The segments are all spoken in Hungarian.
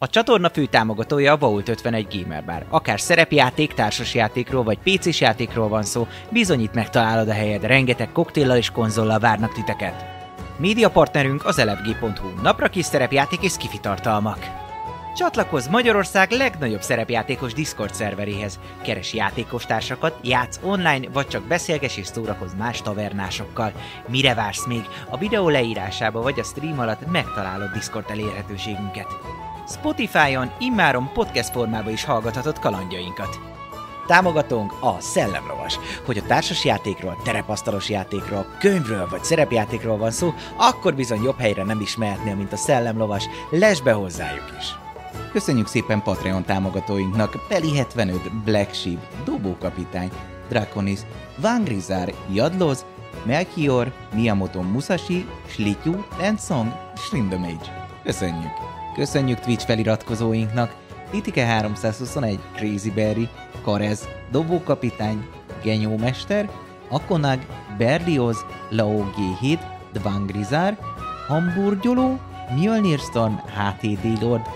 A csatorna fő támogatója a Vault 51 Gamer Bar. Akár szerepjáték, társasjátékról vagy pc játékról van szó, bizonyít megtalálod a helyed, rengeteg koktéllal és konzollal várnak titeket. Média partnerünk az elefg.hu, napra kis szerepjáték és skifi tartalmak. Csatlakozz Magyarország legnagyobb szerepjátékos Discord szerveréhez. Keres játékostársakat, játsz online, vagy csak beszélges és szórakozz más tavernásokkal. Mire vársz még? A videó leírásába vagy a stream alatt megtalálod Discord elérhetőségünket. Spotify-on immáron podcast formában is hallgathatod kalandjainkat. Támogatónk a Szellemlovas. Hogy a társas játékról, terepasztalos játékról, könyvről vagy szerepjátékról van szó, akkor bizony jobb helyre nem is mehetnél, mint a Szellemlovas. Lesz be hozzájuk is! Köszönjük szépen Patreon támogatóinknak Peli75, Black Sheep, Dobókapitány, Draconis, Vangrizár, Jadloz, Melchior, Miyamoto Musashi, Slityu, Lensong, Shrindamage. Köszönjük! Köszönjük Twitch feliratkozóinknak! Titike 321, Crazy Berry, Karez, Dobókapitány, Genyómester, Akonag, Berlioz, Lao G7, Dvangrizár, Hamburgyoló, Mjölnir Storm, HTD Lord,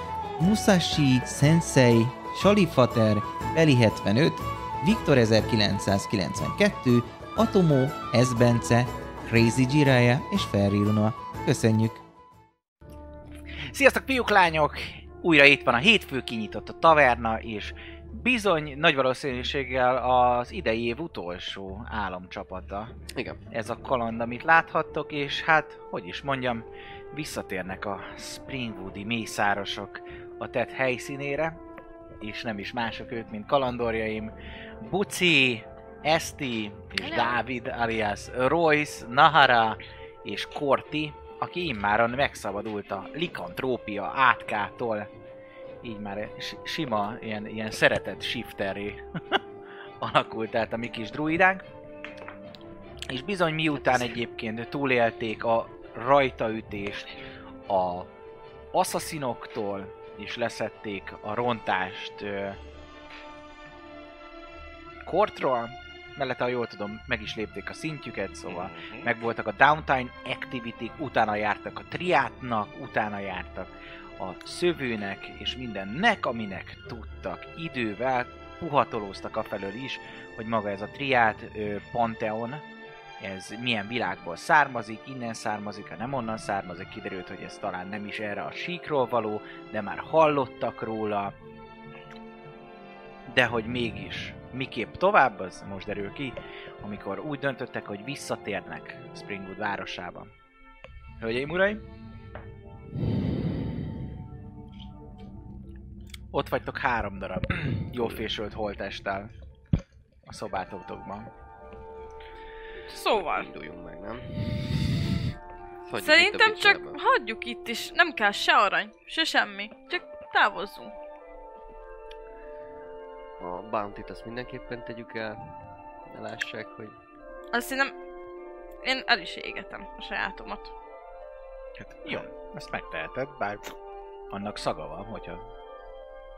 Musashi, Sensei, Salifater, Beli75, Viktor 1992, Atomó, Esbence, Crazy Jiraya és Ferriruna. Köszönjük! Sziasztok, fiúk, lányok! Újra itt van a hétfő, kinyitott a taverna, és bizony nagy valószínűséggel az idei év utolsó álomcsapata. Igen. Ez a kaland, amit láthattok, és hát, hogy is mondjam, visszatérnek a Springwoodi mészárosok a tett helyszínére, és nem is mások ők, mint kalandorjaim. Buci, Esti és Hello. Dávid alias Royce, Nahara és Korti, aki immáron megszabadult a likantrópia átkától. Így már s- sima, ilyen, ilyen szeretett shifterré alakult át a mi kis druidánk. És bizony miután egyébként túlélték a rajtaütést a asszaszinoktól, és leszették a rontást ö, kortról, mellette, ha jól tudom, meg is lépték a szintjüket, szóval Mhm. megvoltak a downtime activity utána jártak a triátnak, utána jártak a szövőnek és mindennek, aminek tudtak idővel, puhatolóztak afelől is, hogy maga ez a triát ö, Pantheon, ez milyen világból származik, innen származik, ha nem onnan származik, kiderült, hogy ez talán nem is erre a síkról való, de már hallottak róla, de hogy mégis miképp tovább, az most derül ki, amikor úgy döntöttek, hogy visszatérnek Springwood városába. Hölgyeim, uraim! Ott vagytok három darab jól fésölt holtesttel a szobátokban. Szóval. Induljunk meg, nem? Hagyjuk itt a Szerintem csak picsába. hagyjuk itt is, nem kell se arany, se semmi, csak távozzunk. A bounty-t azt mindenképpen tegyük el. Ne lássák, hogy... Azt szerintem én el is égetem a sajátomat. Hát jó, ezt megteheted, bár annak szaga van, hogyha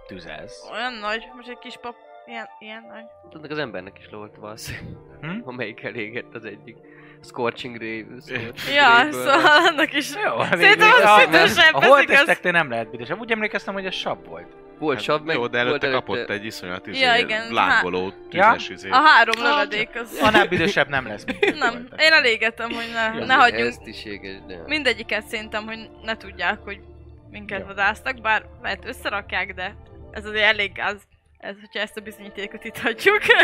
tüzelsz. Olyan nagy, most egy kis pap, ilyen, ilyen nagy. Tudnak az embernek is lolt valószínűleg, Hm? amelyik elégett az egyik. Scorching Ray... Scorching Ja, Ray-ből. szóval annak is. Jó, Szerintem végül- Ah, az Ja, mert szintesen Ah, A veszik az... holtesteknél nem lehet büdös. Úgy emlékeztem, hogy ez sab volt. Volt Hát sab, meg Jó, de előtte volt kapott egy iszonyat izé, Ja, igen, lángoló tüzes izé. A három lövedék az... Annál büdösebb nem lesz. mint egy Nem, holtest. én elégetem, hogy ne, Az ne hagyjunk. Ezt is éges, de... Mindegyiket szerintem, hogy ne tudják, hogy minket Jó. vadásztak, bár lehet összerakják, de ez azért elég gáz. Ez, hogyha ezt a bizonyítékot itt hagyjuk.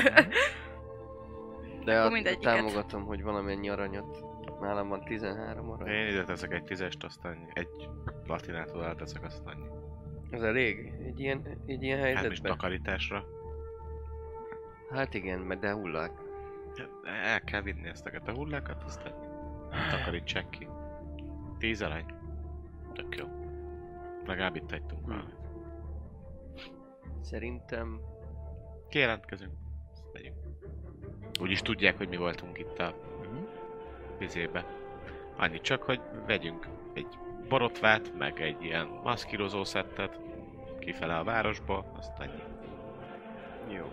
De Akkor a, mindegyiket. támogatom, hogy valamennyi aranyat. Nálam van 13 arany. Én ide teszek egy tízest, aztán egy platinát oda teszek, aztán annyi. Ez elég? Egy ilyen, egy ilyen Hát is helyzetben? takarításra. Hát igen, mert de hullák. El kell vinni ezteket a hullákat, aztán takarítsák ki. Tíz arány. Tök jó. Hm. Legalább itt hagytunk valamit. Szerintem... Kijelentkezünk. Ezt Megyünk. Úgyis tudják, hogy mi voltunk itt a Mhm. vizébe. Annyi csak, hogy vegyünk egy borotvát, meg egy ilyen maszkírozó szettet kifele a városba, azt annyi. Jó.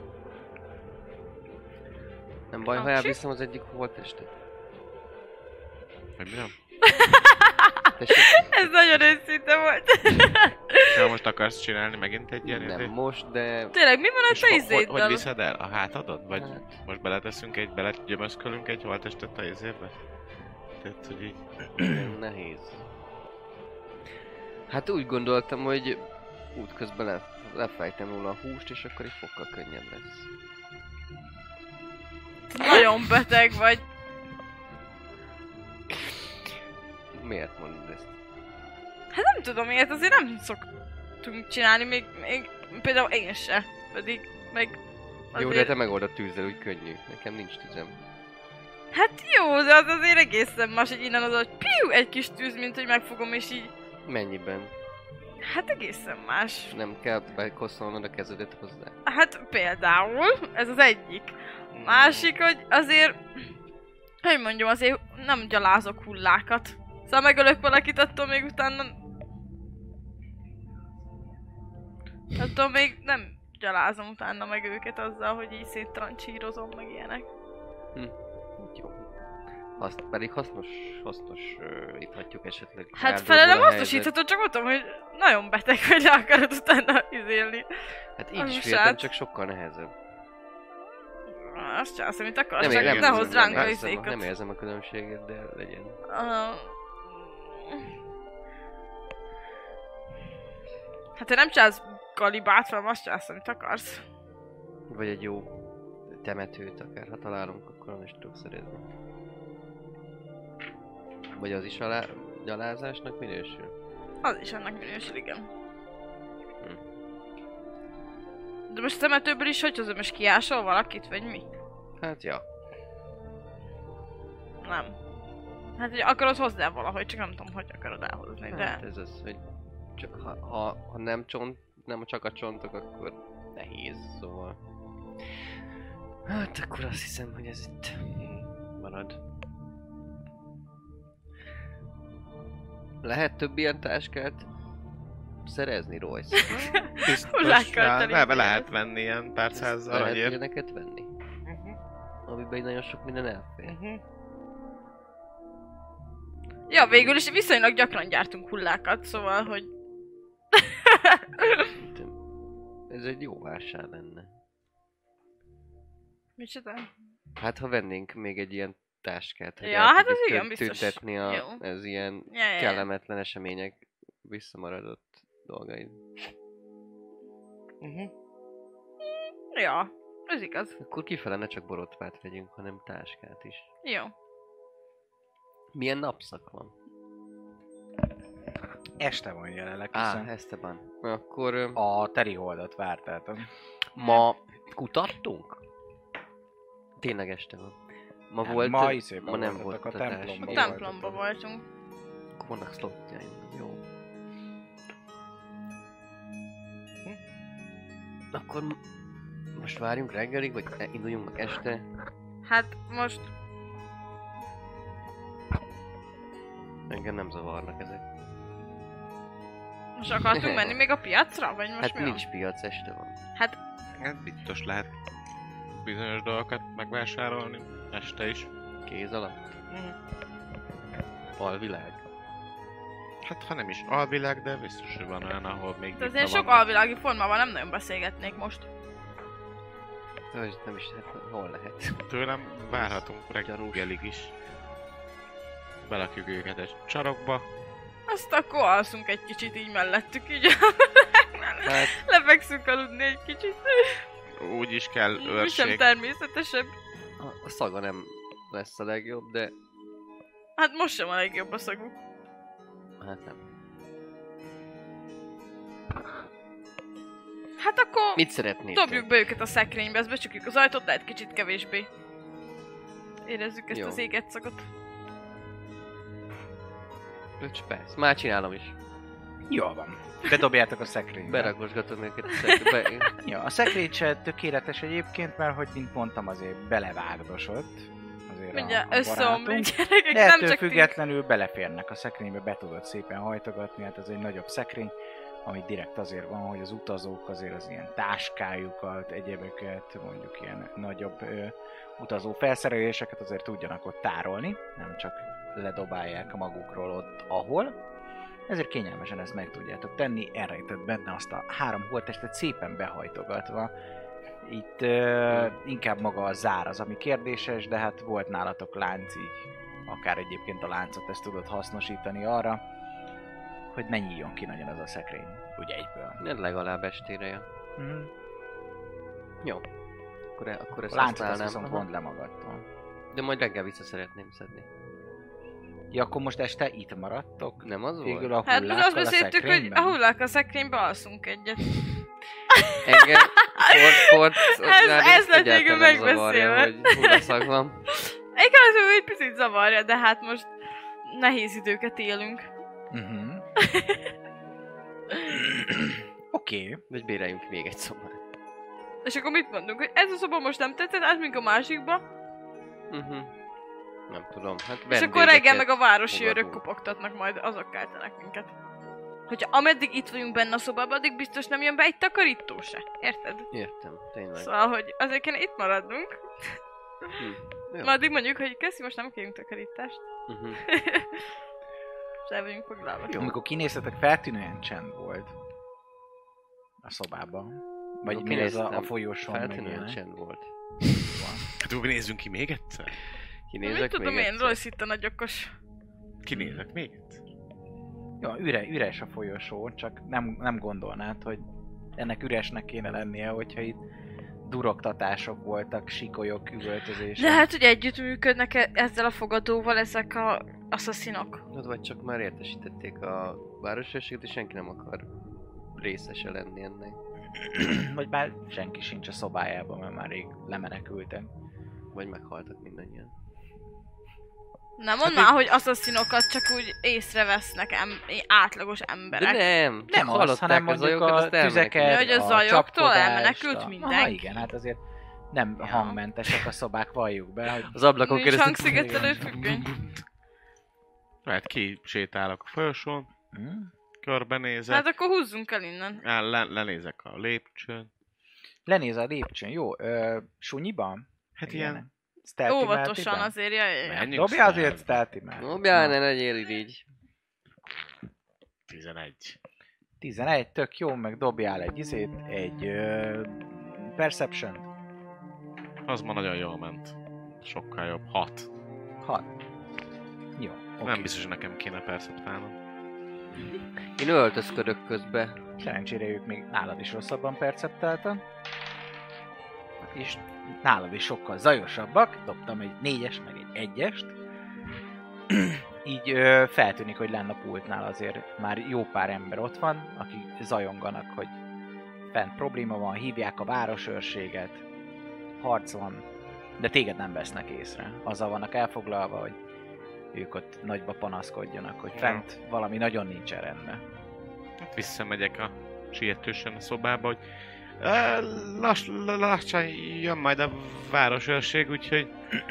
Nem baj, ha Kapcsi? elviszem az egyik holttestet. Vagy mi nem? Tessék, ez nagyon őszinte volt. Hogyha most akarsz csinálni megint egy ilyen Nem izét, most, de... Tényleg, mi van Hát a és te ho- hogy, hogy izéddel? viszed el? A hátadon? Vagy Hát, most beleteszünk egy, belegyömözkölünk egy holtestet a izébe? Tehát, hogy így... nehéz. Hát úgy gondoltam, hogy útközben le, lefejtem róla a húst, és akkor egy fokkal könnyebb lesz. Nagyon beteg vagy. Miért mondod ezt? Hát nem tudom, ilyet azért nem szoktunk csinálni, még, még például én se. Pedig, meg Jó, azért... de te megoldod tűzzel, úgy könnyű. Nekem nincs tüzem. Hát jó, de az azért egészen más, hogy innen az, hogy piu, egy kis tűz, mint hogy megfogom, és így... Mennyiben? Hát egészen más. Nem kell bekoszolnod a kezedet hozzá. Hát például, ez az egyik. Másik, hogy azért, hogy mondjam, azért nem gyalázok hullákat. Szóval megölök valakit, attól még utána... Attól még nem gyalázom utána meg őket azzal, hogy így széttrancsírozom meg ilyenek. Jó. Azt pedig hasznos, hasznos uh, íthatjuk esetleg. Hát ráldózol felelem a hasznosítható, csak mondtam, hogy nagyon beteg vagy le akarod utána izélni. helyzet. Hát a így húsát. is féltem, csak sokkal nehezebb. Azt csinálsz, amit akarsz, Nem, csak ér- érzem, ne hozd ránk a nem, érzem, a- izékat. nem érzem a különbséget, de legyen. Aha. Hát te nem csinálsz kalibát, hanem azt csinálsz, amit akarsz. Vagy egy jó temetőt akár, ha találunk, akkor onnan is tudok szerezni. Vagy az is alá... gyalázásnak minősül? Az is annak minősül, igen. De most temetőből is hogy hozom, és kiásol valakit, vagy mi? Hát ja. Nem. Hát, hogy akarod hozzá valahogy, csak nem tudom, hogy akarod elhozni, Hát de... ez az, hogy csak, ha, ha, ha, nem csont, nem csak a csontok, akkor nehéz, szóval. Hát akkor azt hiszem, hogy ez itt marad. Lehet több ilyen táskát szerezni, Royce? Biztos, Hullákkal rá, teli be lehet venni ilyen pár száz Lehet aranyért. ilyeneket venni? Amiben így nagyon sok minden elfér. Ja, végül is viszonylag gyakran gyártunk hullákat, szóval, hogy... Ez egy jó vásár lenne. Micsoda? Hát ha vennénk még egy ilyen táskát, hogy Ja, el hát tudjuk az igen, tün- biztos. tüntetni a, Jó. az ilyen Ja, ja, ja. kellemetlen események visszamaradott dolgait. Mhm. Ja, ez igaz. Akkor kifele ne csak borotvát vegyünk, hanem táskát is. Jó. Milyen napszak van? Este van jelenleg, Á, hát- hiszen Esteban. Akkor ö, a teri holdat vártáltam. ma kutattunk? Tényleg este van. Ma Nem, volt... hát ma izében ma nem voltatok volt a kutatás. templomban. A Jó, hát templomba voltunk. Akkor vannak szlotjaim. Jó. Hm? Akkor m- most várjunk reggelig, vagy e- induljunk meg este? Hát most Engem nem zavarnak ezek. Most akartunk menni még a piacra? Vagy most hát mi nincs Van? piac, este van. Hát biztos lehet bizonyos dolgokat megvásárolni este is. Kéz alatt. Mhm. Alvilág. Hát ha nem is alvilág, de biztos, hogy van olyan, ahol még De nyitva Hát azért sok vannak. alvilági formában nem nagyon beszélgetnék most. Ez nem is, hát hol lehet? Tőlem várhatunk reggelig is. Belakjuk őket egy csarokba. Azt akkor alszunk egy kicsit így mellettük, így Hát, lefekszünk aludni egy kicsit. Úgy is kell Mi sem őrség. természetesebb. a, a szaga nem lesz a legjobb, de Hát most sem a legjobb a szagú. hát nem. Hát akkor Mit szeretnél? dobjuk be őket a szekrénybe, ezt becsukjuk az ajtót, lehet kicsit kevésbé. Érezzük ezt Jó. az éget szagot. Öcs perc. Már csinálom is. Jól van. Bedobjátok a szekrénybe. Berakosgatom őket. a szegbe- Be, Ja, a szekrény se tökéletes egyébként, mert hogy mint mondtam, azért belevágdosott. Azért Mindjárt a, a összeomlik barátunk. gyerekek, De nem ettől csak ti. függetlenül beleférnek a szekrénybe, be tudod szépen hajtogatni, hát ez egy nagyobb szekrény, ami direkt azért van, hogy az utazók azért az ilyen táskájukat, egyebeket, mondjuk ilyen nagyobb ö, utazó felszereléseket azért tudjanak ott tárolni, nem csak ledobálják magukról ott, ahol. Ezért kényelmesen ezt meg tudjátok tenni, elrejtett benne azt a három holttestet szépen behajtogatva. Itt ö, inkább maga a zár az, ami kérdéses, de hát volt nálatok lánc, így akár egyébként a láncot ezt tudod hasznosítani arra, hogy ne nyíljon ki nagyon az a szekrény, ugye egyből. Nem legalább estére jön. Mm. Jó. Akkor, e- akkor A ezt láncot azt használnám. viszont Aha. vond le magadtól. De majd reggel vissza szeretném szedni. Ja, akkor most este itt maradtok? Nem az volt? Végül a Hát most azt hullákkal a beszéltük, hogy szekrényben? a hullák a szekrénybe alszunk egyet. Engem Ford, Ford Ez- ez lett végül egyáltalán nem megbeszélve. zavarja, hogy hullaszag van. Egyébként az egy picit zavarja, de hát most nehéz időket élünk. Mhm. Oké. Vagy béreljünk még egy szobát. És akkor mit mondunk, hogy ez a szoba most nem tetszett, átmink a másikba, Uh-huh. Nem tudom, hát és akkor reggel vendégeket. meg a városi fogadunk. őrök kopogtatnak, majd azok keltenek minket. Hogyha ameddig itt vagyunk benne a szobában, addig biztos nem jön be egy takarító se. Érted? Értem, tényleg. Szóval, hogy azért kéne itt maradnunk. Jó. Ma addig mondjuk, hogy köszi, most nem kérünk takarítást. Uh-huh. És el vagyunk foglalva. Jó. Amikor kinéztetek, feltűnően csend volt. A szobában. Vagy Amikor mi ez a, a kinéztem, folyosón? meg Feltűnően ilyenek. csend volt. Hát úgy nézzünk ki még egyszer? Kinézek Mit tudom még én, egyszer? Royce itt a nagyokos. Kinézek még egyszer? Jó, üre, üres a folyosó, csak nem, nem gondolnád, hogy ennek üresnek kéne lennie, hogyha itt durogtatások voltak, sikolyok, üvöltözések. De hát ugye együttműködnek e- ezzel a fogadóval ezek a asszaszinok. Hát vagy csak már értesítették a városőrséget, és senki nem akar részese lenni ennek. Vagy már senki sincs a szobájában, mert már rég lemenekültek. Vagy meghaltak mindannyian. Nem mondd Hát már, hogy asszaszinokat csak úgy észrevesznek em- átlagos De emberek. nem! Csak Nem az, hallották hanem a mondjuk zajokat, a azt elmenekültek. tüzeket, De hogy a zajoktól csapkodást, elmenekült a- mindenki. Aha, igen, hát azért nem Ja. hangmentesek a szobák, valljuk be, hogy Az ablakon Nincs keresztül... hangszigetelő függöny. Lehet ki sétálok a folyosón, hm? körbenézek, Hát hát, akkor húzzunk el innen. á, le, lenézek a lépcsőn. lenéz a lépcsőn, jó, ö, sunyiban? Hát Igen. ilyen, Stealthy Óvatosan mártiben? azért, jaj, jaj, jaj. menjünk Dobja azért stealth. stealthy már. Dobjál, ne legyél így. 11. 11, tök jó, meg dobjál egy izét, egy ö, perception Az ma nagyon jól ment. Sokkal jobb. 6. Okay. 6. Jó, oké. Nem biztos, hogy nekem kéne perceptálnom. Én öltözködök közbe. Szerencsére ők még nálad is rosszabban perceptáltan. És nálad is sokkal zajosabbak. Dobtam egy négyes, meg egy egyest. Így ö, feltűnik, hogy lenne a pultnál azért már jó pár ember ott van, akik zajonganak, hogy fent probléma van, hívják a városőrséget, harc van, de téged nem vesznek észre. Azzal vannak elfoglalva, hogy ők ott nagyba panaszkodjanak, hogy fent valami nagyon nincsen rendben. Hát visszamegyek a sietősen a szobába, hogy "Á, lass, lassan jön majd a városőrség, úgyhogy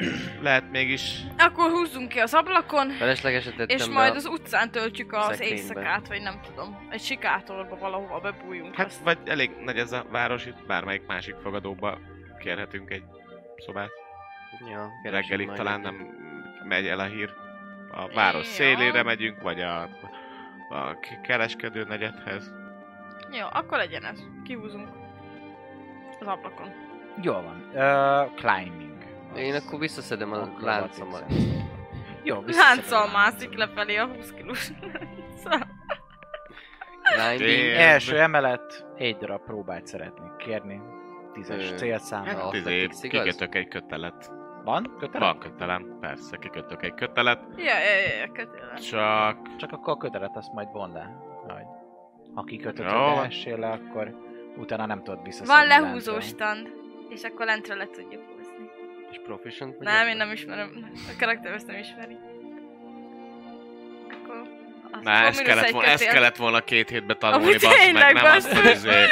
lehet mégis Akkor húzzunk ki az ablakon, Feleslegeset tettem és be majd a- az utcán töltjük az szekrénybe. éjszakát, vagy nem tudom. Egy sikátorba valahova bebújunk. Hát, vagy elég nagy ez a város, itt bármelyik másik fogadóba kérhetünk egy szobát. Ja, keresem Reggel itt majd talán egyet. nem megy el a hír. A város Ja. szélére megyünk, vagy a, a k- kereskedő negyedhez. Jó, akkor legyen ez. Kihúzunk az ablakon. Jól van. Uh, climbing. Az Én akkor visszaszedem a akrobatic láncomat. szerintem. Jó, visszaszedem a Lánccal mászik láncomat. lefelé a 20 kilós. Szóval- Blinding. Tényleg. Első emelet, egy darab próbát szeretnék kérni. Tízes Ö, célszámmal. Hát az izé, nekik igaz? kikötök egy kötelet. Van? Kötelem? Van kötelem, persze, kikötök egy kötelet. Ja, ja, ja, ja, kötélem. Csak Csak akkor a kötelet azt majd von le. Hogy ha kikötötted Jó. elsőre, akkor utána nem tudod visszaszedni. Van lehúzó lánccal. stand, és akkor lentről le tudjuk húzni. És proficient vagy Nem, ebben? én nem ismerem. A karakter ezt nem ismeri. Akkor... azt- Na, akkor ezt mínusz kellett, egy volna, ezt kötél. kellett volna két hétbe tanulni, Amúgy bassz tényleg, meg, nem azt basszus. izé,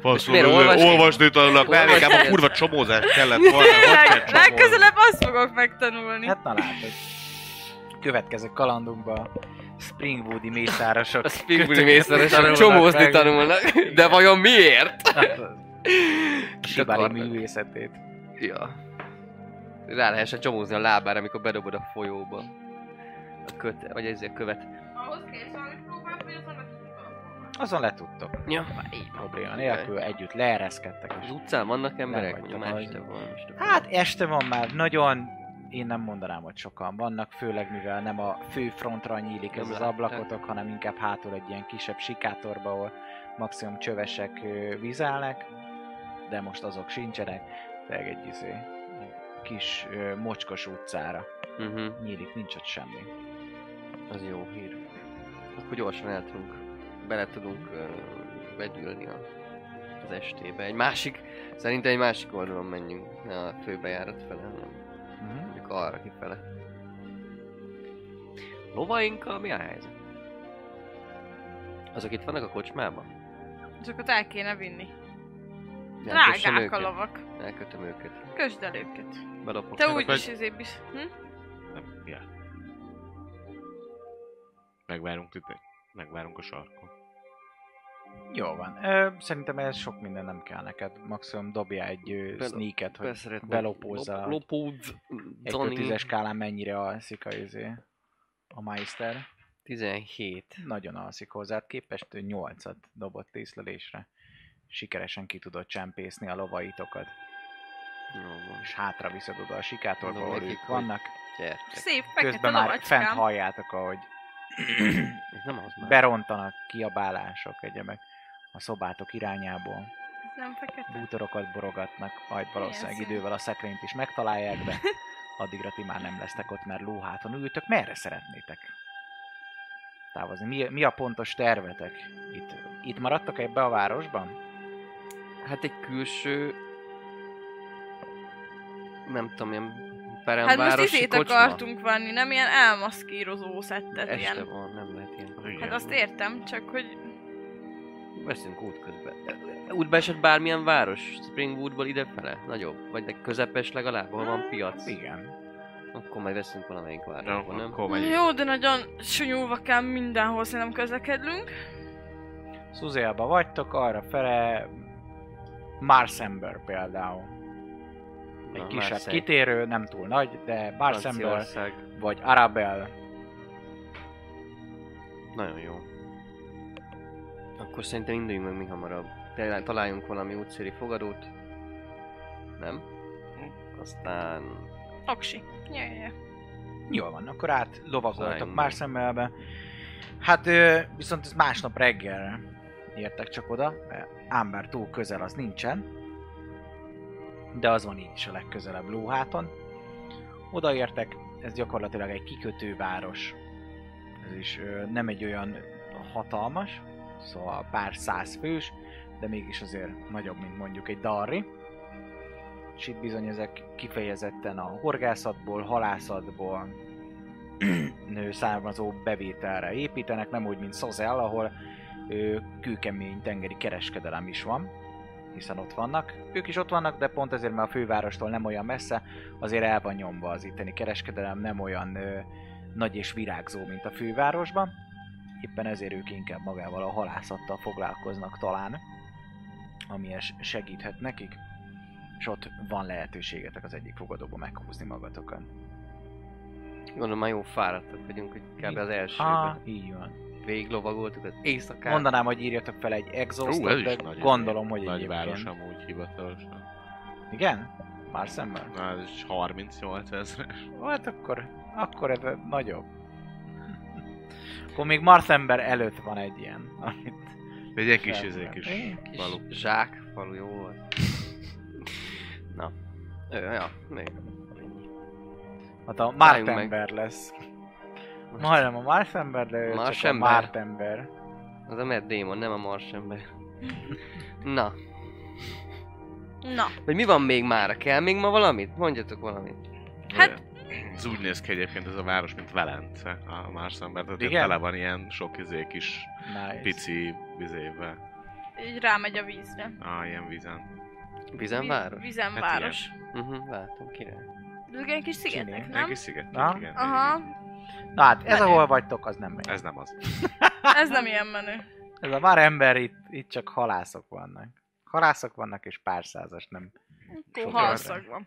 faszul, Miért, izé, olvasni? olvasni tanulnak, nem, Olvasni. inkább a kurva csomózás kellett volna, hogy kell Tényleg, csomózni. legközelebb azt fogok megtanulni. Hát, Hát na látod. Következő kalandunkba Springwoodi mészárosok. A Spingbuli kötöket mészárosok tanulnak csomózni meg. tanulnak. De vajon miért? Sibari akarnak? művészetét. Ja. Rá lehessen csomózni a lábára, amikor bedobod a folyóba. A köt, vagy ez a követ. ahhoz kész valami próbál, vagy Azon le tudtok. Ja. Probléma nélkül együtt leereszkedtek. Az És... utcán vannak emberek, vagy vagytok a nagy. más van most. Hát este van már nagyon, én nem mondanám, hogy sokan vannak, főleg mivel nem a fő frontra nyílik ez Nem az látták. ablakotok, hanem inkább hátul egy ilyen kisebb sikátorba, ahol maximum csövesek ö, vizelnek, de most azok sincsenek, de egy izé, kis ö, mocskos utcára Mhm, nyílik, nincs ott semmi. az jó hír. Akkor gyorsan el tudunk, bele tudunk ö, vegyülni a, az estébe. Egy másik, szerintem egy másik oldalon menjünk, ne a főbejárat fele, hanem Uh-huh. mondjuk arra kifele. Lovainkkal mi a helyzet? Azok itt vannak a kocsmában? Azokat el kéne vinni. Nem, kössem Drágák a őket. lovak. Elkötöm őket. Kösd el őket. Belopok. Te nekik. úgy vagy- is izé bis... Hm? Nem, ja. Megvárunk itt, megvárunk a sarkon. Jó van. Ö, szerintem ez sok minden nem kell neked. Maximum dobja egy ö, Belo- sneaket, hogy Beszeretnék. belopózza. Lop- Lopódz. Egy Zani. 10-es skálán mennyire alszik a, izé, a Meister. 17. Nagyon alszik hozzád, képest 8-at dobott észlelésre. Sikeresen ki tudod csempészni a lovaitokat, Jó van. és hátra viszed oda a sikátorba, Mondom ahol nekik, ők hogy vannak. Gyertek. Szép fekete Közben már fent hát lovacskám. halljátok, ahogy Ez nem az már. berontanak kiabálások, egyebek a szobátok irányából. Ez Nem fekete. bútorokat borogatnak, majd valószínűleg szép. idővel a szekrényt is megtalálják, de addigra ti már nem lesztek ott, mert lóháton ültök. Merre szeretnétek távozni? Mi, mi a pontos tervetek? Itt, itt maradtok ebbe a városban? Hát egy külső... Nem tudom, ilyen peremvárosi Hát most izét kocsma. akartunk venni, nem ilyen elmaszkírozó szettet, Este ilyen. van, nem lehet ilyen. Igen. Hát azt értem, csak hogy Veszünk útközben. Útbe esett bármilyen város, Springwoodból idefele, nagyobb, vagy de közepes legalább, ahol Hát, van piac. Igen. Akkor majd veszünk valamelyik Na, városba, nem? akkor megyünk. Jó, de nagyon sunyulva kell mindenhol, szerintem közlekedlünk. Szuzélba vagytok, arra fele Marsember például. Egy Na, kisebb Marseille, kitérő, nem túl nagy, de Marsember Franciaország. vagy Arabel. Nagyon jó. Akkor szerintem induljunk meg mi hamarabb. Talál- Találjunk valami útszéli fogadót. Nem? Aztán... Aksi. Jaj, jaj. Jól van, akkor át lovagoltok Zájmban. már szemmelbe. Hát ö, viszont ez másnap reggelre értek csak oda, mert ám bár túl közel az nincsen. De az van így is a legközelebb lóháton. Odaértek, ez gyakorlatilag egy kikötőváros. Ez is ö, nem egy olyan hatalmas, szóval pár száz fős, de mégis azért nagyobb, mint mondjuk egy darri. És itt bizony ezek kifejezetten a horgászatból, halászatból nő származó bevételre építenek, nem úgy, mint Szozel, ahol ö, kőkemény tengeri kereskedelem is van, hiszen ott vannak. Ők is ott vannak, de pont ezért, mert a fővárostól nem olyan messze, azért el van nyomva az itteni kereskedelem, nem olyan ö, nagy és virágzó, mint a fővárosban. Éppen ezért ők inkább magával a halászattal foglalkoznak talán, ami es- segíthet nekik és ott van lehetőségetek az egyik fogadóba meghúzni magatokat. Gondolom már jó fáradtak vagyunk, hogy kb. az Ah, elsőben így van. végiglovagoltuk az éjszakát. Mondanám, hogy írjatok fel egy Ú, ez exhaustot, is de nagy gondolom, izé, hogy Nagy város egyébként. amúgy hivatalosan. Igen? Már szemmel? Na, ez is 38 ezer. Hát akkor, akkor ez nagyobb. akkor még Marsember előtt van egy ilyen, amit De egy ilyen kis Fel- izé, kis Igen, Kis falu. zsák, falu jó volt. Na. Ö, ja, még. hát a Álljunk meg. Martember lesz. Most Majdnem a Marsember, de ő csak a Marsember. Martember. Az a Matt Damon, nem a Mars ember. Na, Na, hogy mi van még mára? Kell még ma valamit? Mondjatok valamit. Hát- Ez úgy néz ki egyébként ez a város, mint Velence a más ember. Tehát Igen? Igen? tele van ilyen sok izé kis Nice. pici vizével. így rámegy a vízre. Ah, ilyen vízen. Vizenváros? Vizenváros. Uh-huh, látom, király. Ezek ilyen kis szigetek, Csini. Hát Egy nem? kis sziget. Na. Igen, Aha, igen. Na hát, ez ahol vagytok, az nem megy. Ez nem az. ez nem ilyen menő. Ez a már ember, itt, itt csak halászok vannak. Halászok vannak, és pár százas nem. Akkor Sok halszag van.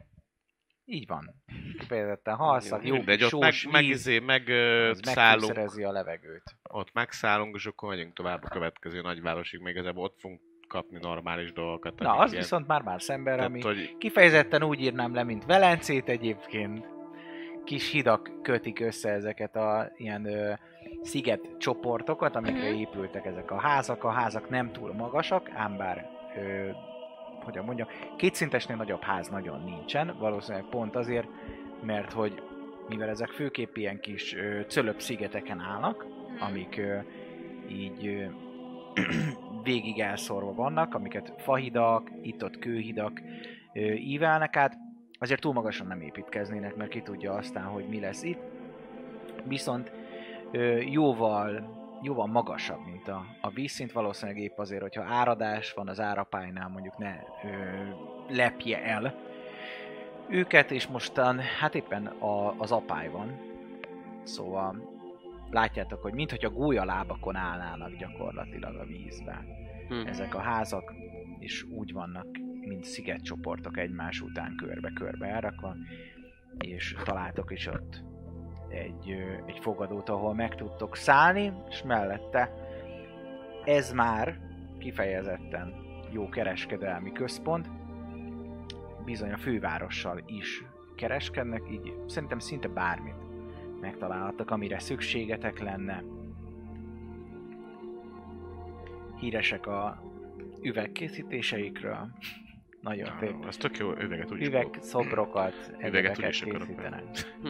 Így van. Kifejezetten halszak, jó Mindegy, kis ott meg, sós meg, víz, izé, meg ö, az szállunk, megfűszerezi a levegőt. ott megszállunk, és akkor megyünk tovább a következő nagyvárosig, még ezzel ott fogunk kapni normális dolgokat. Na, amik az ilyen- viszont már más ember, tehát, ami hogy kifejezetten úgy írnám le, mint Velencét egyébként. Kis hidak kötik össze ezeket a ilyen ö, sziget csoportokat, amikre Mhm. épültek ezek a házak. A házak nem túl magasak, ám bár, ö, hogyan mondjam, kétszintesnél nagyobb ház nagyon nincsen, valószínűleg pont azért, mert hogy mivel ezek főképp ilyen kis ö, cölöp szigeteken állnak, Mhm. amik ö, így ö, végig elszorva vannak, amiket fahidak, itt-ott kőhidak ö, ívelnek át, azért túl magasan nem építkeznének, mert ki tudja aztán, hogy mi lesz itt. Viszont ö, jóval, jóval magasabb, mint a, a vízszint, valószínűleg épp azért, hogyha áradás van az árapájnál, mondjuk ne ö, lepje el őket, és mostan, hát éppen a, az apály van, szóval látjátok, hogy mintha gólyalábakon állnának gyakorlatilag a vízben Hm. ezek a házak, és úgy vannak, mint szigetcsoportok egymás után körbe-körbe elrakva, és találtok is ott egy, ö, egy fogadót, ahol meg tudtok szállni, és mellette ez már kifejezetten jó kereskedelmi központ, bizony a fővárossal is kereskednek, így szerintem szinte bármit megtalálhattak, amire szükségetek lenne. Híresek a üvegkészítéseikről. Nagyon szép Ja, az tök jó üveget úgy üveg szobrokat, Üveget egyebeket úgyis akarok készítenek. Hm.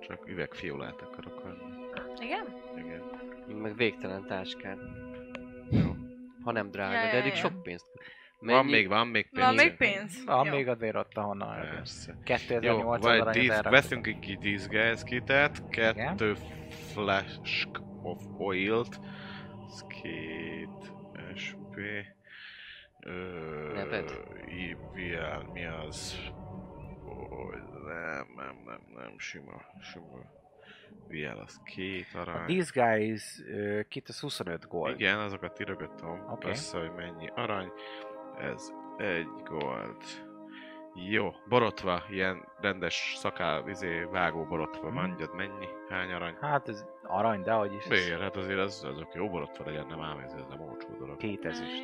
Csak üvegfiolát akarok venni. Hmm. Igen? Igen. Meg végtelen táskát. Ha nem drága, Ja, de ja, eddig ja. sok pénzt. Van még, van még pénz. Van még pénz? Van Jó. Ah, még azért ott, ahonnan eljössz. Persze. 2800 Jó, aranyat vagy disz, elraktatok. veszünk egy disguise kitet, kettő flask of oilt, ez két SP, ö, Neved? IVL, mi az? Ó, nem, nem, nem, nem, sima, sima. VL az két A arany. Disguise ö, uh, kit az 25 gold. Igen, azokat irögötöm Oké. okay. össze, hogy mennyi arany. Ez egy gold. Jó, borotva, ilyen rendes szakál, izé, vágó borotva, Mhm. mondjad mennyi, hány arany? Hát ez arany, de hogy is. ez Miért? Hát azért az, azok jó borotva legyen, nem ám ez, ez nem olcsó dolog. Két ezüst.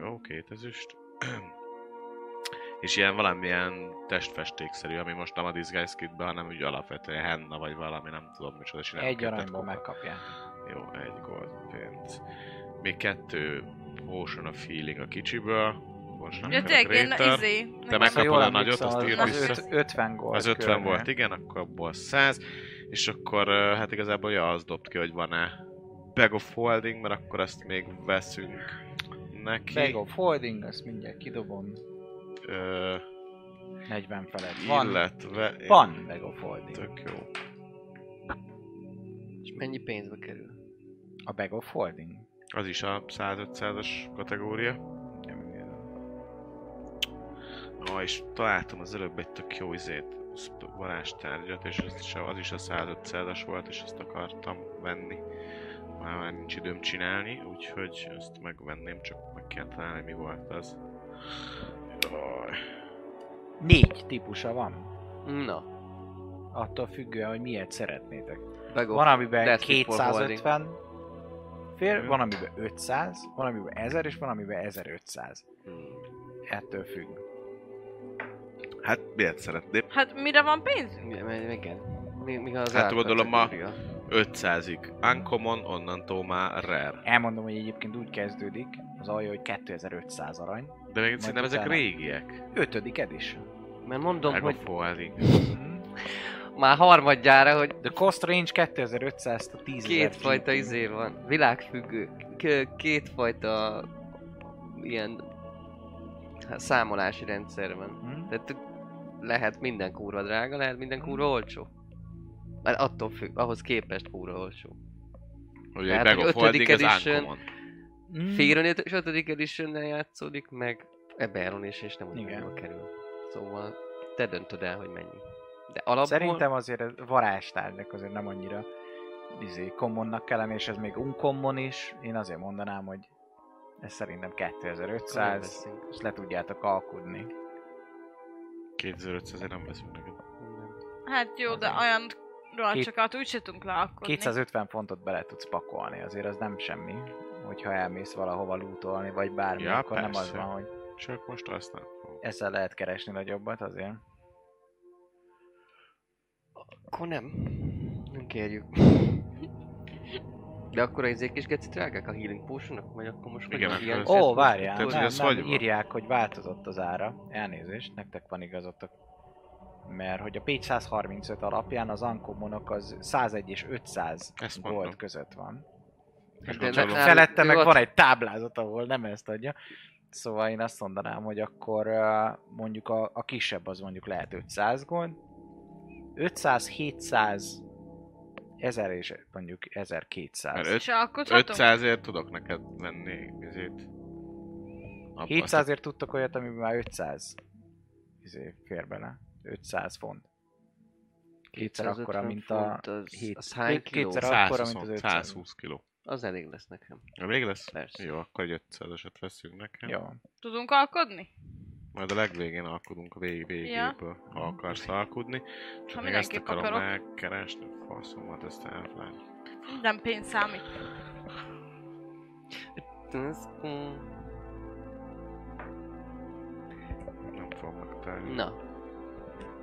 Jó, két ezüst. És ilyen valamilyen testfestékszerű, ami most nem a disguise kitbe, hanem úgy alapvetően henna vagy valami, nem tudom micsoda csinálok. Egy kitett aranyból kopog. megkapják. Jó, egy gold pénz. Még kettő Potion of Healing a kicsiből. Most nem Ja, kell tényleg, én Greater. izé... Te nekem- Ha megkapod jól a nagyot, emlékszem, azt írd az, vissza. az öt- 50 gold. Az 50 körül. volt, igen, akkor abból 100. És akkor ö, hát igazából ja, az dobt ki, hogy van-e Bag of Holding, mert akkor ezt még veszünk neki. Bag of holding, azt mindjárt kidobom. Ö, 40 felett. Van, illetve... van bag of holding. Tök jó. És mennyi pénzbe kerül? A bag of holding. Az is a 100-500-as kategória. Ah, és találtam az előbb egy tök jó izét, szp- varázstárgyat, és az is, az is a 100-500-as volt, és azt akartam venni. Már, már nincs időm csinálni, úgyhogy azt megvenném, csak meg kell találni, mi volt az. Jaj. Négy típusa van. Na, Attól függően, hogy milyet szeretnétek. Bag Van, of amiben That's before 250 fél, Mhm. van, amiben 500, van, amiben 1000, és van, amiben 1500. Hmm. Ettől függ. Hát miért szeretném? Hát mire van pénzünk? Igen, meg- igen. Mi, mi az Hát, árkategória? gondolom, ma- 500-ig. Uncommon, onnantól már rare. Elmondom, hogy egyébként úgy kezdődik az alja, hogy 2500 arany. De még szerintem ezek utána. régiek. Ötödik edition. Mhm. Mert mondom, Meg a hogy folding. már harmadjára, hogy The cost range 2500-tól 10 Két fajta izé van, világfüggő, K- két fajta ilyen hát, számolási rendszer van. Mhm. Tehát lehet minden kúra drága, lehet minden kúra olcsó. Mert attól függ, ahhoz képest kúra olcsó. Ugye egy Tehát, bag Hát, hogy of holding ötödik az edition. uncommon. Mhm. Hmm. Féron és ötödik edition játszódik, meg Eberron is, és nem Igen. ugyanúgy kerül. Szóval te döntöd el, hogy mennyi. De alapból... Szerintem azért ez varázstárgyak azért nem annyira izé, commonnak kellene, és ez még uncommon is. Én azért mondanám, hogy ez szerintem Akkor nem 2500, veszünk. és le tudjátok alkudni. 2500 nem veszünk neked. Hát jó, de Azért. olyan rohacsokat úgy se tudunk leakkodni. 250 fontot bele tudsz pakolni, azért az nem semmi, hogyha elmész valahova lootolni, vagy bármi, Ja, akkor nem az persze. van, hogy Csak most azt nem fogom. ezzel lehet keresni nagyobbat azért. Akkor nem. Nem kérjük. De akkor az kis geci drágák a healing potionok? Vagy akkor most Igen, hogy akkor ilyen... ez- Ó, most várjál, tudtad, nem, hogy nem, ez hogy van? írják, hogy változott az ára. Elnézést, nektek van igazatok. Mert hogy a Pécs 135 alapján az Ankomonok az 101 és 500 Ezt gold mondtam. között van. És de gondolom, ne- Felette ő meg ott- van egy táblázat, ahol nem ezt adja. Szóval én azt mondanám, hogy akkor ö, mondjuk a, a kisebb az mondjuk lehet 500 gold. 500, 700, 1000 és mondjuk 1200. Mert öt- És alkothatunk? 500-ért tudok neked venni ezért. 700-ért tudtok olyat, amiben már 500 izé, fér bele. 500 font. Kétszer akkora, 250 mint a... font, Az, hét- az hány két- kiló? kétszer- akkora, mint az 120, 500. 120 kiló. Az elég lesz nekem. Elég lesz? Persze. Jó, akkor egy 500-eset veszünk nekem. Jó. Tudunk alkodni? Majd a legvégén alkudunk a vég végéből, ja. ha akarsz alkudni. Csak Ha még ezt mindenképp akarom akarok. megkeresni, faszomat ezt elfelejt. Minden pénz számít. Ez, mm, Nem fogom megtalálni. Na.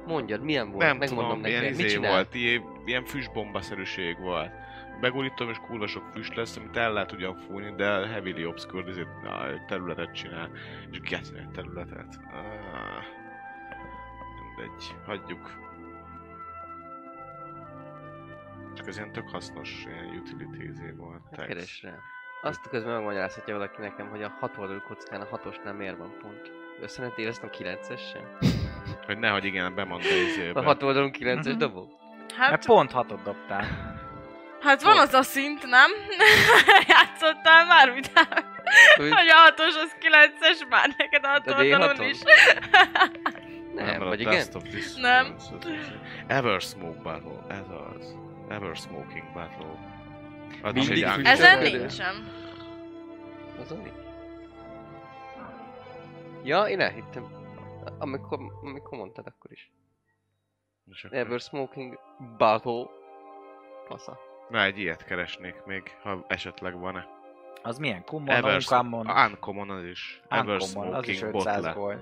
Mondjad, milyen volt? Nem Megmondom tudom, neki. ilyen Mit izé csinál? volt, ilyen, ilyen füstbombaszerűség volt. Begurítom és kurva sok füst lesz, amit el lehet ugyan fújni, de heavily obscure izé, na, egy területet csinál. És getni egy területet. Ah, mindegy, hagyjuk. Csak ez ilyen tök hasznos, ilyen utility izé volt. Hát text. Keres rá. Azt közben megmagyarázhatja valaki nekem, hogy a hat oldalú kockán a hatosnál miért van pont. Össze ne téveztem 9-essel? Hogy nehogy igen, bemondta izébe. A hat oldalú 9-es Mhm. dobó? Hát Hát, pont hatot dobtál. hát van az a szint, nem? Játszottál már, vidám? Hogy Hogy a hatos, az kilences már neked a a d hatalon is. 6 Nem, vagy a igen? Dust of this Nem. Ever Smoke Battle, ez az. Ever Smoking Battle. Az Mindig is egy füst. angol Ezen szöveg. nincsen. Azon nincs. Ja, én elhittem. Amikor, amikor mondtad akkor is. És akkor- Ever Smoking Battle. Fasza. Na, egy ilyet keresnék még, ha esetleg van-e. Az milyen? Kummon, Ever Uncommon, Uncommon az is. Ever Uncommon, az is Smoking 500 Bottle. gold.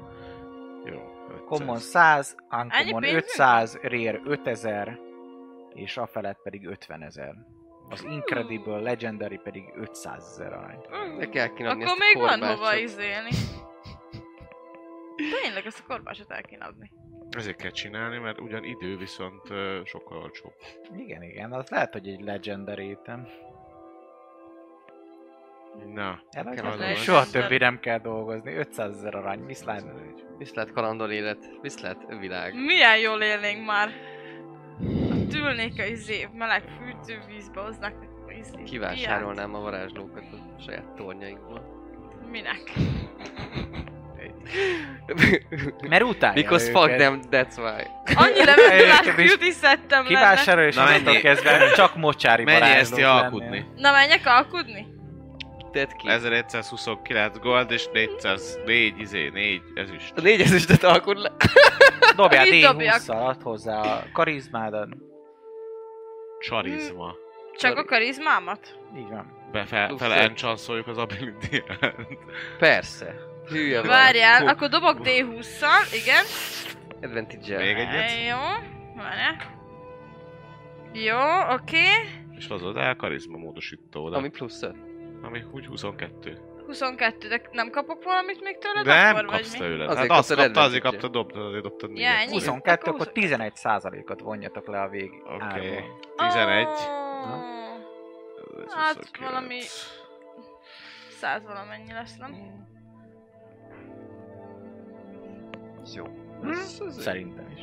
Jó, 500. Common 100, Ennyi Uncommon pénzünk? 500, Rare 5000, és a felett pedig 50 ezer. Az Incredible Legendary pedig 500 ezer arányt. Ne kell kínálni Akkor ezt a még van korbácsot. hova izélni. Tényleg ezt a korbácsot el kéne adni. Ezért kell csinálni, mert ugyan idő viszont ö, sokkal olcsóbb. Igen, igen, az lehet, hogy egy Legendary item. Na, Eladják, az és az. soha többé nem kell dolgozni. 500 ezer arany, viszlát. Viszlát kalandor élet, viszlát világ. Milyen jól élnénk már. Ott ülnék a izé, meleg fürdővízbe, hoznák nekem izé. Kivásárolnám a varázslókat a saját tornyainkból. piát. Minek? Mert utálja Because őket. fuck them, that's why. Annyira Egyébként megtalálok, is jut is szedtem lenne. Kivásárol, és Na, onnantól mennyi? kezdve csak mocsári mennyi varázslók ezt ti lennél. alkudni? Na menjek alkudni? Tedd ki. 1129 gold és 404, izé, 4 ezüst. A négy ezüstöt alkod le. Dobjál Mit dobjak? D20-szal, add hozzá a karizmádat. Charizma. Csak Sorry. a karizmámat? Így van. Befe, Plusz fele egy. enchanszoljuk az ability Persze. Hülye vagy. Várjál, Hú, akkor dobok D20-szal, igen. Advantage-el. Még egyet, Jó, várjál. Jó, oké. és hozod el karizma módosító, Ami ami, plusz öt. ami úgy 22. 22, de nem kapok valamit még tőled? De Hát akkor, nem kapsz vagy mi? tőle. Azért Hát azt kaptad kapta, azért advantage-et. kapta, dobtad, azért dobtad Ja, négyet. ennyi? 22, Akkor akkor 11 százalékot vonjatok le a vég Oké. árból. 11. Ó, Ez Hát, 29. valami- Száz valamennyi lesz, nem? Ez jó. Hmm? Hm? Ez- ez- Szerintem is.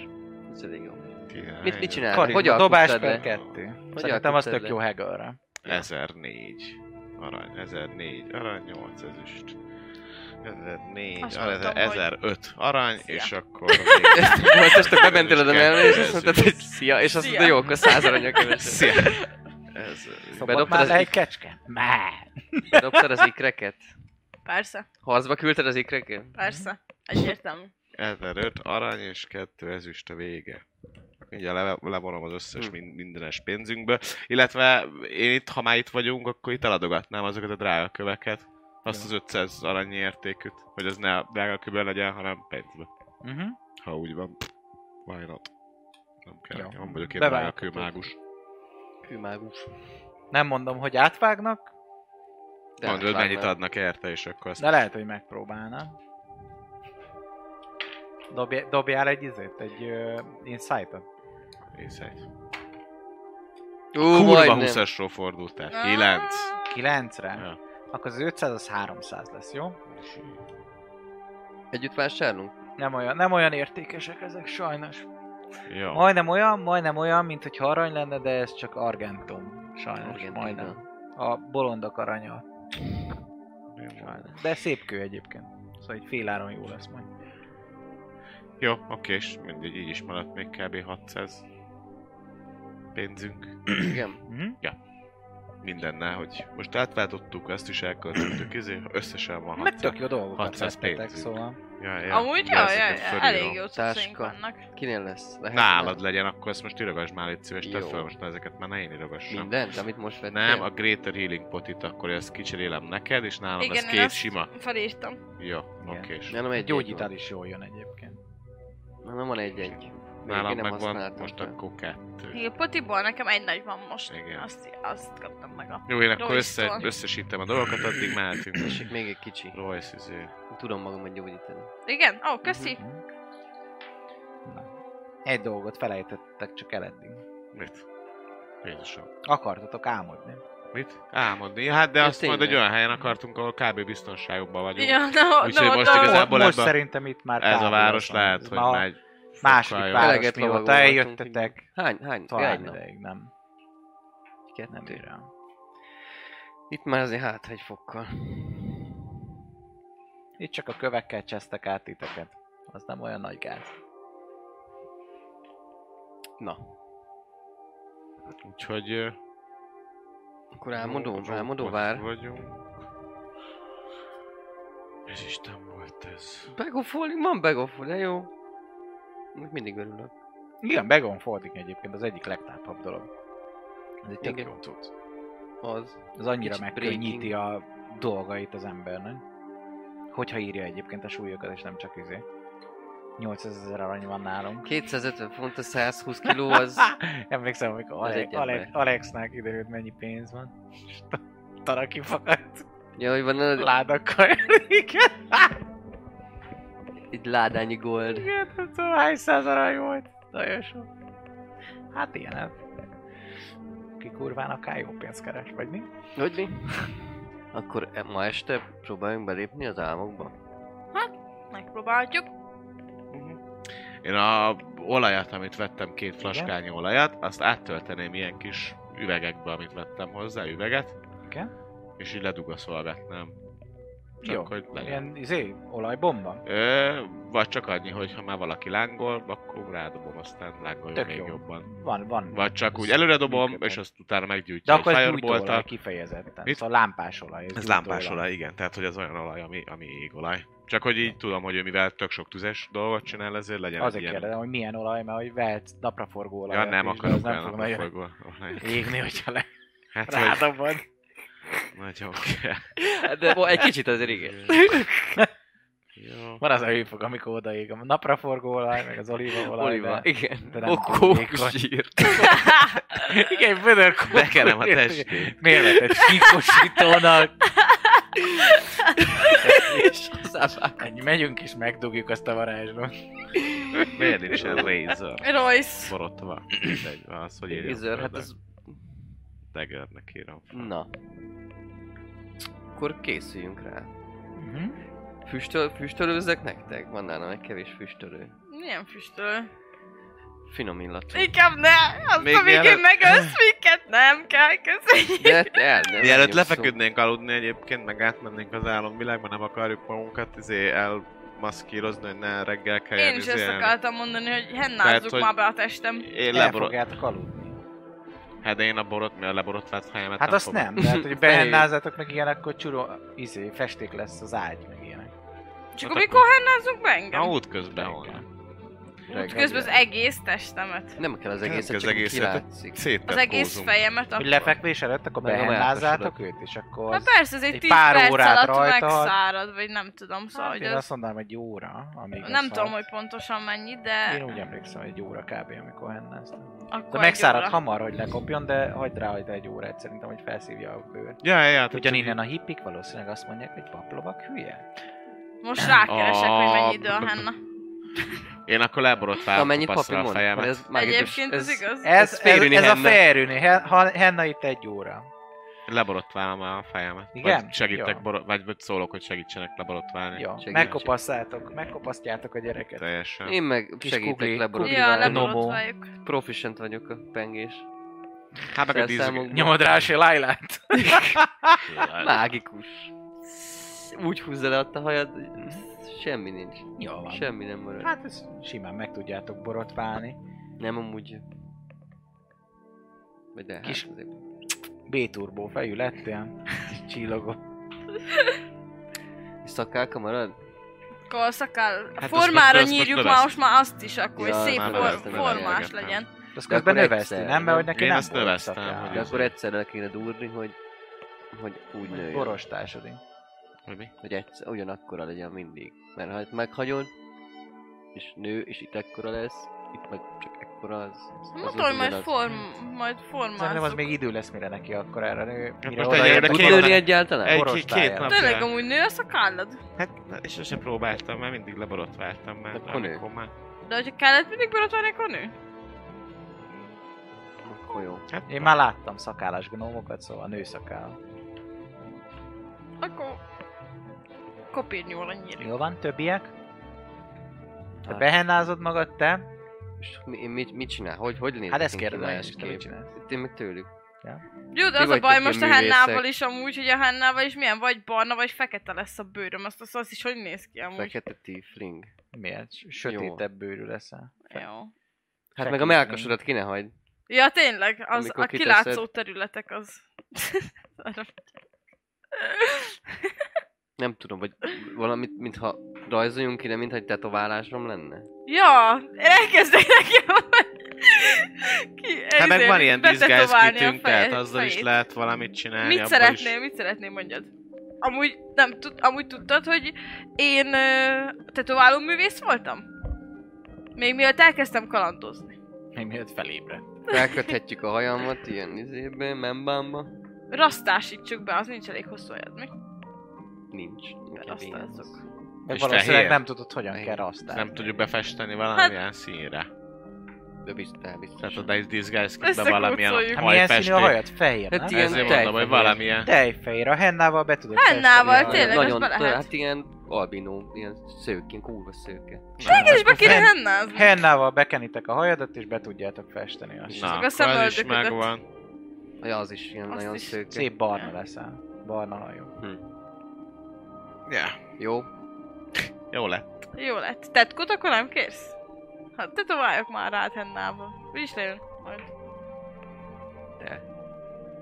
Ez elég jó. Tizenegy. Mit, mit csinál? Karin, hogy hogy dobás alkottad per le? kettő. Hogy Szerintem az alkottad tök le? jó hegelre. 1004 arany, 1004 arany, 8 ezüst. 1004, Azt arany, mondtam, 1005 arany, Szia. és akkor még... Most most bementél oda mellé, és azt Kettő mondtad, hogy szia, és azt Szia. mondta, jó, akkor száz aranya kövesebb. Szia! Ez... Szóval Szabad Bedobtad már az le egy ik- kecske? Már! Bedobtad az ikreket? Persze, Harcba küldted az ikreket? persze. Egyértelmű. 1005 arany és 2 ezüst a vége. Ugye le, levonom az összes Hm. min- mindenes pénzünkből, illetve én itt, ha már itt vagyunk, akkor itt eladogatnám azokat a drága köveket. Azt Jó. az 500 arany értékűt, hogy az ne a drága kőből legyen, hanem pénzbe. Uh-huh. Ha úgy van, why not? Nem kell, Jó. Jó. nem vagyok én drága Bevállalható. kőmágus. Kőmágus. Nem mondom, hogy átvágnak, De Mondd, hogy hát mennyit már- adnak érte, és akkor azt de lehet, hogy megpróbálna. Dobj, dobjál egy izét, egy uh, insight-ot. Insight. Ú, Kurva majdnem. Ah. 20-asról fordultál. 9. 9-re? Ja. Akkor az 500 az 300 lesz, jó? Együtt vásárlunk? Nem olyan, nem olyan értékesek ezek sajnos. Jó. Majdnem olyan, majdnem olyan, mint hogy arany lenne, de ez csak argentum. Sajnos, Argentum, majdnem. A bolondok aranya. Sajnos. De szép kő egyébként. Szóval egy féláron jó lesz majd. Jó, oké, és mindegy, így is maradt még kb. 600 pénzünk Igen. Mhm. mindennel, hogy most átváltottuk, ezt is elköltöttük, izé, összesen van Meg 600. tök jó dolgokat 600 vettetek, pénzünk. szóval. Ja, ja, Amúgy, de ja, ja, ezeket ja, fölírom. elég jó cuccaink Táska. vannak. Kinél lesz? Lehet, Nálad legyen, akkor ezt most irogasd már, légy szíves, tedd Jó. fel most már ezeket, már ne én irogassam. Mindent, amit most vettél? Nem, a Greater Healing Potit, akkor ezt kicserélem neked, és nálam Igen, ez én két azt- sima. Felírtam. Jó, Igen. oké. és Nálam egy Gyógyítal is jól jön egyébként. Nálam van egy-egy. Még Nálam én nem meg van használtam most fel. akkor kettő. Igen, Potiból nekem egy nagy van most. Igen. Azt, azt kaptam meg a... Jó, én akkor Jó, össze, István. összesítem a dolgokat, addig mehetünk. Tessék, még egy kicsi. Royce, izé. Tudom magamat gyógyítani. Igen? Ó, köszi. Mhm. Na. Egy dolgot felejtettek csak el eddig. Mit? Jézusom. Akartatok álmodni. Mit? Álmodni? Hát de Ja, azt majd egy tényleg. olyan helyen akartunk, ahol kb. biztonságban vagyunk. Ja, no, Úgyhogy no, most no. igazából- most ebbe- szerintem itt már Ez a Hát távol város van. lehet, Ez hogy ma már egy második fokkal város, Eleget mióta lovagoltunk, eljöttetek. Hány, hány? Talán Egy nap. ideig nem. Nem Kettő. írja. Itt már azért hát egy fokkal. Itt csak a kövekkel csesztek át titeket. Az nem olyan nagy gáz. Na, jobb. Úgyhogy... ö, akkor álmodó, Rók- álmodó Rókot vár. vagyunk. Ez Isten volt ez. Bag of holding? Van bag of holding, de jó. Még mindig örülök. Igen, Begon Folding egyébként az egyik legtápabb dolog. Ez egy tök Igen. jó cucc. Az. Az annyira Kicsit megkönnyíti a dolgait az embernek. Hogyha írja egyébként a súlyokat, és nem csak izé. 8000 ezer arany van nálunk. 250 font a 120 kiló az... Emlékszem, amikor Az Ale- egy Ale- ember. Alexnek kiderült mennyi pénz van. És ta- Tara kifakadt ja, hogy van az, ládakkal. Igen, egy ládányi gold. igen, nem tudom hány száz arany volt. Nagyon sok. Hát ilyen ez. Ki kurván akár jó pénzt keres, vagy mi? Hogy mi? Akkor e- ma este próbáljunk belépni az álmokba. Megpróbáljuk. Én a olajat, amit vettem, két flaskányi olajat, azt áttölteném ilyen kis üvegekbe, amit vettem hozzá, üveget. Igen. És így ledugaszolgatnám. Csak Jó. hogy legyen. Ilyen izé, olajbomba. Ö, vagy csak annyi, hogy ha már valaki lángol, akkor rádobom, aztán lángoljon Tök még jó. jobban. Van, van. Vagy csak úgy Ez előre dobom, működhet. és azt utána De meggyújtja akkor ez gyújtóolaj fireballtal. kifejezetten. Mit? Mit? Szóval lámpás olaj. Ez lámpásolaj, igen, tehát hogy az olyan olaj, ami, ami égolaj. Csak hogy így tudom, hogy ő mivel tök sok tüzes dolgot csinál, ezért legyen egy Azért ilyen... kérdezem, hogy milyen olaj, mert hogy vehetsz napraforgó Ja, olajat nem is, de hát az akarok nem olyan fog nagyon napraforgó olajat. égni, hogyha le Hát, hogy rádobod. nagyon kell. Hát De ma egy kicsit azért igen. Jó. Van az a hőfok, amikor odaég a napraforgó olaj, meg az olívaolaj. Oliva, de- igen. de nem Ó, túl vékony. kókuszsír. Igen, vödör Bekenem a testét. Miért lett egy síkosítónak? És hozzávág. Ennyi, megyünk és megdugjuk azt a varázslót. Miért nincs ez laser? Royce. Borotva. Mindegy, az, hogy írjam. Ízör, hát föl, ez... de Daggernek írom. fel. Na. Akkor készüljünk rá. Mhm. Füstöl, füstölőzzek nektek? Van nálam egy kevés füstölő. Milyen füstöl? Finom illatú. Inkább ne! Azt Még a végén mielőtt- megölsz minket, nem kell, köszönjük. De hát el, nem Mielőtt vagyok lefeküdnénk aludni egyébként, meg átmennénk az álomvilágba, nem akarjuk magunkat izé elmaszkírozni, hogy ne reggel izé, kelljen Én is ezt izélni. akartam mondani, hogy Tehát, hennázzuk hogy- már be a testem. Én El leborot... fogjátok aludni. Hát de én a borot, mi a leborotvált fejemet Hát azt fogom. nem, de hát, hogy behennázzátok meg ilyen, akkor csuró, izé, festék lesz az ágy, meg ilyenek. És Hát akkor akkor- mikor hennázunk be engem? Na útközben Reggel. van. Reggel. Hát Közben az egész testemet. Nem kell az Nem egészet, kell az csak úgy egészet. kilátszik. Az Széttarkózunk. egész fejemet. Hogy akkor- lefekvés előtt, akkor Meg a behennázzátok mellkasodat. őt, és akkor Na az... persze, ez egy egy 10 pár perc órát alatt rajta- megszárad, vagy nem tudom, szóval Hát hogy én azt az... mondanám, egy óra, amíg Nem az tudom, szállt. hogy pontosan mennyi, de Én úgy emlékszem, hogy egy óra kb. amikor hennáztam. akkor De egy megszárad óra. hamar, hogy lekopjon, de hagyd rá, hogy egy órát szerintem, hogy felszívja a bőr. Ja, ja, hát, ja, Ugyaninnen a hippik valószínűleg azt mondják, hogy paplovak hülye. Most rákeresek, hogy mennyi idő a Ah, henna. Én akkor leborotválom Amennyit papi a mond. fejemet. mert Ez, mágikus- Egyébként ez igaz. Ez, ez, férüni ez a henna. férüni, he- ha- henna itt egy óra. Leborotválom a fejemet. Igen? Vagy segítek, Jó. boro- vagy vagy szólok, hogy segítsenek leborotválni. Jó, Segítség. megkopasszátok, megkopasztjátok a gyereket. Teljesen. Én meg Kis kugli- segítek kugli- Ja, leborotválni. Nomo. leborotváljuk. Proficient vagyok a pengés. Hát meg a Felszámolom. díszgő. Nyomod rá se lájlát. Hát- Mágikus. Úgy húzza le ott a hajad, hogy semmi nincs. Jó van. Semmi nem marad. Hát ezt simán meg tudjátok borotválni. Nem amúgy. Vagy de Kis- hát azért. B-turbó fejű lettél, csillogó. És Szakáka marad? Akkor szakál... Hát azt most- formára azt most nyírjuk már növesztem. most már azt is, akkor Ja, hogy szép már for, növeztem, formás növelgettem. legyen. Azt De közben akkor növeszti, egyszer, nem? Mert hogy nem? neki Én nem ezt volt növeztem, szakáll. hogy De akkor egyszerre le kéne dúrni, hogy, hogy úgy nőjön. Borostásodik. Hogy mi? Hogy egyszer, ugyanakkora legyen mindig. Mert ha itt meghagyod, és nő, és itt ekkora lesz, itt meg csak ekkora az. az Mondom, hogy majd, ugyanaz. form, majd formázzuk. Szerintem az még idő lesz, mire neki akkor erre nő. Mire most oda egyre ér, Tud Érdekében- tudod, nőni egyáltalán? Egy- Egy-két borostája. nap. Tényleg amúgy nő a szakállad? Hát, na, és sose próbáltam, mert mindig leborotváltam már. Akkor nő. amikor már. De hogyha kellett mindig borotválni, akkor nő? Akkor jó. Hát, Én már láttam szakállas gnómokat, szóval nőszakál. Akkor... Kopírnyóra nyírjuk. Jó van, többiek? Te Hát. behennázod magad, te? És mi, mit, mit csinál? Hogy, hogy néz Hát ezt neki kérdezem, én is, te másképp? mit csinálsz? Itt én meg tőlük. Jó, de Ti az a vagytok baj ilyen most a művészek. hennával is amúgy, hogy a hennával is milyen vagy barna, vagy fekete lesz a bőröm. Azt, azt, azt is hogy néz ki amúgy. Fekete tiefling. Miért? S- Sötétebb bőrű leszel. Jó. Hát Fekete meg a melkasodat ki ne hagyd. Ja, tényleg, az Amikor a kiteszed. kilátszó területek az... Arra Nem tudom, vagy valamit, mintha rajzoljunk ki, de mintha egy tetoválásom lenne. Ja, én elkezdek neki Ki, Hát meg izé, van ilyen betetoválni díszgázkitünk, a feje- tehát azzal is fejét. lehet valamit csinálni. Mit abból szeretnél, Is. mit szeretnél mondjad? Amúgy, nem, tud, amúgy tudtad, hogy én uh, tetováló művész voltam? Még mielőtt elkezdtem kalandozni. Még miért felébre. Felköthetjük a hajamat ilyen izébe, membámba. Rasztásítsuk be, az nincs elég hosszú ajad, mi? Nincs. inkább ilyen Rasztázzuk. az. Meg És valószínűleg fehér. nem tudod, hogyan Fehér. kell rasztálni. Hát- Nem tudjuk befesteni valamilyen színre. De biztos, de biztos. Tehát a Dice Disguise-be Összekócoljuk. valamilyen Hát milyen színű a hajfestmény. hajad? Fehér, Hát nem? ilyen Ezért tej- mondom, hogy valamilyen. Tejfehér, a hennával be tudod Hennával, festeni a tényleg, hajad. az be lehet. hát ilyen albinó, ilyen szőkén, kurva szőke. Neked is be kéne Fenn- hennázni. Hennával bekenitek a hajadat, és be tudjátok festeni azt. Na, Csak a akkor ez is szemöldöködet. megvan. Ja, az is ilyen Azt nagyon is. szőke. Hm. Szép barna leszel. Barna hajú. Ja, Jó. jó lett. Jó lett. Tetkót akkor nem kérsz? Hát tetováljak már rád hennába. Úgyis lejön majd. De.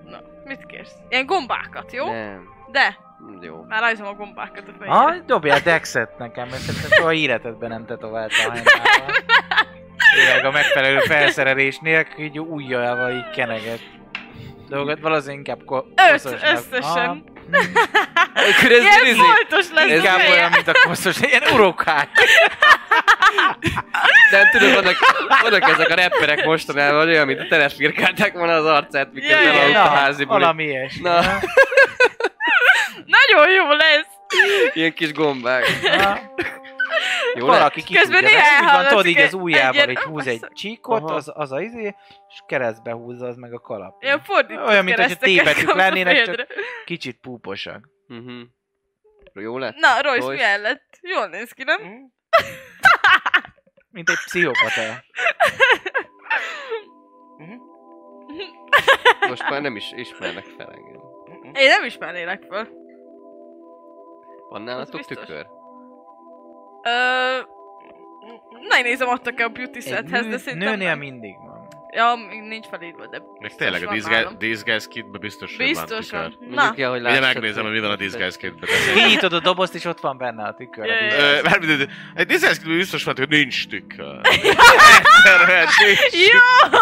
Na, mit kérsz? Ilyen gombákat, jó? Nem. De, Jó. már rajzom a gombákat a fejére. Ah, dobjál Dexet nekem, mert szerintem soha életedben nem tetováltam a hennával. Tényleg a megfelelő felszerelés nélkül így ujjával így keneget. Dolgot valószínűleg inkább ko- Öt, koszosnak. összesen. Ah, Akkor ez Ilyen izé, foltos lesz inkább a feje. olyan, mint a koszos, ilyen urokák. nem tudom, vannak, vannak ezek a rapperek mostanában olyan, mint a telefirkálták volna az arcát, miközben Jaj, yeah, jaj, a házi buli. Valami ilyesmi. Na. Na. Nagyon jó lesz. Ilyen kis gombák. Na. Jó lett? valaki ki Közben tudja, néha nem? Így van, elhallatszik tudod, így az egy- ujjával egy így ilyen- húz egy Azt- csíkot, Aha. az, az a izé, és keresztbe húzza az meg a kalap. Ilyen fordított Olyan, mint hogyha kereszteket tébetük kapsz a lennének, csak fejedre. kicsit púposak. Mhm. Jó lett? Na, Royce, Royce. milyen lett? Jól néz ki, nem? Mint egy pszichopata. Most már nem is ismernek fel engem. Én nem ismernélek föl. Van nálatok biztos. tükör? Ö... Na, én nézem, adtak-e a beauty Egy sethez, de nő, szerintem nőnél nem. mindig van. Ja, még nincs felírva, de Meg biztos tényleg a van disguise, nálam. disguise kitbe biztos, hogy van Biztosan. tükör. Na, Mondjuk el, hogy Ugye lássad, megnézem, hogy mi van a disguise kitbe. Kinyitod a dobozt, és ott van benne a tükör. Jaj, Yeah. Ö, Mármint, egy disguise kitbe biztos van, hogy nincs tükör. Egyszerűen nincs. jó!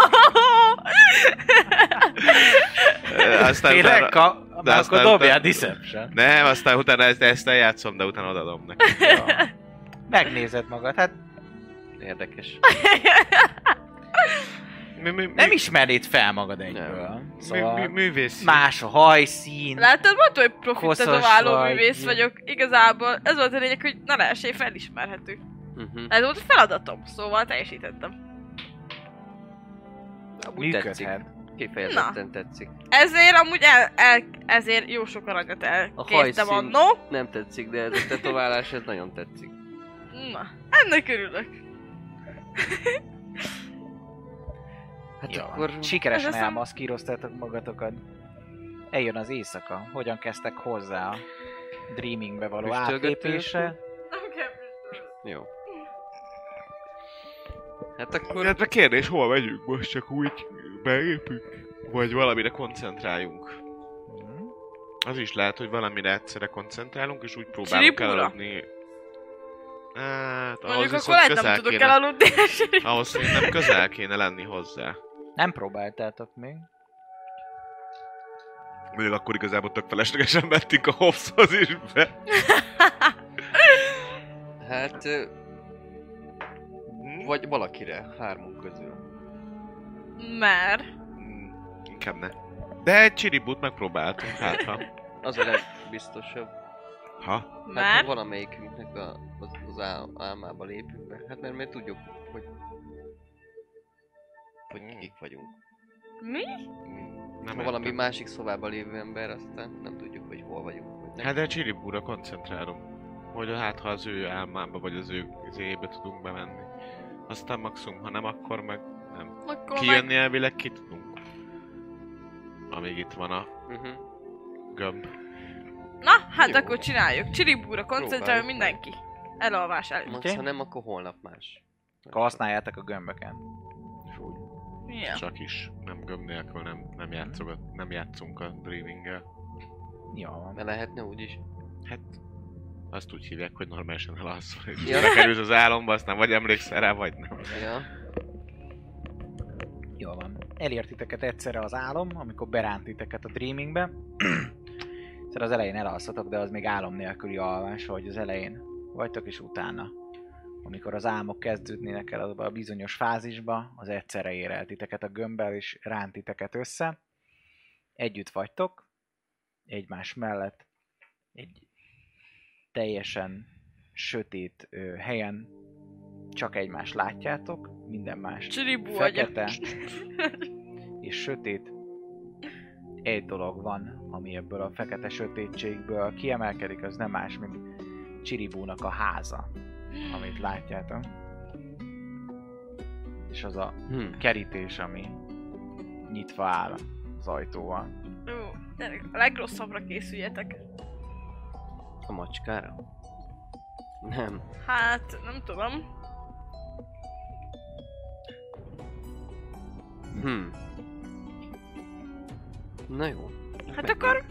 Ö, Aztán Tényleg? utána... Ka- de mert aztán akkor dobjál utána- deception. Nem, aztán utána ezt, ezt eljátszom, de utána odadom neki. Ja. Megnézed magad, hát Érdekes. Mi, mi, mi, nem ismernéd fel magad egyből. Nem. mi, mi, Szóval művész. más a hajszín. Látod, mondta, hogy profitetaváló Koszos vagy. művész vagyok. Igazából ez volt a lényeg, hogy ne lehessél felismerhető. Mhm. Ez volt a feladatom, szóval teljesítettem. Amúgy tetszik. Működhet. Kifejezetten tetszik. Ezért amúgy el, el ezért jó sok aranyat elkértem hajszín. annó. Nem tetszik, de ez a tetoválás, ez nagyon tetszik. Na, ennek örülök. Hát Jó. akkor... Sikeresen Ez aztán- elmaszkíroztatok magatokat. Eljön az éjszaka. Hogyan kezdtek hozzá a dreamingbe való Füstölgető? átlépésre? Jó. Hát akkor... Hát a kérdés, hol megyünk most, csak úgy belépünk? Vagy valamire koncentráljunk. Mhm. Az is lehet, hogy valamire egyszerre koncentrálunk, és úgy próbálunk Siripura? eladni. Hát, ahhoz Mondjuk viszont akkor lehet közel nem tudok kéne. elaludni. Ahhoz szerintem közel kéne lenni hozzá. Nem próbáltátok még. Mondjuk akkor igazából tök feleslegesen mentünk a Hobbshoz is be. Hát... ö, Vagy valakire, hármunk közül. Mert... Mm, Inkább ne. De egy csiribút megpróbáltunk, hát ha. Az a legbiztosabb. Ha? Hát, Mert? ha valamelyikünknek a, az, az ál, álmába lépünk be. Hát mert, mert tudjuk, hogy... Hogy kik vagyunk. Mi? Hmm, Nem ha valami értem. másik szobába lévő ember, aztán nem tudjuk, hogy hol vagyunk. Hogy nem. Hát de a csiribúra koncentrálom. Hogy hát ha az ő álmába vagy az ő zébe tudunk bemenni. Aztán maximum, ha nem, akkor meg Akkor meg... kijönni elvileg ki tudunk. Amíg itt van a Mhm. Uh-huh. gömb. Na, hát Jó. akkor csináljuk. Csiribúra, koncentráljon Próbáljuk mindenki. Elalvás előtt. Most, Oké. ha nem, akkor holnap más. Akkor használjátok a gömböket. Fúj, Ja. Csak is. Nem gömb nélkül nem, nem, játszogat, nem játszunk a dreaming-el. Jó van. De lehetne úgy is. Hát azt úgy hívják, hogy normálisan elalszol. És Ja. ja. kerülsz az álomba, aztán vagy emlékszel rá, vagy nem. Ja. Jó van. Elért titeket egyszerre az álom, amikor beránt titeket a dreamingbe. Szóval az elején elalszatok, de az még álom nélküli alvás, hogy az elején vagytok, és utána. Amikor az álmok kezdődnének el abba a bizonyos fázisba, az egyszerre ér el titeket a gömbbel, és ránt titeket össze. Együtt vagytok, egymás mellett, egy teljesen sötét ö, helyen csak egymást látjátok, minden más Csiribú agya. fekete és sötét. Egy dolog van, ami ebből a fekete sötétségből kiemelkedik, az nem más, mint Csiribúnak a háza, amit látjátok. És az a Hm. kerítés, ami nyitva áll az ajtóval. Jó. Tényleg, A legrosszabbra készüljetek. A macskára? Nem. Hát, nem tudom. Hm. Na jó. Hát akkor...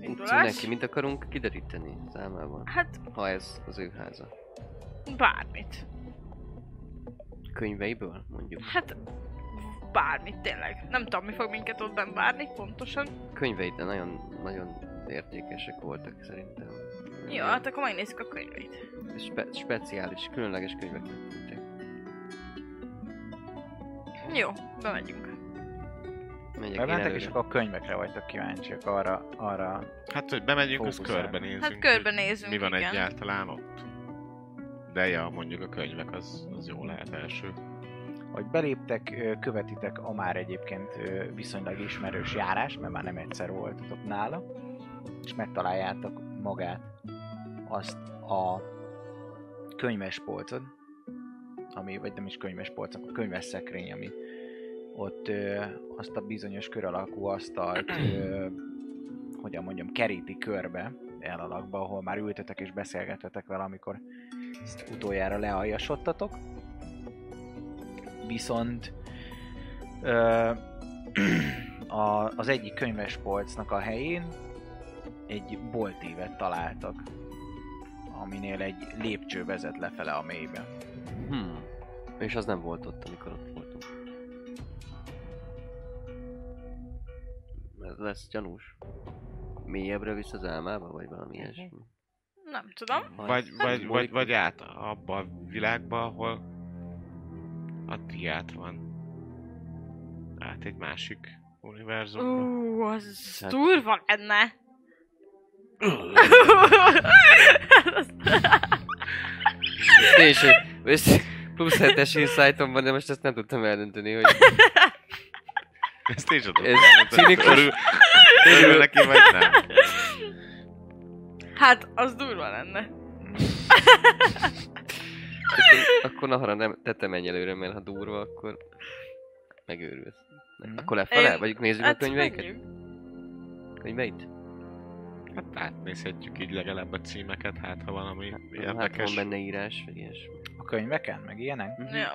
Mit Indulás? neki, mit akarunk kideríteni számában, Hát, ha ez az ő háza. bármit. Könyveiből mondjuk. Hát, bármit tényleg. Nem tudom, mi fog minket ott benn várni pontosan. Könyvei, de nagyon, nagyon értékesek voltak szerintem. Jó, hát akkor megnézzük a könyveit. Spe- speciális, különleges könyvek lettek. Jó, bemegyünk. Megyek én Bementek, és előre. akkor a könyvekre vagytok kíváncsiak arra, arra Hát, hogy bemegyünk, az Fókuszálni. körbenézünk. Hát hogy körbenézünk, Mi van igen. egyáltalán ott? De ja, mondjuk a könyvek, az, az jó lehet első. hogy beléptek, ö, követitek a már egyébként ö, viszonylag ismerős járás, mert már nem egyszer voltatok nála, és megtaláljátok magát azt a könyves polcot, ami, vagy nem is könyves polcot, a könyves szekrény, ami ott ö, azt a bizonyos kör alakú asztalt, ö, hogyan mondjam, keríti körbe el alakba, ahol már ültetek és beszélgetetek vele, amikor utoljára lealjasodtatok viszont Ö, a, az egyik könyvespolcnak a helyén egy boltívet találtak, aminél egy lépcső vezet lefele a mélybe. Hmm. És az nem volt ott, amikor ott voltunk. Ez lesz gyanús. Mélyebbre visz az álmába, vagy valami ilyesmi. Nem tudom. Vagy, vagy, vagy, vagy át abba a világba, ahol a tiát van. Át egy másik univerzumba. Ú, az Hát- durva lenne. És, és plusz 7-es insightom van, de most ezt nem tudtam eldönteni, hogy Ezt én sem tudom. Ez elmondani. cinikus. Örül- Örül neki, vagy nem. Hát, az durva lenne. akkor nahara nem tettem ennyi előre, mert ha durva, akkor megőrülsz. Mhm. Akkor lefele? Én- Vagy nézzük a Hát, könyveiket? menjünk. Könyveit? Hát átnézhetjük így legalább a címeket, hát ha valami Hát van érdekes. benne írás, vagy ilyesmi. A könyveken, meg ilyenek? Ja.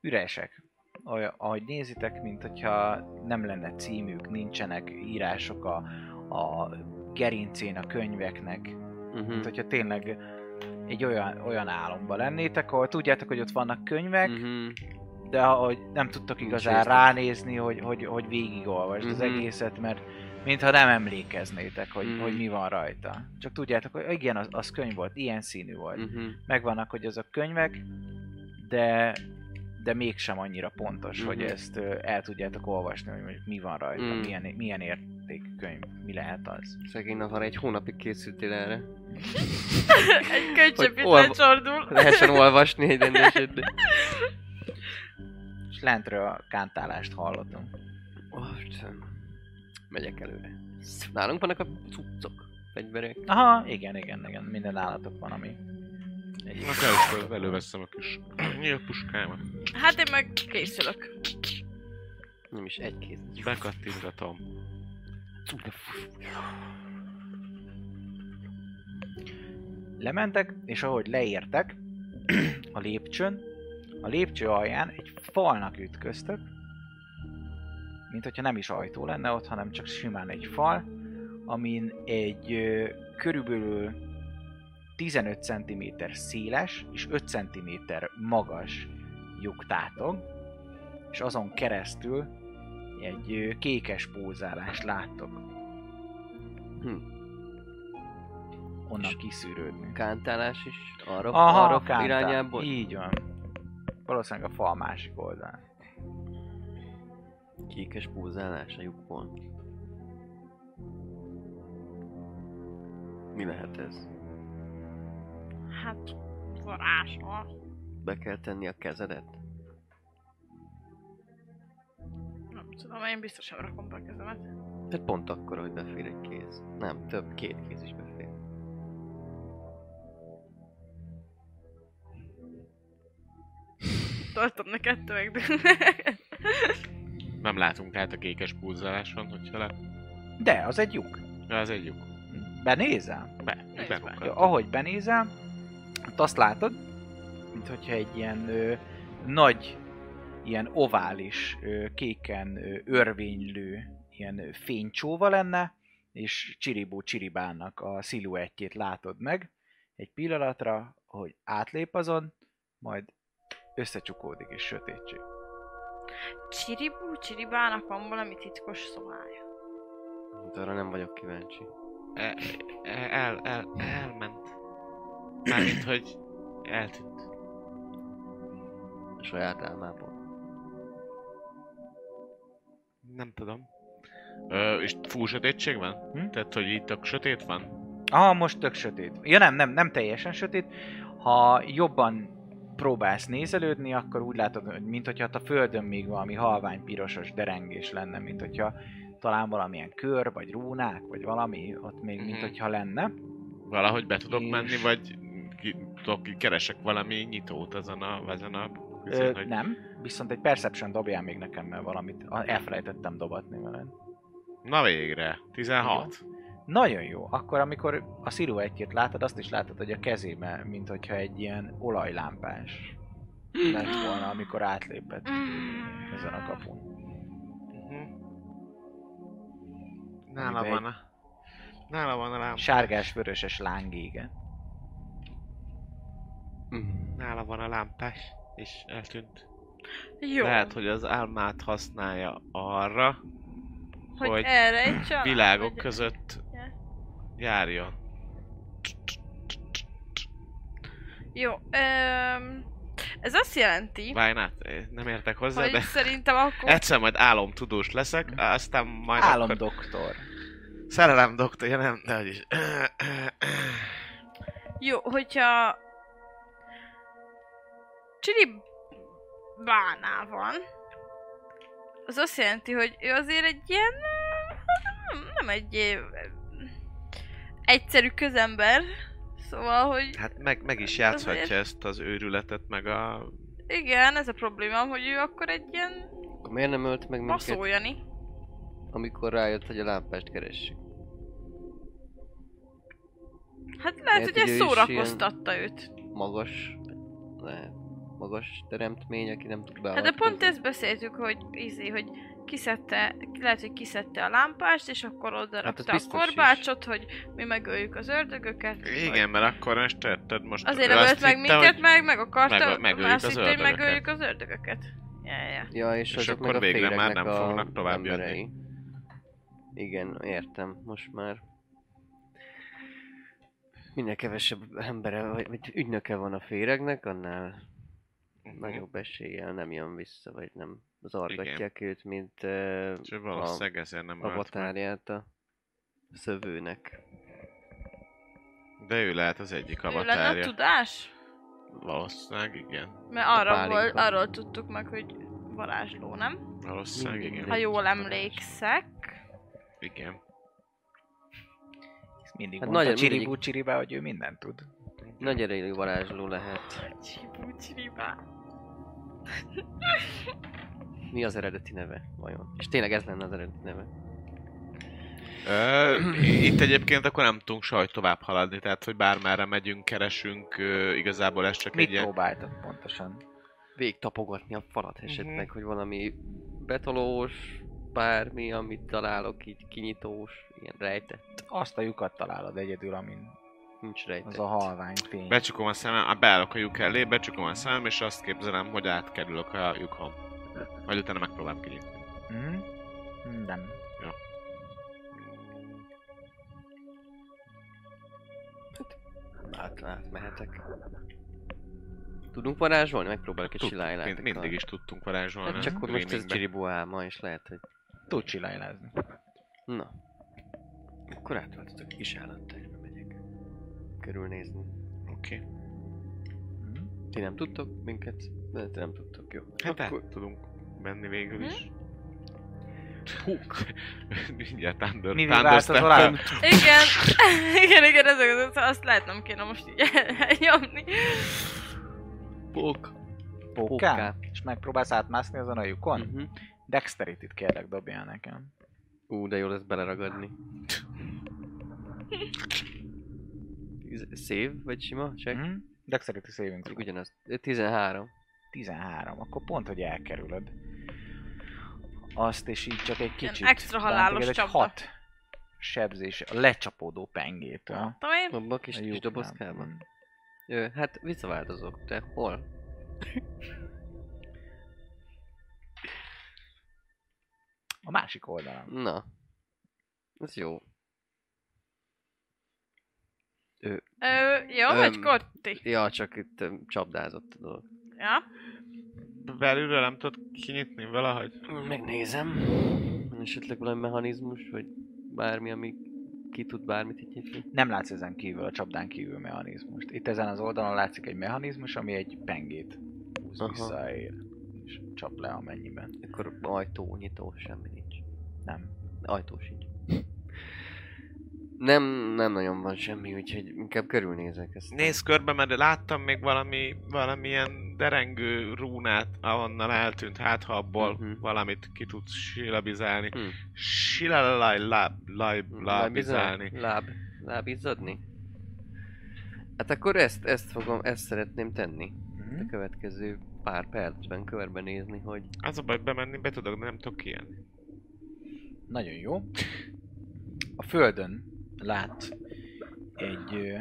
Üresek. Olyan, ahogy nézitek, mint hogyha nem lenne címük, nincsenek írások a, a gerincén a könyveknek, Mhm. mint hogyha tényleg egy olyan, olyan álomban lennétek, ahol tudjátok, hogy ott vannak könyvek, Mhm. de ahogy nem tudtok Nincs igazán részlet. ránézni, hogy, hogy, hogy végigolvasd az Mhm. egészet, mert mintha nem emlékeznétek, hogy, Mhm. hogy mi van rajta. Csak tudjátok, hogy igen, az, az könyv volt, ilyen színű volt. Mhm. Megvannak, hogy azok könyvek, de de mégsem annyira pontos, hogy Mhm. ezt ö, el tudjátok olvasni, hogy mondjuk mi van rajta, Mhm. milyen, milyen értékű könyv, mi lehet az. Szegény Nahara, egy hónapig készültél erre. Egy könycsebb Hogy itt olva- lecsordul. Lehessen olvasni egy rendeset. És lentről a kántálást hallottunk. Megyek előre. Nálunk vannak a cuccok, fegyverek. Aha, igen, igen, igen, minden állatok van, ami egy Most először előveszem a kis nyílpuskámat, Hát én meg készülök. Nem is egy kéz. bekattintatom. Lementek, és ahogy leértek a lépcsőn, a lépcső alján egy falnak ütköztök, mint hogyha nem is ajtó lenne ott, hanem csak simán egy fal, amin egy ö, körülbelül 15 cm széles és 5 cm magas lyuktátog, és azon keresztül egy ö, kékes pózálást láttok. Hm. Onnan És- kiszűrődni. Kántálás is arra, Aha, arra kántál. Hát irányából. Így van. Valószínűleg a fal másik oldalán. Kékes pózálás a lyukból. Mi lehet ez? Hát, varázsol. Be kell tenni a kezedet? Nem tudom, én biztos sem rakom be a kezemet. Hát pont akkor, hogy befér egy kéz. Nem, több, két kéz is befér. Tartom neked töveg. Nem látunk tehát a kékes pulzáláson, hogyha le... De, az egy lyuk. Ja, az egy lyuk. Benézel? Be, Nézd berúghat. Jó, ahogy benézel, ott azt látod, mint hogyha egy ilyen ö, nagy, ilyen ovális, ö, kéken ö, örvénylő ilyen ö, fénycsóva lenne, és Csiribó Csiribának a sziluettjét látod meg egy pillanatra, hogy átlép azon, majd összecsukódik és sötétség. Csiribú, csiribának van valami titkos szobája. Hát arra nem vagyok kíváncsi. E- e- el, el, elment. Mármint, hogy eltűnt. A saját álmából. Nem tudom. Ö, és full sötétség van? Hm? Tehát, hogy itt a sötét van? Ah, most tök sötét. Ja nem, nem, nem teljesen sötét. Ha jobban próbálsz nézelődni, akkor úgy látod, hogy mint hogyha a földön még valami halvány pirosos derengés lenne, mint hogyha talán valamilyen kör, vagy rúnák, vagy valami ott még, mint Mhm. hogyha lenne. Valahogy be tudok És- menni, vagy ki, tudok, keresek valami nyitót ezen a, ezen a Ö, viszont, hogy nem, viszont egy perception dobjál még nekem, mert valamit ah, elfelejtettem dobatni veled. Na végre, 16. Nagyon jó. Akkor, amikor a sziluettjét látod, azt is látod, hogy a kezébe, mint hogyha egy ilyen olajlámpás lett volna, amikor átlépett Mm. ezen a kapun. Mhm. Nála Amiben van a... Nála van a lámpás. Sárgás-vöröses láng, igen. Nála van a lámpás. És eltűnt. Jó. Lehet, hogy az álmát használja arra, hogy, hogy erre egy család. világok vagy- között Ja. járjon. Jó. Öm, ez azt jelenti, Why not? Eh, Nem értek hozzá, hogy de szerintem akkor... egyszer majd álomtudós leszek, aztán majd akkor... Álomdoktor. Szerelem doktor, ja nem, de hogy is. Jó, hogyha... Csili bánál van, az azt jelenti, hogy ő azért egy ilyen... Nem, nem egy... ilyen Egyszerű közember. Szóval, hogy Hát meg, meg is játszhatja Azért. ezt az őrületet, meg a... igen, ez a problémám, hogy ő akkor egy ilyen Akkor miért nem ölt meg minket, baszójani. amikor rájött, hogy a lámpást keressük? Hát lehet, Lehet, hogy hogy ez ő is szórakoztatta őt. Magas... Lehet. Magas teremtmény, aki nem tud Hát Szóval beavatkozni. de pont ezt beszéltük, hogy izé, hogy kiszedte, lehet, hogy kiszedte a lámpást, és akkor oda Hát az rakta a biztos is. korbácsot, hogy mi megöljük az ördögöket. vagy- Igen, mert akkor most tetted most... Azért ő azt ölt meg hitte, minket, hogy- meg meg akarta, meg- megöljük azt az hitte, hogy ördögöket. megöljük az ördögöket. Ja, ja. Ja, és, És azok akkor meg a végre már féregnek nem a fognak tovább jönni. emberei. Igen, értem, most már minél kevesebb embere, vagy, vagy ügynöke van a féregnek, annál Mhm. nagyobb eséllyel nem jön vissza, vagy nem zargatják őt, mint uh, És ő valószínűleg ezért nem a ölt meg. avatárját a szövőnek. De ő lehet az egyik Ő lenne a avatárja. tudás? Valószínűleg igen. Mert A arra pálinka. volt, arról tudtuk meg, hogy varázsló, nem? Valószínűleg Mindig igen. Ha Egy jól varázs. emlékszek. Igen. Ezt mindig Hát hát mondta nagyon mindig- Csiribú Csiribe, hogy ő mindent tud. Nagy erejű varázsló lehet. Csibú, csiribá. Mi az eredeti neve, vajon? És tényleg ez lenne az eredeti neve. Ö, itt egyébként akkor nem tudunk sajt tovább haladni, tehát hogy bármerre megyünk, keresünk, ö, igazából ez csak Mit egy ilyen... próbáltak pontosan? végig tapogatni a falat esetleg, Mhm. hogy valami betolós, bármi, amit találok, így kinyitós, ilyen rejtett, Azt a lyukat találod egyedül, amin nincs rejtett. az a halvány fény. Becsukom a szemem, á, beállok a lyuk elé, becsukom a szemem, és azt képzelem, hogy átkerülök a lyukon. Majd utána megpróbálom kinyitni. Mhm. Nem. Hát, hát mehetek. Tudunk varázsolni? Megpróbálok egy Tudtunk, silájlát. mind- mindig is eh? tudtunk varázsolni. Hát a csak hogy most ez streamingben. Csiribó álma, és lehet, hogy... Tud csilajlázni. Na. Akkor átváltatok a kis állattájba megyek. Körülnézni. Oké. Mhm. Ti nem tudtok minket? De te nem tudtok, jó. Hát át tudunk menni végül Hmm? is. Húk! Mindjárt Thunder, Mi Thunder vibrált az alá? Step-en. Igen, igen, igen, ezek az, azt látnom kéne most így elnyomni. Pók. Póká? És megpróbálsz átmászni azon a lyukon? Mhm. Dexterity-t kérlek dobjál nekem. Ú, de jó lesz beleragadni. Tiz- Szév, vagy sima? Check? Mhm. Dexterity saving throw. Ugyanaz. 13. 13, akkor pont, hogy elkerülöd. Azt és így csak egy kicsit. extra halálos bántod, ez egy csapda. hat sebzés a lecsapódó pengétől. Tudom én? Abban a kis, A kis lyuknál. dobozkában? Ö, hát visszaváltozok, de hol? A másik oldalon. Na. Ez jó. Ö, jó, Öm. vagy Kotti? Ja, csak itt ö, csapdázott a dolog. Ja? Belülről nem tudod kinyitni valahogy? Megnézem. Van esetleg valami mechanizmus, vagy bármi, ami ki tud bármit így nyitni. Nem látsz ezen kívül, a csapdán kívül mechanizmust. Itt ezen az oldalon látszik egy mechanizmus, ami egy pengét húz Aha. vissza a ér. És csap le amennyiben. Akkor ajtó, nyitó, semmi nincs. Nem. Ajtó sincs. Nem, nem nagyon van semmi, úgyhogy inkább körülnézek ezt. Nézz körbe, mert láttam még valami, valamilyen derengő rúnát, ahonnan eltűnt, hát ha abból Mhm. valamit ki tudsz silabizálni. Hm. Silalaj, láb, láb, lábizálni. Láb, lábizzadni? Hát akkor ezt, ezt fogom, ezt szeretném tenni. Mhm. A következő pár percben körbenézni, hogy Az a baj, bemenni be tudok, de nem tudok kijönni. Nagyon jó. a földön lát egy ö,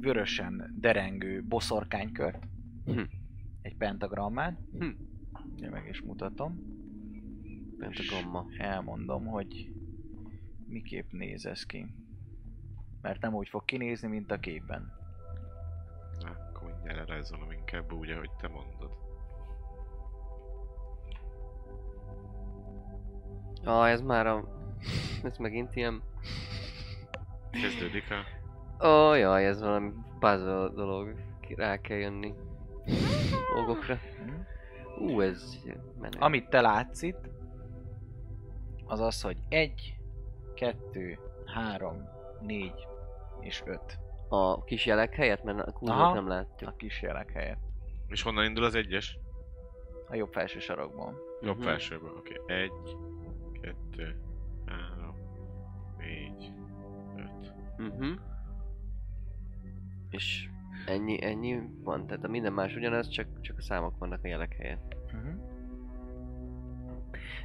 vörösen derengő boszorkánykört, Hm. egy pentagrammát, Hm. ugye meg is mutatom, Bent a gamma. elmondom, hogy miképp néz ez ki. Mert nem úgy fog kinézni, mint a képen. Na, akkor mindjárt lerajzolom inkább úgy, ahogy te mondod. Ah, ez már a... Ez megint ilyen... Kezdődik a... Ó, oh, jaj, ez valami puzzle dolog. Ki- Rá kell jönni. Dolgokra. Hm? Ú, ez menő. Amit te látsz itt, az az, hogy egy, kettő, három, négy és öt A kis jelek helyett, mert a Aha. kurvát nem látjuk. a kis jelek helyett. És honnan indul az egyes? A jobb felső sarokból. Jobb Mhm. felsőből, oké. Okay. Egy, kettő, három, négy, öt. Mhm. És ennyi, ennyi van, tehát a minden más ugyanaz, csak, csak a számok vannak a jelek helyett. Uh-huh.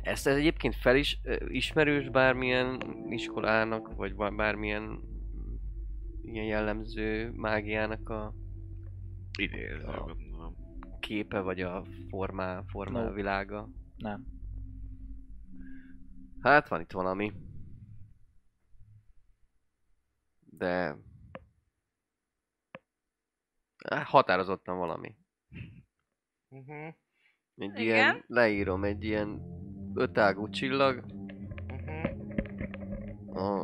Ezt ez egyébként fel is ö, ismerős bármilyen iskolának, vagy bár- bármilyen mm, ilyen jellemző mágiának a Idéző, Ja. gondolom. képe, vagy a formá, formá No. világa. Nem. Hát van itt valami. De... Hát, Határozottan valami. Mhm, Uh-huh, Egy Igen? ilyen, leírom, egy ilyen ötágú csillag, mhm. a uh-huh.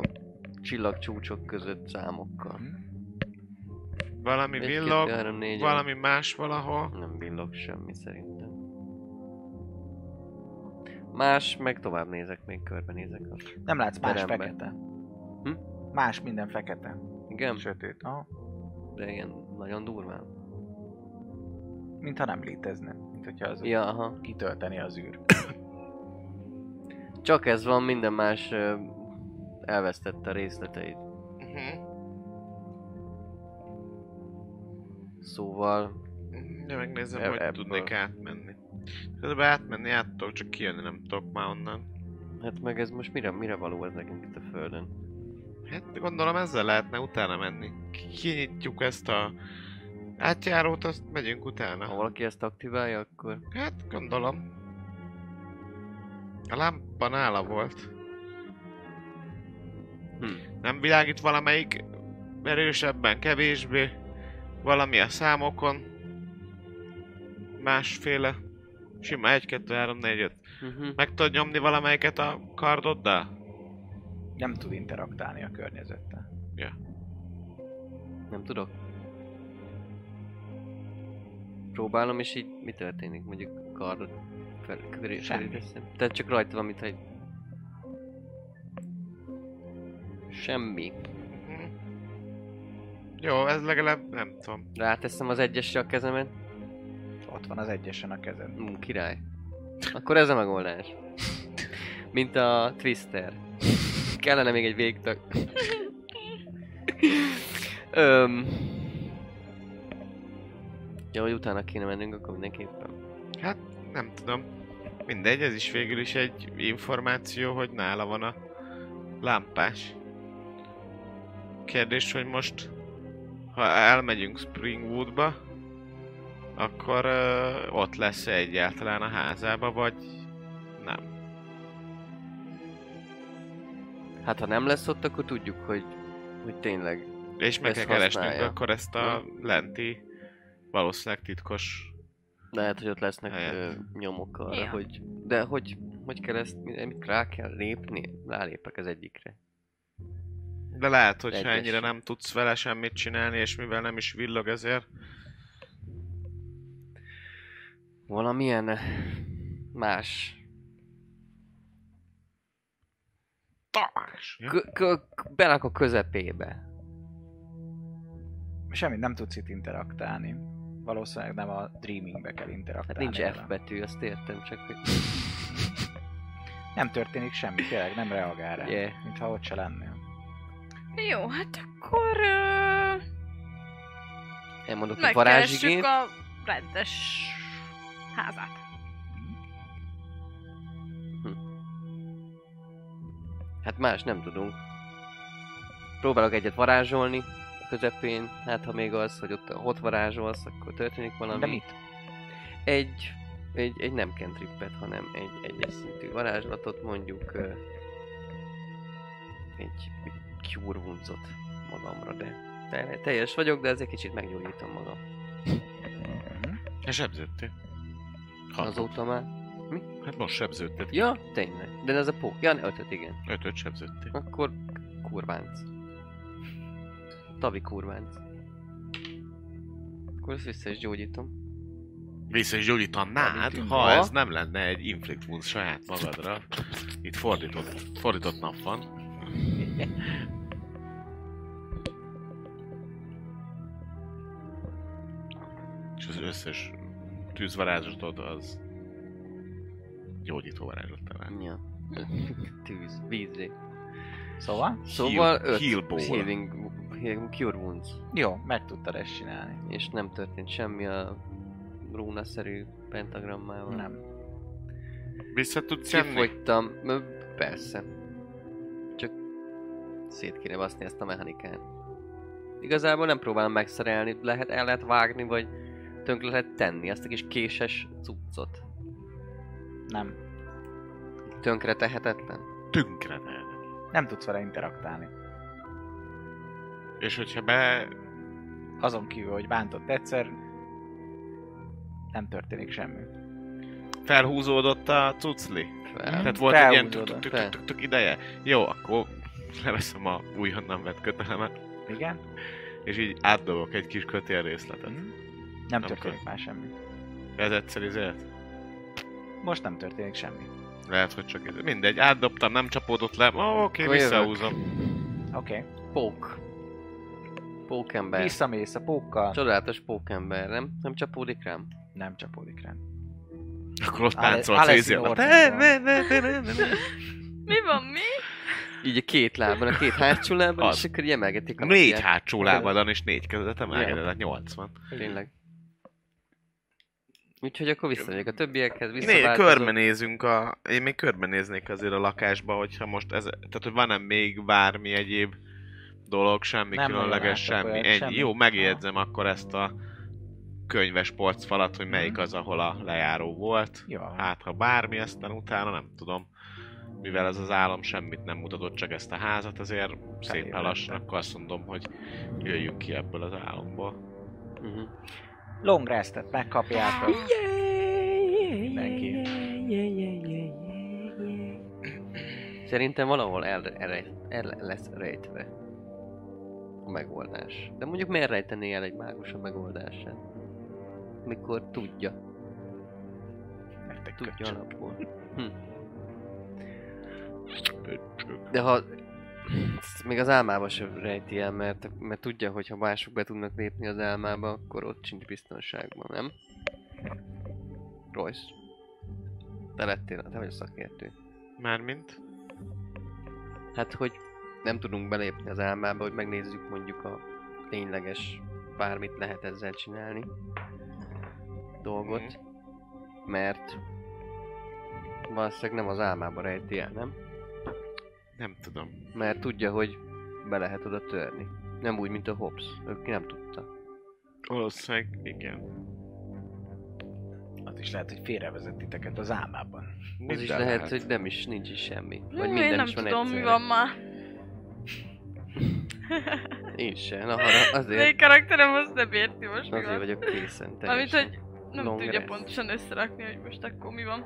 csillagcsúcsok között számokkal. Valami Egy, kettő, villog, három, négy, valami más valahol. Nem villog semmi szerintem. Más, meg tovább nézek, még körbenézek. a- Nem látsz más Teremben. fekete. Hm? Más minden fekete. Igen, Sötét. Aha. de ilyen nagyon durván. Mintha nem létezne. Mint hogyha az Ja, aha. kitölteni az űr. Csak ez van, minden más ö, elvesztette a részleteit. Uh-huh. Szóval... Mhm. De megnézem, Ebb- hogy ebből. tudnék átmenni. Közben átmenni át tudok, csak kijönni nem tudok már onnan. Hát meg ez most mire, mire való ez nekünk itt a földön? Hát gondolom ezzel lehetne utána menni. Kinyitjuk ezt a átjárót, azt megyünk Ha utána. valaki ezt aktiválja, akkor... Hát gondolom. A lámpa nála volt. Hm. Nem világít valamelyik erősebben, kevésbé. Valami a számokon. Másféle. Sima 1, 2, 3, 4, 5. Mhm. Meg tudod nyomni valamelyiket a kardoddal? Nem tud interaktálni a környezettel. Nem tudok. Próbálom, és így mi történik? Mondjuk kardot fel, köré, Semmi. felé teszem. Tehát csak rajta van, mint egy... Semmi. Hm. Jó, ez legalább nem tudom. Ráteszem az egyesre a kezemet. Ott van az egyesen a kezed. Ú, király. Akkor ez a megoldás. Mint a Twister. Kellene még egy végtag. Öm... Ja, hogy utána kéne mennünk, akkor mindenképpen. Nem tudom. Mindegy, ez is végül is egy információ, hogy nála van a lámpás. Kérdés, hogy most, ha elmegyünk Springwoodba, akkor uh, ott lesz -e egyáltalán a házába, vagy nem. Hát ha nem lesz ott, akkor tudjuk, hogy, hogy tényleg. És meg Ezt kell keresnünk használja. Hm. akkor ezt a lenti, valószínűleg titkos Lehet, hogy ott lesznek ö, Helyett. nyomok arra, Ja. hogy... De hogy, hogy kell ezt, mi- mit rá kell lépni? Rálépek az egyikre. De lehet, hogy ha Egyes. ennyire nem tudsz vele semmit csinálni, és mivel nem is villog ezért, Valamilyen eh, más Tamás! Ja? K- k- k- berak a közepébe. Semmit nem tudsz itt interaktálni. Valószínűleg nem a dreamingbe kell interaktálni. Hát nincs vele. F betű, azt értem, csak hogy... Nem történik semmi, tényleg nem reagál rá. Yeah. Mintha ott se lennél. Jó, hát akkor... Ö... Elmondok a Megkeressük varázsigét. a rendes házát. Hát más nem tudunk. Próbálok egyet varázsolni a közepén, hát ha még az, hogy ott, ott varázsolsz, akkor történik valami. De mit? Egy, egy, egy nem kentrippet, hanem egy egyes szintű varázslatot, mondjuk ö, egy, egy cure wounds-ot magamra, de de teljes vagyok, de ezért kicsit meggyógyítom magam. Mhm. És sebződtél. Azóta már. Hát most sebződted. Ja, tényleg. De ez a pó. Ja, ne, ötöt, igen. Ötöt sebződtél. Akkor kurvánc. Tavi kurvánc. Akkor ezt vissza is gyógyítom. Vissza is gyógyítanád, Gyógyítom. ha Ha. ez nem lenne egy inflict wound saját magadra. Itt fordított, fordított nap van. És az összes tűzvarázslatod az gyógyító varázslat talán. Ja. Tűz, vízé. Szóval? Szóval Heal- öt heal ball. healing, healing Cure Wounds. Jó, meg tudtad ezt csinálni. És nem történt semmi a rúnaszerű pentagrammával. Nem. Vissza tudsz jönni? Kifogytam. Ö, Persze. Csak szét kéne baszni ezt a mechanikát. Igazából nem próbálom megszerelni, lehet, el lehet vágni, vagy tönkre lehet tenni azt a kis késes cuccot. Nem. Tönkre tehetetlen. Tönkre mehet. Nem tudsz vele interaktálni. És hogyha be... Azon kívül, hogy bántott egyszer, nem történik semmi. felhúzódott a cucli? Fel. Tehát volt egy ilyen Felhúzódott. Fel. tök-tök-tök ideje. Jó, akkor leveszem a újonnan vett kötelemet, Igen? és így átdobok egy kis kötél részletet. Mhm. Nem Nem történik kell. már semmi. Ez egyszer izért? Most nem történik semmi. Lehet, hogy csak ez. Mindegy, átdobtam, nem csapódott le. Ó, oké, Akkor jövök. visszahúzom. Oké. Okay. Pók. Pókember. Visszamész a pókkal, Csodálatos pókember, nem? Nem csapódik rám? nem csapódik rá. Akkor ott Ale- táncolt Alessi izért. Norton Ne, van. ne, ne, ne, ne, ne, ne. Mi van, mi? Így a két lábban, a két hátsó lábban, Az. és akkor így emelgetik a Négy lapját. hátsó lábadon és négy kezedet emelkedett, hát 80. Tényleg. Úgyhogy akkor visszamegyek a többiekhez, Né, visszaváltozom. körbenézünk a... Én még körbenéznék azért a lakásba, hogyha most ez... Tehát, hogy van-e még bármi egyéb dolog, semmi Nem nagyon különleges, láttak semmi. olyat, Ennyi. semmi. Jó, megjegyzem akkor ezt a könyves polcfalat, hogy Mhm. melyik az, ahol a lejáró volt. Jó. Hát. Hát, ha bármi, aztán utána nem tudom. Mivel ez az állam semmit nem mutatott, csak ezt a házat, azért szépen Felébredtem. lassan akkor azt mondom, hogy jöjjünk ki ebből az álomból. Mhm. Long restet megkapjátok. Mindenki. Szerintem valahol el, elrej- el, lesz rejtve a megoldás. De mondjuk miért rejtené el egy mágus a megoldását? Mikor tudja. Nektek Tudja köcsög. alapból. Hm. De ha ezt még az álmába sem rejti el, mert, mert tudja, hogy ha mások be tudnak lépni az álmába, akkor ott sincs biztonságban, nem? Royce. Te lettél, te vagy a szakértő. Mármint? Hát, hogy nem tudunk belépni az álmába, hogy megnézzük mondjuk a tényleges bármit lehet ezzel csinálni dolgot, mert valószínűleg nem az álmába rejti el, nem? Nem tudom. Mert tudja, hogy be lehet oda törni. Nem úgy, mint a Hobbs. Ők nem tudta. Valószínűleg igen. Az is lehet, hogy félrevezet titeket az álmában. Az Minden is lehet, hogy nem is, nincs is semmi. Vagy minden Én nem is van tudom, mi egyszerre. van már. Én sem, na, arra, Az én azért, karakterem azt nem érti most, mi azért van. vagyok készen Amit, teljesen. hogy nem Long tudja rest. pontosan összerakni, hogy most akkor mi van.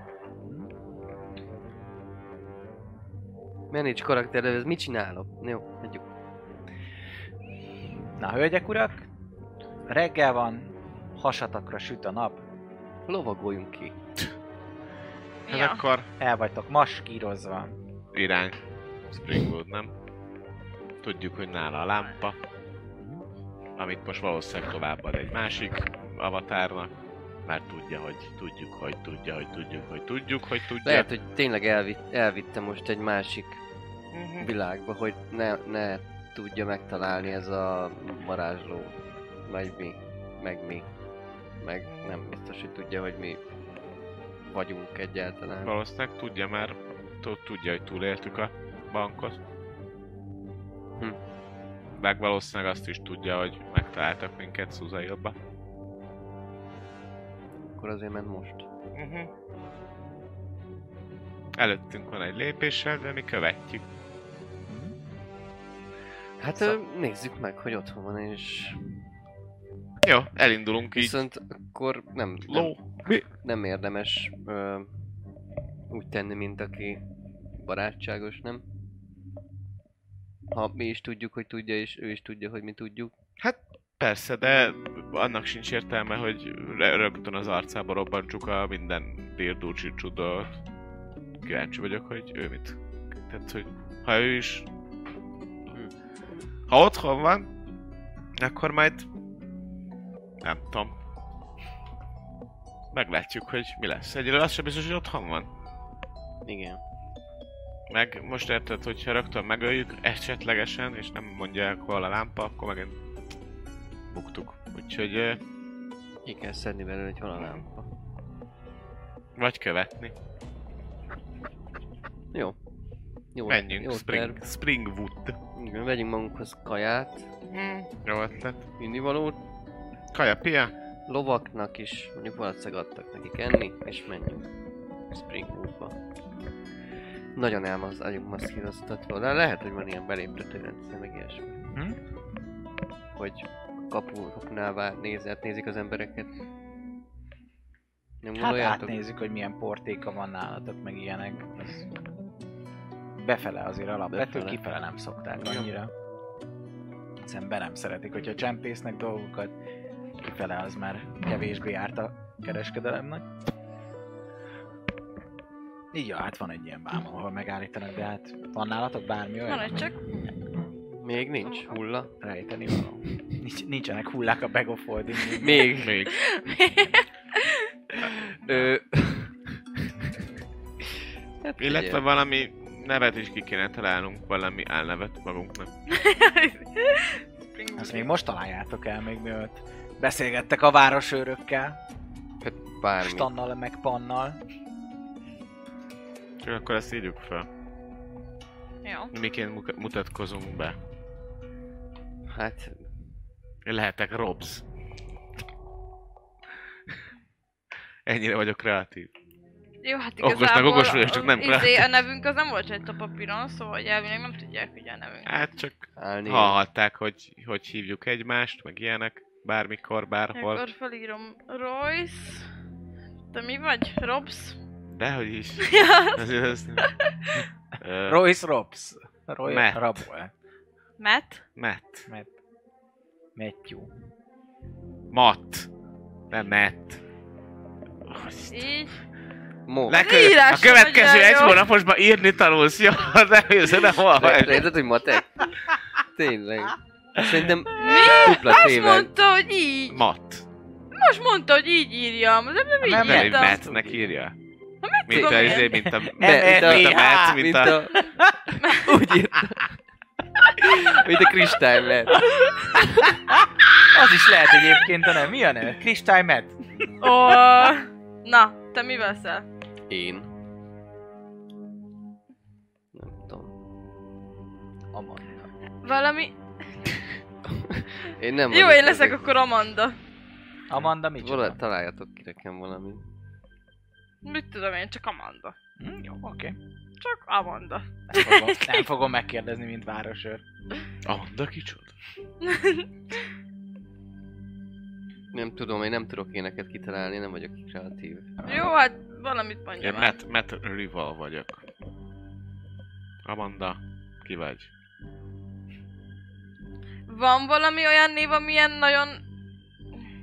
Manage karakter, ez mit csinálok? Jó, hagyjuk. Na, hölgyek, urak! Reggel van, hasatakra süt a nap, Lovagoljunk ki. Hát Ja. akkor el vagytok maskírozva. irány. Springwood, nem? Tudjuk, hogy nála a lámpa. Amit most valószínűleg továbbad egy másik avatárnak. Mert tudja, hogy tudjuk, hogy tudja, hogy tudjuk, hogy tudjuk, hogy tudja. Lehet, hogy tényleg elvitt, elvitte most egy másik Mm-hmm. Mhm. világba, hogy ne, ne tudja megtalálni ez a varázsló. Meg mi. Meg mi. Meg nem biztos, hogy tudja, hogy mi vagyunk egyáltalán. Valószínűleg tudja már, t- tudja, hogy túléltük a bankot. Hm. meg valószínűleg azt is tudja, hogy megtaláltak minket Szuzailba. Akkor azért ment most. Uh-huh. Előttünk van egy lépéssel, de mi követjük. Hát szóval... nézzük meg, hogy otthon van, és Jó, elindulunk így. viszont akkor nem, nem, Ló, mi? nem érdemes ö, úgy tenni, mint aki barátságos, nem? Ha mi is tudjuk, hogy tudja, és ő is tudja, hogy mi tudjuk. Persze, de annak sincs értelme, hogy rö- rögtön az arcába robbantsuk a minden dirdúcsi csuda. Kíváncsi vagyok, hogy ő mit. Tehát, hogy ha ő is... Ha otthon van, akkor majd... Nem tudom. Meglátjuk, hogy mi lesz. Egyre az sem biztos, hogy otthon van. Igen. Meg most érted, hogyha rögtön megöljük esetlegesen, és nem mondják hol a lámpa, akkor megint buktuk. Úgyhogy ö, Ki kell szedni belőle egy valamit. vagy követni. Jó. Jó. Menjünk, jó Spring, terv. Springwood. Igen, vegyünk magunkhoz kaját, Jó hát, ötlet. indivalót, Kaja, pia? lovaknak is, mondjuk valószínűleg adtak nekik enni, és menjünk Springwoodba. Nagyon elmaz, nagyon maszkíroztatva, de lehet, hogy van ilyen beléptető rendszer, meg ilyesmi. Hm? Hogy kapu, kapunál vár, nézett, nézik az embereket. Nem Hát gondoljátok? átnézzük, hogy milyen portéka van nálatok, meg ilyenek. Ez befele azért alapvető, Befele. kifele nem szokták Igen. annyira. Az ember nem szeretik, hogyha csempésznek dolgokat, kifele az már kevésbé járt a kereskedelemnek. Így ja, hát van egy ilyen bám, ahol megállítanak, de hát van nálatok bármi olyan? Van egy ami csak Még nincs hulla? Rejteni való. Nincs, nincsenek hullák a bag of holding. Még. Még. Ö... hát Illetve figyelj, valami nevet is ki kéne találnunk, valami álnevet magunknak. Spring Hát Azt még most találjátok el, még mielőtt beszélgettek a városőrökkel. hát bármi. Stannal meg Pannal. Csak akkor ezt írjuk fel. Jó. Miként muka- mutatkozunk be? Hát Én lehetek Robs. Ennyire vagyok kreatív. Jó, hát Okos meg igazából... okos vagyok, csak nem a, izé, kreatív. a nevünk az nem volt egy a papíron, szóval hogy elvileg nem tudják, hogy a nevünk. Hát csak állni. hallhatták, hogy hogy hívjuk egymást, meg ilyenek. Bármikor, bárhol. Akkor felírom Royce. Te mi vagy? Robs? Dehogy is. Ja. Azért ez... Ö, Royce Robs. Roy Matt. Rabol. Matt? Matt. Matthew. Matt. Nem Matt. Így. Mo. Le- Írás a következő sem egy nagyon jó. hónaposban írni tanulsz, jó? Nem jössz, nem Le- hallhatsz. Érted, hogy matek? Tényleg. Szerintem Mi? dupla Azt téved. mondta, hogy így. Matt. Most mondta, hogy így írjam. Az nem Nem, így Nem, nem, hogy írtam. Mattnek írja. Mint tudom a, én. izé, mint a, M- mint a, mint a M- Matt, mint a... Úgy írta. Mint a kristály, mert... Az is lehet egyébként, de nem. Mi a neve? Kristály Matt. Ó, na, te mi veszel? Én. Nem tudom. Amanda. Valami... Én nem Jó, vagyok én leszek ezek. akkor Amanda. Amanda micsoda? Vala, találjatok ki nekem valami. Mit tudom én, csak Amanda. Hm, jó, oké. Csak Amanda. Nem fogom- Nem fogom megkérdezni, mint városőr. Amanda Ah, kicsoda. Nem tudom, én nem tudok éneket kitalálni, nem vagyok kreatív. Jó, hát valamit mondja Én már. Matt, Matt Rival vagyok. Amanda, ki vagy? Van valami olyan név, amilyen nagyon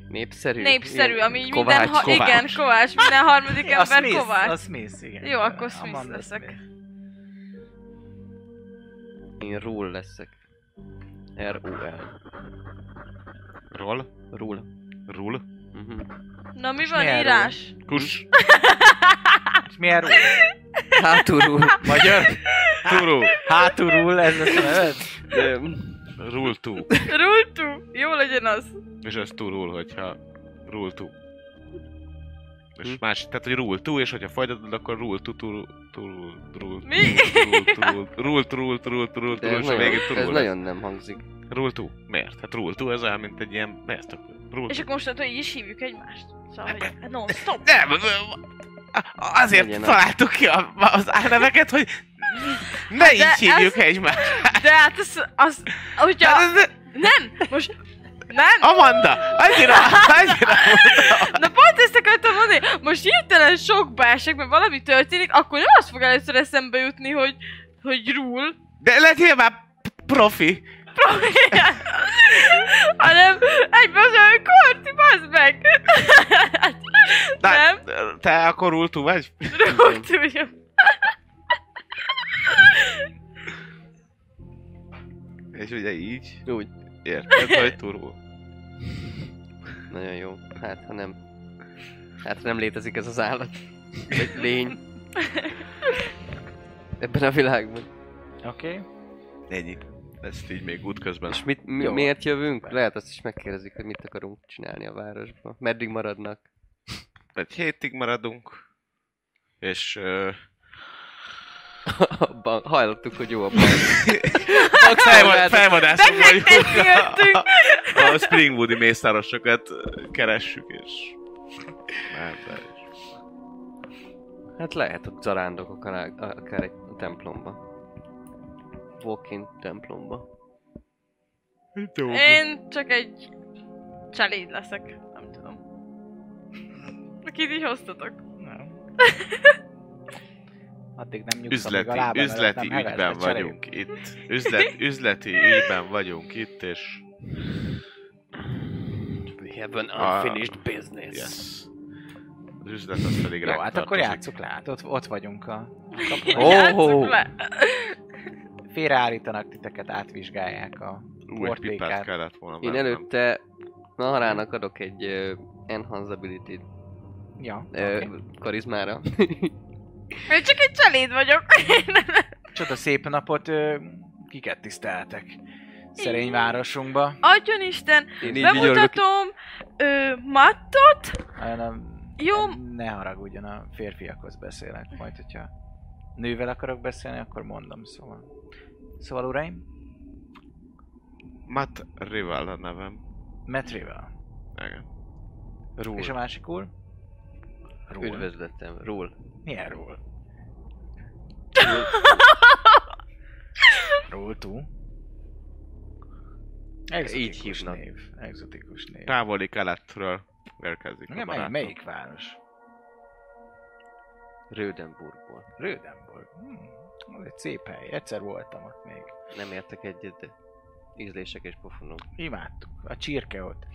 Népszerű? népszerű, Ilyen ami Kovács, minden... Ha- Kovács. Igen, Kovács. Minden harmadik A ember Smith, Kovács. a Smith, igen. Jó, akkor Smith Amanda leszek. Smith. Én ról leszek. R-O-L. Roll? Ról. Rul? Mhm. Na mi És van milyen írás? Kus? És milyen rúl? Hátulról. Magyar? Turu? Hátulról ez lesz a neved? Rul tu. Rultu! Jó legyen az. És ez turul, hogyha rul tu. És Hm? más, tehát hogy rul tu, és hogyha folytatod, akkor rul tu tu turul, rul Mi? Rul turul, rul turul, turul turul, De ez turul, és a nagyon, végén ez turul. lesz. nagyon nem hangzik. Rule 2. Miért? Hát Rule 2 ez olyan, mint egy ilyen... Mi ezt a... Rule És 2. akkor mostantól így is hívjuk egymást. Szóval, hogy non-stop. Nem, az- a- azért Legyen az. találtuk ki a, az álneveket, hogy ne Hát így ez- hívjuk egymást. De hát az, az hogyha... Hát ez- Nem! Most... Nem! Amanda, annyira, annyira Ah. Na pont ezt akartam mondani, most hirtelen sokba esek, mert valami történik, akkor nem az fog először eszembe jutni, hogy, hogy rúl, De legyél már profi. hanem egyből az olyan korti, bazd meg! Na, Nem. Te akkor ultú vagy? Rúl, tudjam. És ugye így, Úgy. érted, hogy turul. Nagyon jó. Hát, ha nem... Hát, ha nem létezik ez az állat. Egy lény. Ebben a világban. Oké. Okay. Ennyi. Ezt így még útközben. És mit, mi, Jó. miért jövünk? Lehet azt is megkérdezik, hogy mit akarunk csinálni a városban. Meddig maradnak? Egy hétig maradunk. És... Uh, Abban hallottuk, hogy jó a bank. Bank felvad, szállodát- felvadászunk vagyunk. Befektetni jöttünk! A Springwoodi mészárosokat keressük, és... Hát, de- Hát lehet, hogy zarándokok akár, akár egy templomba. Walk-in templomba. Én csak egy csaléd leszek, nem tudom. Akit így hoztatok. Addig nem nyugszom, Üzleti, amíg a lábam üzleti előtt nem heved, ügyben de cserél. vagyunk itt. Üzlet, üzleti ügyben vagyunk itt, és... We have an Ah, unfinished business. Yes. Az üzlet az pedig Jó, ránk hát akkor tartozik. játsszuk le, hát ott, ott vagyunk a kapun. Ó. Játsszuk le. Félreállítanak titeket, átvizsgálják a... Ú, egy Portékát. pipát kellett volna Én vennem. előtte Naharának adok egy uh, enhance ability Ja, uh, okay. karizmára. Én csak egy csaléd vagyok. Csoda szép napot, ö, kiket tiszteltek szerény városunkba. Adjon Isten, Én így vigyorgok. bemutatom ö, Mattot, Olyan a... Jó. Ne haragudjon, a férfiakhoz beszélek majd, hogyha nővel akarok beszélni, akkor mondom, szóval. Szóval uraim, Matt Rival a nevem. Metrivel. Igen. És a Rúl. másik úr? Ról. Üdvözletem. Rúl. Milyen ról? Ról tú? Exotikus hívnak. név. Exotikus név. Távoli keletről érkezik a Nem, mely, barátom. melyik város? Rödenburgból. Rödenborg. Hm, az egy szép hely. Egyszer voltam ott még. Nem értek egyet, de ízlések és pofonok. Imádtuk. A csirke ott.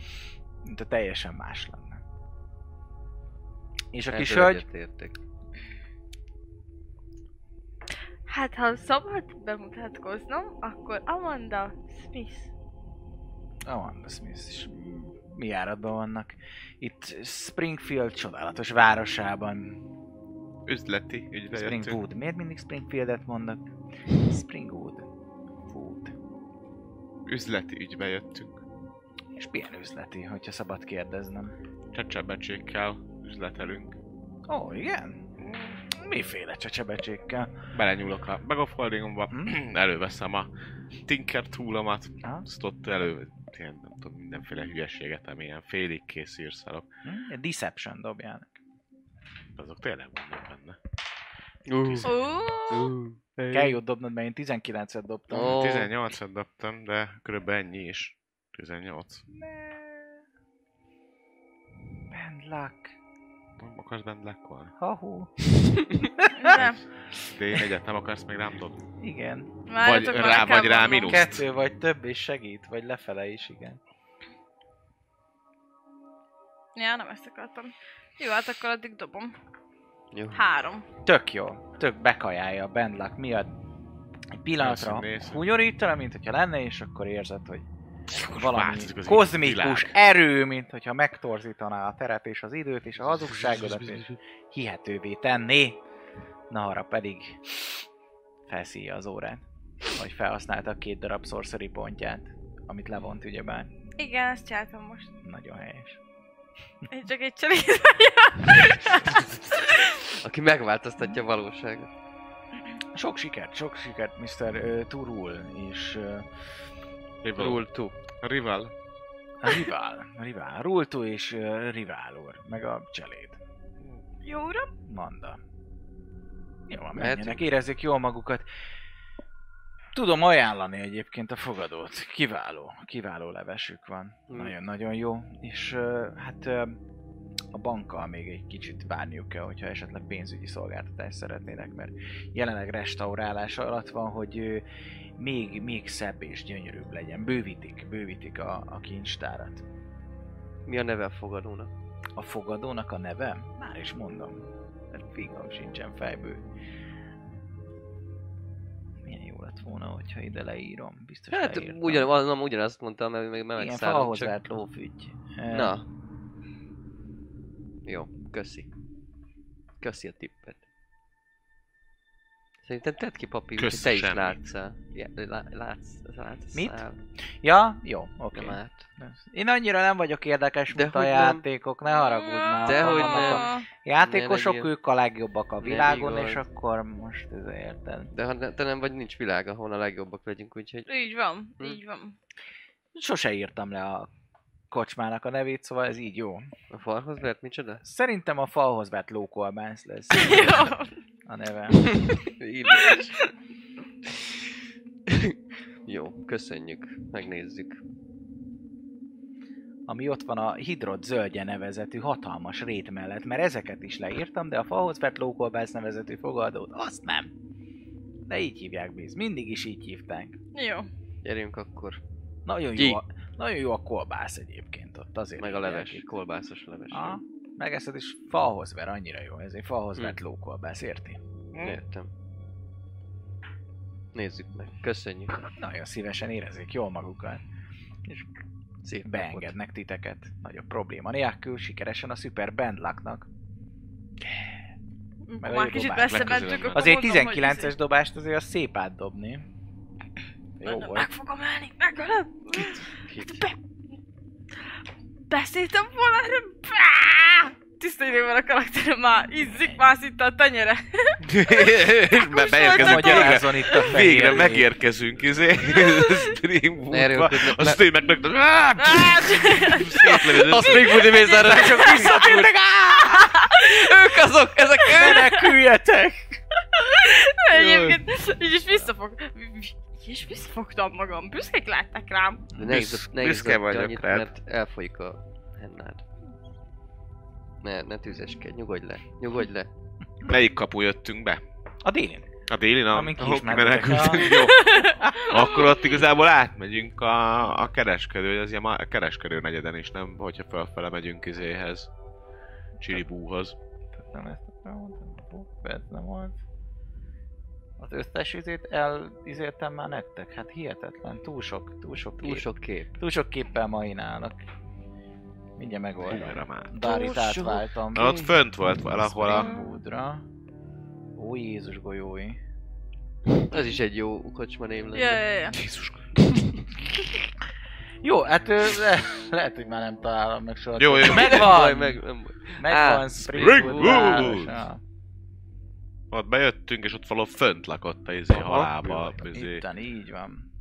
Mint a teljesen más lenne. És a kis hölgy? Értek. Hát, ha szabad bemutatkoznom, akkor Amanda Smith. Amanda Smith is. Mi járatban vannak? Itt Springfield csodálatos városában. Üzleti ügybe jöttünk. Springwood. Miért mindig Springfieldet mondok? Springwood. Wood. Üzleti ügybe jöttünk. És milyen üzleti, hogyha szabad kérdeznem. Csecsebecsékkel üzletelünk. Ó, igen? Miféle csecsebecsékkel? Belenyúlok a megafoldingomba, Hm? előveszem a Tinker túlomat, Aha. azt ott elő, ilyen, nem tudom, mindenféle hülyeséget, ami ilyen félig kész írszalok. Hm? Deception dobjál. Azok tényleg vannak benne. Uh. Ó, Kell jót dobnod, mert én 19-et dobtam. Ó. 18-at dobtam, de körülbelül ennyi is. 18. Band luck. Nem akarsz bent lekkolni? Hahu. nem. De én egyet nem akarsz még rám dobni. Igen. Várjatok, Vagy már rá- kell vagy rá mondanom. mínusz. Kettő vagy több és segít, vagy lefele is, igen. Ja, nem ezt akartam. Jó, hát akkor addig dobom. Jó. Három. Tök jó. Tök bekajálja a band luck miatt. Egy pillanatra Nézzük, nézzük. hunyorítana, mint hogyha lenne, és akkor érzed, hogy valami Változik az kozmikus világ. erő, mint hogyha megtorzítaná a teret és az időt e- és a hazugságodat, és hihetővé tenni. Na arra pedig felszíja az órát, hogy felhasználta a két darab sorcery pontját, amit levont ugyebár. Igen, ezt csináltam most. Nagyon helyes. Én csak egy csaléd vagyok. Aki megváltoztatja a valóságot. Sok sikert, sok sikert, Mr. ö, Turul, és ö, Rival. Rule 2. Rival. A rivál, a rivál. Rultu és uh, rivál úr, meg a cseléd. Jó uram? Manda. Jó, van, Mehetünk? menjenek, érezzék jól magukat. Tudom ajánlani egyébként a fogadót. Kiváló, kiváló levesük van. Mm. Nagyon-nagyon jó. És ö, hát ö, a bankkal még egy kicsit várniuk kell, hogyha esetleg pénzügyi szolgáltatást szeretnének, mert jelenleg restaurálás alatt van, hogy ö, még, még szebb és gyönyörűbb legyen. Bővítik, bővítik a, a kincstárat. Mi a neve a fogadónak? A fogadónak a neve? Már is mondom. Mert Fingom sincsen fejből. Milyen jó lett volna, hogyha ide leírom. Biztos Hát leírtam. ugyan, nem, ugyanazt mondtam, mert meg meg Igen, megszállom, falhoz csak- várt lófügy. Ö, Na. Jó, köszi. Köszi a tippet. Szerintem tedd ki papírt, hogy Kösz te is semmit. látsz ja, lá- látsz, látsz Mit? Ja, jó, oké. Nem át. Én annyira nem vagyok érdekes, De mint a hogy nem. játékok, ne haragudj már. Dehogy vannak nem. A Ah, játékosok, Nem, ők a legjobbak a nem világon, igaz. és akkor most ez érted. De ha ne- te nem vagy, nincs világ, ahol a legjobbak legyünk, úgyhogy... Így van, Hm. így van. Sose írtam le a kocsmának a nevét, szóval ez így jó. A farhoz vert micsoda? Szerintem a falhoz vett lókolbász lesz Jó. a neve. Így is. Jó, köszönjük, megnézzük. ami ott van a hidrot zöldje nevezetű hatalmas rét mellett, mert ezeket is leírtam, de a falhoz vett lókolbász nevezetű fogadót, azt nem. De így hívják biz, mindig is így hívták. Jó. Gyerünk akkor, Nagyon Ki? jó, a, nagyon jó a kolbász egyébként ott, azért meg a hívják leves, itt. kolbászos leves. Aha, megeszed is falhoz ver, annyira jó, ezért falhoz Hm. vett lókolbász, érti? Értem. Nézzük meg, köszönjük. Nagyon szívesen érezzék jól magukat. Szép napot. Beengednek titeket. Nagyobb probléma nélkül, sikeresen a Super Bandlaknak. Akkor Meg Már a kicsit dobás messze legközelebb. mentünk, akkor Azért Hát mondom, hogy 19-es izé- dobást azért az szép átdobni. Jó Mondom, hát- volt. Meg fogom elni, megölöm. Kit? Be... Beszéltem volna erre. Bá! Tiszta időben a karakterem már izzik, mászik a tenyere. És már beérkezünk. Végre, Magyarázon itt a fehér végre légy. megérkezünk, izé, streambookba. erőlködnek, A ne- stream meg... Áh, Á, szétlövöd. Azt még Woody Mézárra csak visszatértek! Ők azok, ezek ők! Meneküljetek! Egyébként így is visszafog... Így is visszafogtam magam, büszkék látták rám. De ne izzad, ne büszke izzadj vagyok annyit, rád. mert elfolyik a hennád. Ne, ne tűzeskedj, nyugodj le, nyugodj le. Melyik kapu jöttünk be? A délin. A délin, Amin a, ahol kiismertetek kimenekültünk, jó. Akkor ott igazából átmegyünk a, a kereskedő, ez ilyen ma- a kereskedő negyeden is, nem? Hogyha felfele megyünk izéhez. Csiribúhoz. Nem ezt elmondtam. Fú, persze, nem volt. Az összes izét elizéltem már nektek. Hát hihetetlen. Túl sok, túl sok Túl kép. sok kép. Túl sok képpel mainálnak. Mindjárt Erre megoldom. már. Dárit Túl sok átváltam. Na, Ott fönt volt valahol a... Springwoodra. Ó Jézus golyói. Ez is egy jó kocsma név lenne. Ja, ja, ja. Jézus. Jó, hát ö, le, lehet, hogy már nem találom meg soha. Jó, jó. Megvan! Baj, meg, nem baj. Megvan Á, Springwood Springwood! városa. Ott bejöttünk, és ott valahol fönt lakott a izé Aha. halálba. Izé. Itten, így van.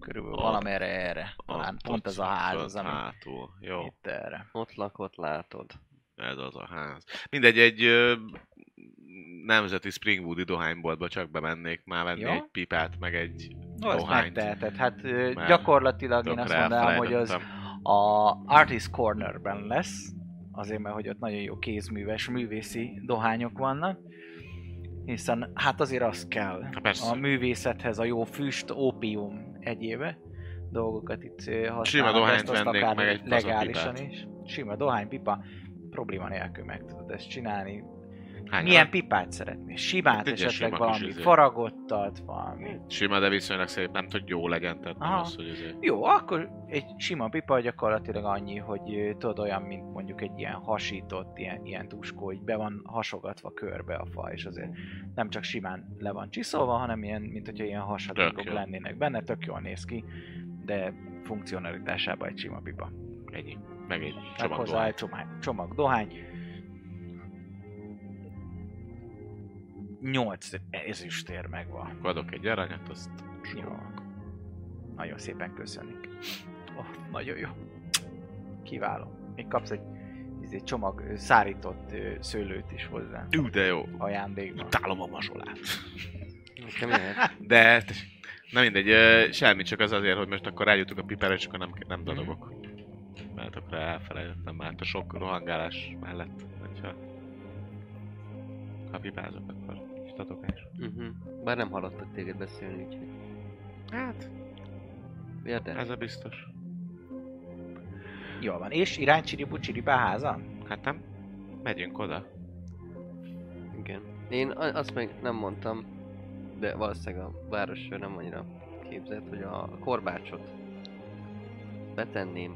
Körülbelül Ott. valamerre erre. Talán Ott- pont ott ez a ház fönt az, ami Hátul. Jó. itt erre. Ott lakott, látod. Ez az a ház. Mindegy, egy ö, nemzeti Springwoodi dohányboltba csak bemennék már venni Jó. egy pipát, meg egy No, ezt dohányt. megteheted. Hát ö, Már gyakorlatilag én azt Tökre mondanám, hogy az elfelejtettem. a Artist Cornerben lesz. Azért, mert hogy ott nagyon jó kézműves, művészi dohányok vannak. Hiszen hát azért az kell. Na persze. A művészethez a jó füst, ópium egyébe dolgokat itt ö, használnak. dohányt ezt azt vennék, akár meg egy legálisan pazarpipát. is. Sima dohánypipa. Probléma nélkül meg tudod ezt csinálni. Hány Milyen van? pipát szeretnél? Simát, Hát egy ilyen esetleg sima kis valami izé. faragottat, valami. Sima, de viszonylag szép, nem tud jó legyen, tehát nem Aha. az, hogy azért. Jó, akkor egy sima pipa gyakorlatilag annyi, hogy ö, tudod olyan, mint mondjuk egy ilyen hasított, ilyen, ilyen tuskó, így be van hasogatva körbe a fa, és azért nem csak simán le van csiszolva, hanem ilyen, mint hogyha ilyen hasadékok Tök jó. lennének benne, tök jól néz ki, de funkcionalitásában egy sima pipa. Ennyi. Meg egy Meg csomag hozzá dohány. egy csomag, csomag dohány. Nyolc ezüstér megvan. Akkor Adok egy aranyat, azt Jó. Nagyon szépen köszönjük. Oh, nagyon jó. Kiváló. Még kapsz egy, egy csomag ö, szárított ö, szőlőt is hozzá Ú, de jó. ajándékba. Utálom a mazsolát. Nekem lehet. De, na mindegy, ö, semmi, csak az azért, hogy most akkor rájöttük a pipára, és akkor nem, nem dadogok. Mert akkor elfelejtettem már a sok rohangálás mellett, hogyha ha pipázok, akkor kicsit dadogás. Uh-huh. Bár nem hallottak téged beszélni, úgyhogy... Hát, Érted? ez a biztos. Jól van. És irány csiribu csiribá háza? Hát nem? Megyünk oda. Igen. Én a- azt még nem mondtam, de valószínűleg a város nem annyira képzett, hogy a korbácsot betenném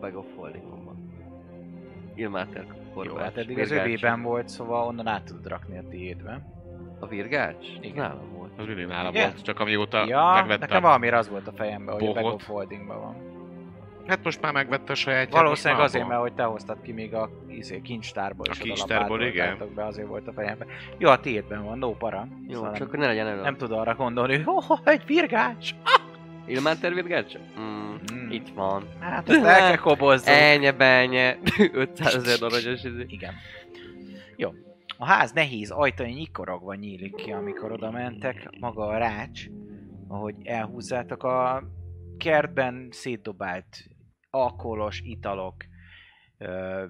Bag of Holdingomba. Ilmáter korbács. Jó, hát eddig az virgács. övében volt, szóval onnan át tudod rakni a tiédbe. A virgács? Igen. Nálam volt. Az mindig nálam Igen? volt, csak amióta Ja, nekem megvettem. Van. valamiért az volt a fejemben, hogy a Bohot. Bag of Holdingban van. Hát most már megvette a sajátját. Valószínűleg most már azért, abból. mert hogy te hoztad ki még a izé, kincstárból, A és oda kincstárból, lapátoltátok be, azért volt a fejemben. Jó, a tiédben van, no para. Jó, Szóval csak nem, akkor ne legyen elő. nem tud arra gondolni, hogy oh, egy virgács! Ilmáter virgács? Mm, Mm. Itt van. Hát ezt el kell kobozzunk. Enye, benye. 500 ezer darabos izé. Igen. Jó. A ház nehéz ajtajai nyikorogva nyílik ki, amikor oda mentek. Maga a rács, ahogy elhúzzátok a kertben szétdobált alkoholos italok, ö,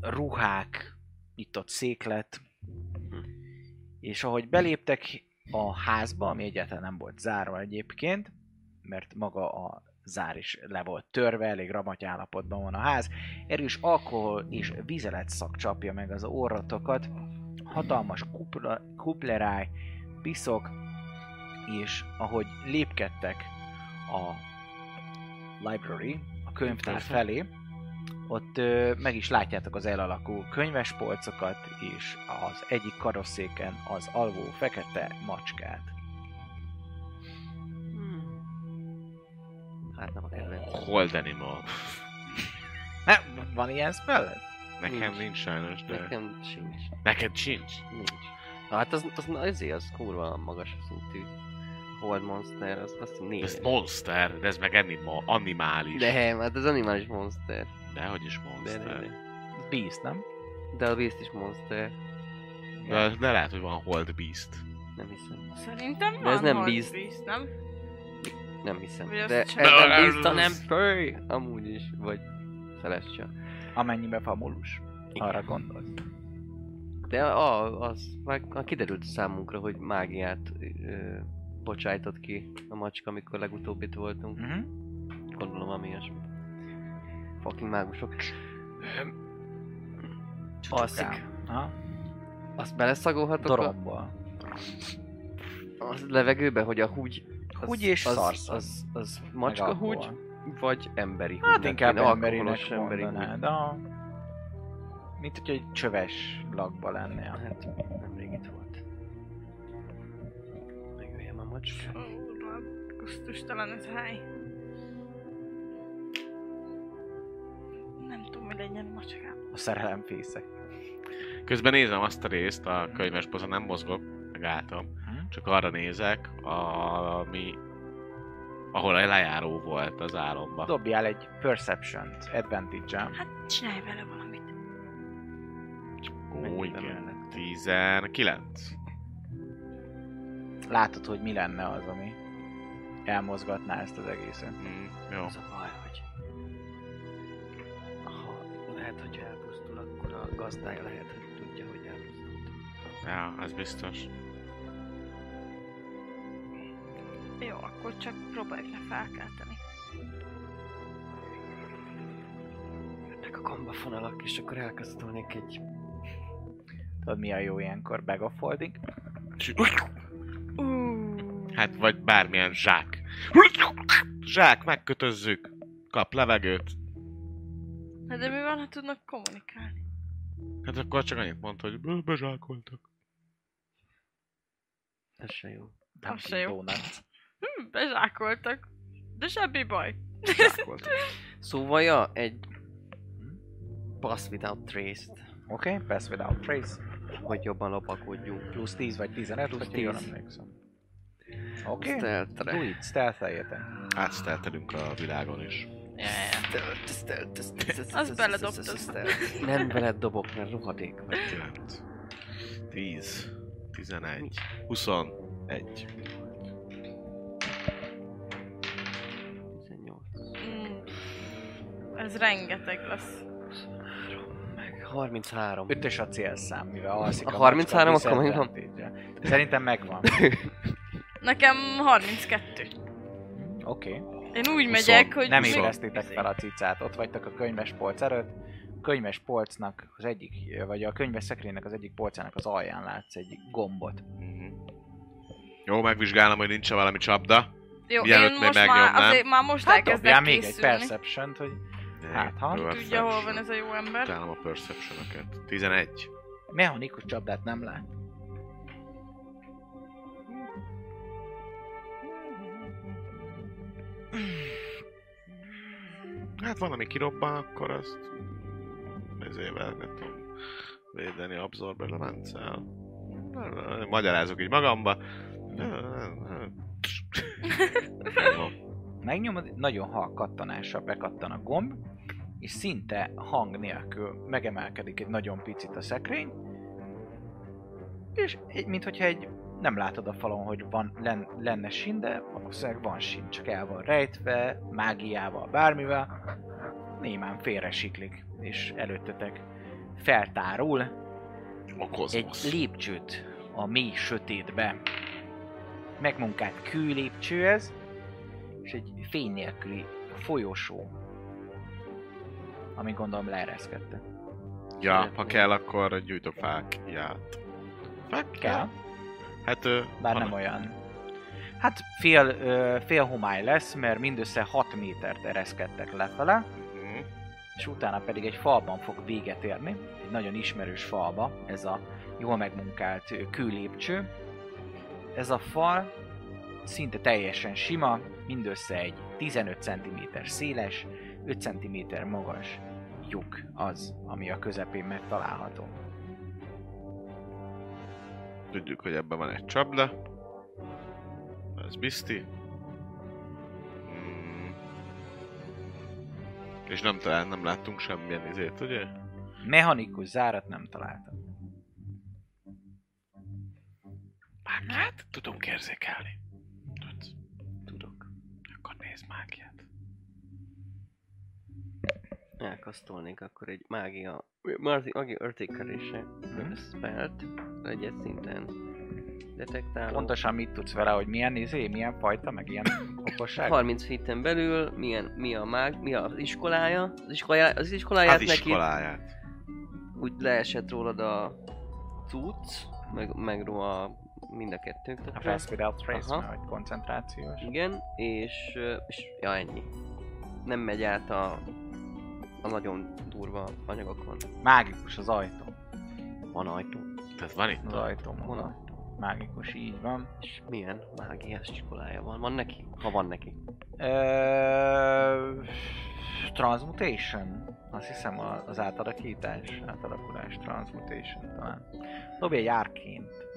ruhák, itt ott széklet. És ahogy beléptek a házba, ami egyáltalán nem volt zárva egyébként, mert maga a zár is le volt törve, elég ramaty állapotban van a ház, Erős alkohol és vizelet szak csapja meg az orratokat, hatalmas kupla, kupleráj, piszok, és ahogy lépkedtek a library, a könyvtár felé, ott ö, meg is látjátok az elalakú könyvespolcokat, és az egyik karosszéken az alvó fekete macskát. Hmm. Hát nem a kedvenc. Hold animal. Ne, van ilyen spelled? Nekem Nincs. nincs, sajnos, de... Nekem... Nekem sincs. Neked sincs? Nincs. Na, hát az, az, az, az kurva magas szintű Hold Monster, az azt hiszem Ez négy. monster, de ez meg anima, animális. De, hát az animális monster. De hogy is De, monster. de, De, de. Beast, nem? de a Beast is monster. de, de, de lehet, hogy van Hold Beast. Nem hiszem. Szerintem van De ez nem Hold bíz. Beast, nem? Nem hiszem. Vagy azt De ez csak- nem Beast, hanem Pöly. Amúgy is. Vagy Celestia. Amennyiben famulus. Arra gondolsz. De a, az már már kiderült számunkra, hogy mágiát ö, bocsájtott ki a macska, amikor legutóbb itt voltunk. Uh-huh. Gondolom, ami ilyesmi. Fucking mágusok. Alszik. Aha. Azt beleszagolhatok a, Doromból. a levegőbe, hogy a húgy... Az, Húgy és az, az, szarszag. az, az Meg macska húgy, alkohol. vagy emberi húgy. Hát inkább Én emberinek alkoholos húgy. mondanád. A... Mint hogy egy csöves lakba lennél. Hát, nemrég itt volt. Megöljem a macska. Ó, Uram, Kusztustalan ez a hely. Nem tudom, mi legyen a macskám. A szerelemfészek. Közben nézem azt a részt a könyves pozon, nem mozgok, meg álltam. Hm? Csak arra nézek, ami... Ahol a lejáró volt az álomba. Dobjál egy Perception-t, advantage Hát csinálj vele valamit. Ó, Menjünk be igen. mellette. 19. Látod, hogy mi lenne az, ami elmozgatná ezt az egészet. Mm, jó. Az a baj, hogy... Ha lehet, hogy elpusztul, akkor a gazdája lehet, hogy tudja, hogy elpusztult. Ja, az biztos. Jó, akkor csak próbálj le felkelteni. Jönnek a kambafonalak, és akkor elkazdulnék egy... Tudod, mi a jó ilyenkor? Bag of holding? Uh, Hát, vagy bármilyen zsák. Zsák, megkötözzük. Kap levegőt. Na Hát de mi van, ha tudnak kommunikálni? Hát akkor csak annyit mondta, hogy "Be- bezsákoltak. Ez se jó. Nem Az se jó. tudom, nem. Hm, bezsákoltak. De semmi baj. Bezsákoltak. Szóval, ja, egy... Hm? Pass without trace-t, Oké, okay, pass without trace. hogy jobban lopakodjunk. Plusz 10 vagy 15, Plusz hogyha jól 10. emlékszem. Oké, okay. Stealth-re. stealth eljöttem. Átsteltelünk a világon is. Az beledobtad. Nem veled dobok, mert rohadék vagy. 9, 10, 11, 21. 18, Mm. Ez rengeteg lesz. 23, meg 33. Ötös a célszám, mivel alszik A 33 macska, akkor megvan? disadvantage-e. Szerintem megvan. Nekem 32. Oké. Okay. Én úgy megyek, hogy... Nem még- éreztétek fel a cicát. Ott vagytok a könyves polc előtt. A könyves polcnak az egyik, vagy a könyves szekrénynek az egyik polcának az alján látsz egy gombot. Mhm. Jó, megvizsgálom, hogy nincs-e valami csapda. Jó, mielőtt én még most már, megnyomnám. azért, már most Hát elkezdek dobjál hát, még egy készülni. perception hogy Hát, ha. Jó, Tudja, hol van perception. ez a jó ember. Utálom a perception-öket. 11. mechanikus csapdát nem lát. Hát valami kirobban, akkor azt ezével nem tudom védeni absorb elementszel. Magyarázok így magamba. Megnyomod, nagyon halk kattanással bekattan a gomb, és szinte hang nélkül megemelkedik egy nagyon picit a szekrény, és egy, mint hogyha egy, nem látod a falon, hogy van, len, lenne sin, de valószínűleg van sin, csak el van rejtve, mágiával, bármivel, némán félre siklik, és előttetek feltárul A egy kozmosz. lépcsőt a mély sötétbe. Megmunkált kőlépcső ez, és egy fény nélküli folyosó, ami gondolom leereszkedte. Ja, ha kell, akkor gyújtok fákját. Fák Kell, Hát ő... bár nem olyan. Hát fél, ö, fél homály lesz, mert mindössze 6 métert ereszkedtek lefele, Mhm. és utána pedig egy falban fog véget érni, egy nagyon ismerős falba, ez a jól megmunkált ö, kőlépcső. Ez a fal szinte teljesen sima, mindössze egy 15 cm széles, 5 cm magas lyuk az, ami a közepén megtalálható. Tudjuk, hogy ebben van egy csapda. Ez bizti. Mm. És nem talán nem láttunk semmilyen izét, ugye? Mechanikus zárat nem találtam. Mágiát Hát, tudunk érzékelni. Tudsz? Tudok. Akkor nézd mágiát. Elkasztolnék akkor egy mágia... Marzi, agi értékelése. Hm? Spelt. Egyes szinten. Detektáló. Pontosan mit tudsz vele, hogy milyen izé, milyen fajta, meg ilyen okosság? 30 héten belül milyen, mi a mág, mi az iskolája, az iskolája, az iskoláját Az az neki, Hát iskoláját. úgy leesett rólad a cucc, meg, meg róla a- mind a kettőnk. A Fast Without Trace, Aha. mert hogy koncentrációs. Igen, és, ö, és ja ennyi. Nem megy át a, a nagyon durva anyagokon. Mágikus az ajtó. Van ajtó. Tehát van itt. Az ajtóm Van oda. Mágikus, így van. És milyen mágiás iskolája van? Van neki? Ha van neki. Ö, Transmutation. Azt hiszem a- az átalakítás, átalakulás, transmutation talán. Dobj egy árként.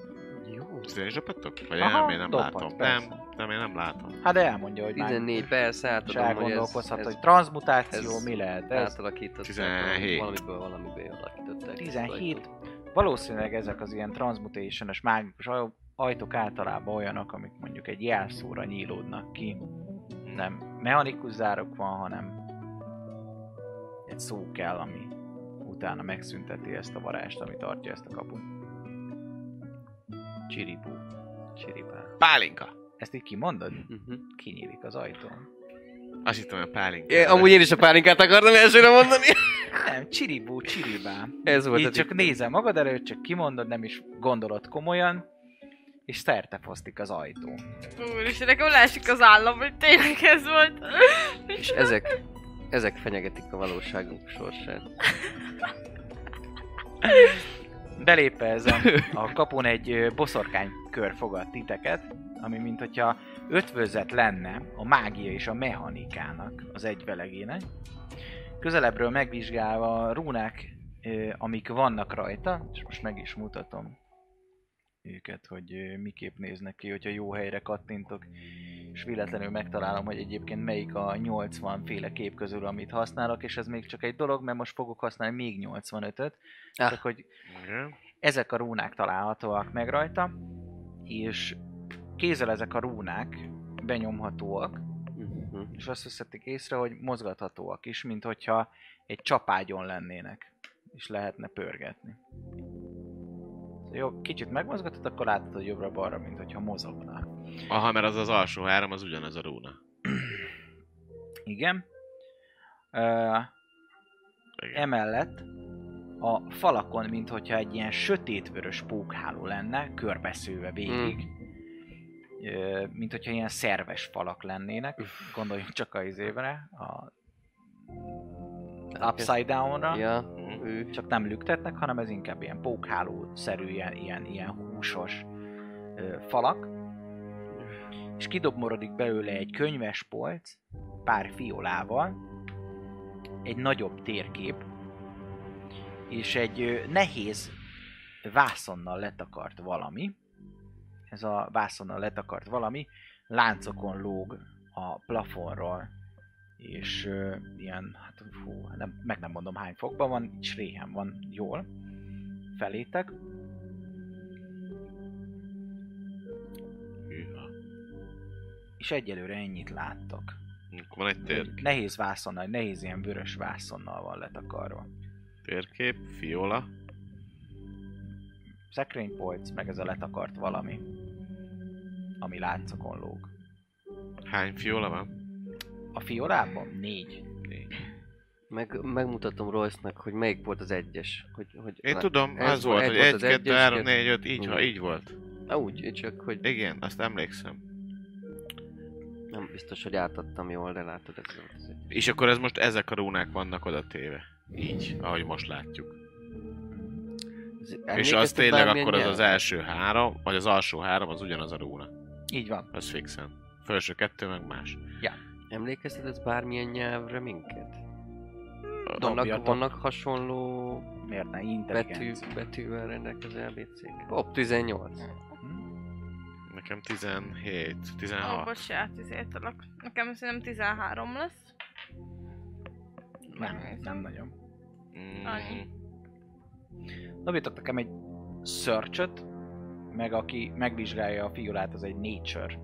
Jó. Szépen is dobhattok? Vagy Aha, nem, én nem dobhat, látom. persze. Nem, nem, én nem látom. Hát de elmondja, hogy 14 mágikus. És persze, átadom, hogy ez, elgondolkozhat, ez hogy transmutáció ez- mi lehet ez. átalakították, 17. valamiből valamiből alakították. 17. Valószínűleg ezek az ilyen transmutation-es mágikus aj- ajtók általában olyanok, amik mondjuk egy jelszóra nyílódnak ki. Nem mechanikus zárok van, hanem egy szó kell, ami utána megszünteti ezt a varást, ami tartja ezt a kaput. Csiribú. Csiribá. Pálinka! Ezt így kimondod? Uh-huh. Kinyílik az ajtón. Azt hittem, hogy a pálinka. É, amúgy én is a pálinkát akartam elsőre mondani. Nem, csiribú, csiribá. Ez volt Így a csak tipp. nézel magad előtt, csak kimondod, nem is gondolod komolyan, és szerte fosztik az ajtó. Úristen, nekem leesik az állam, hogy tényleg ez volt. És ezek, ezek fenyegetik a valóságunk sorsát. Belépve ezen a kapun egy ö, boszorkány kör fogad titeket, ami mint hogyha ötvözet lenne a mágia és a mechanikának az egyvelegének. Közelebbről megvizsgálva a rúnák, ö, amik vannak rajta, és most meg is mutatom őket, hogy ö, miképp néznek ki, hogyha jó helyre kattintok. és véletlenül megtalálom, hogy egyébként melyik a 80 féle kép közül, amit használok, és ez még csak egy dolog, mert most fogok használni még 85-öt, Ah. csak hogy Igen. ezek a rúnák találhatóak meg rajta, és kézzel ezek a rúnák benyomhatóak, Mhm. és azt veszették észre, hogy mozgathatóak is, mint hogyha egy csapágyon lennének, és lehetne pörgetni. Szóval Jó, kicsit megmozgatod, akkor látod, hogy jobbra-balra, mint hogyha mozogna. Aha, mert az az alsó három, az ugyanaz a rúna. Igen. Ö, Igen. emellett a falakon, mint hogyha egy ilyen sötétvörös pókháló lenne, körbeszőve végig. Ö, mint hogyha ilyen szerves falak lennének. Gondoljunk csak a izébre, a upside downra. Ja, Mhm. ő. csak nem lüktetnek, hanem ez inkább ilyen pókhálószerű, ilyen, ilyen, ilyen húsos ö, falak. És kidobmorodik belőle egy könyves polc, pár fiolával, egy nagyobb térkép, és egy ö, nehéz vászonnal letakart valami. Ez a vászonnal letakart valami láncokon lóg a plafonról, és ö, ilyen, hát fú, nem, meg nem mondom hány fokban van, így sréhen van jól felétek, Hűha. és egyelőre ennyit láttok. Akkor Van egy tér, Nehéz vászonnal, nehéz ilyen vörös vászonnal van letakarva. térkép, fiola. Szekrénypolc, meg ez a letakart valami, ami láncokon lóg. Hány fiola van? A fiolában négy. Négy. Meg, megmutatom Royce-nak, hogy melyik volt az egyes. Hogy, hogy Én na, tudom, ez az volt, hogy az 1, 2, egyes, 3, kettő- 4, 5, így, ha Mhm. így volt. Na, úgy, csak hogy Igen, azt emlékszem. nem biztos, hogy átadtam jól, de látod ez volt az egy. És akkor ez most ezek a rúnák vannak oda téve. Így, ahogy most látjuk. Ez- és emlékeztet az tényleg bármilyen akkor az az nyelvre? első három, vagy az alsó három az ugyanaz a rúna. Így van. Az fixen. Felső kettő meg más. e- Emlékeztet ez bármilyen nyelvre minket? Vannak, Dobjatok. vannak hasonló Miért ne? betű, Intelligenc. betűvel rendelkező ABC-k. Op 18. Hm? Nekem 17, Ó, 16. oh, bocsánat, izéltelek. Nekem szerintem 13 lesz. Nem, nem nagyon. Mm, Annyi. Dobjatok nekem egy search meg aki megvizsgálja a fiolát, az egy nature.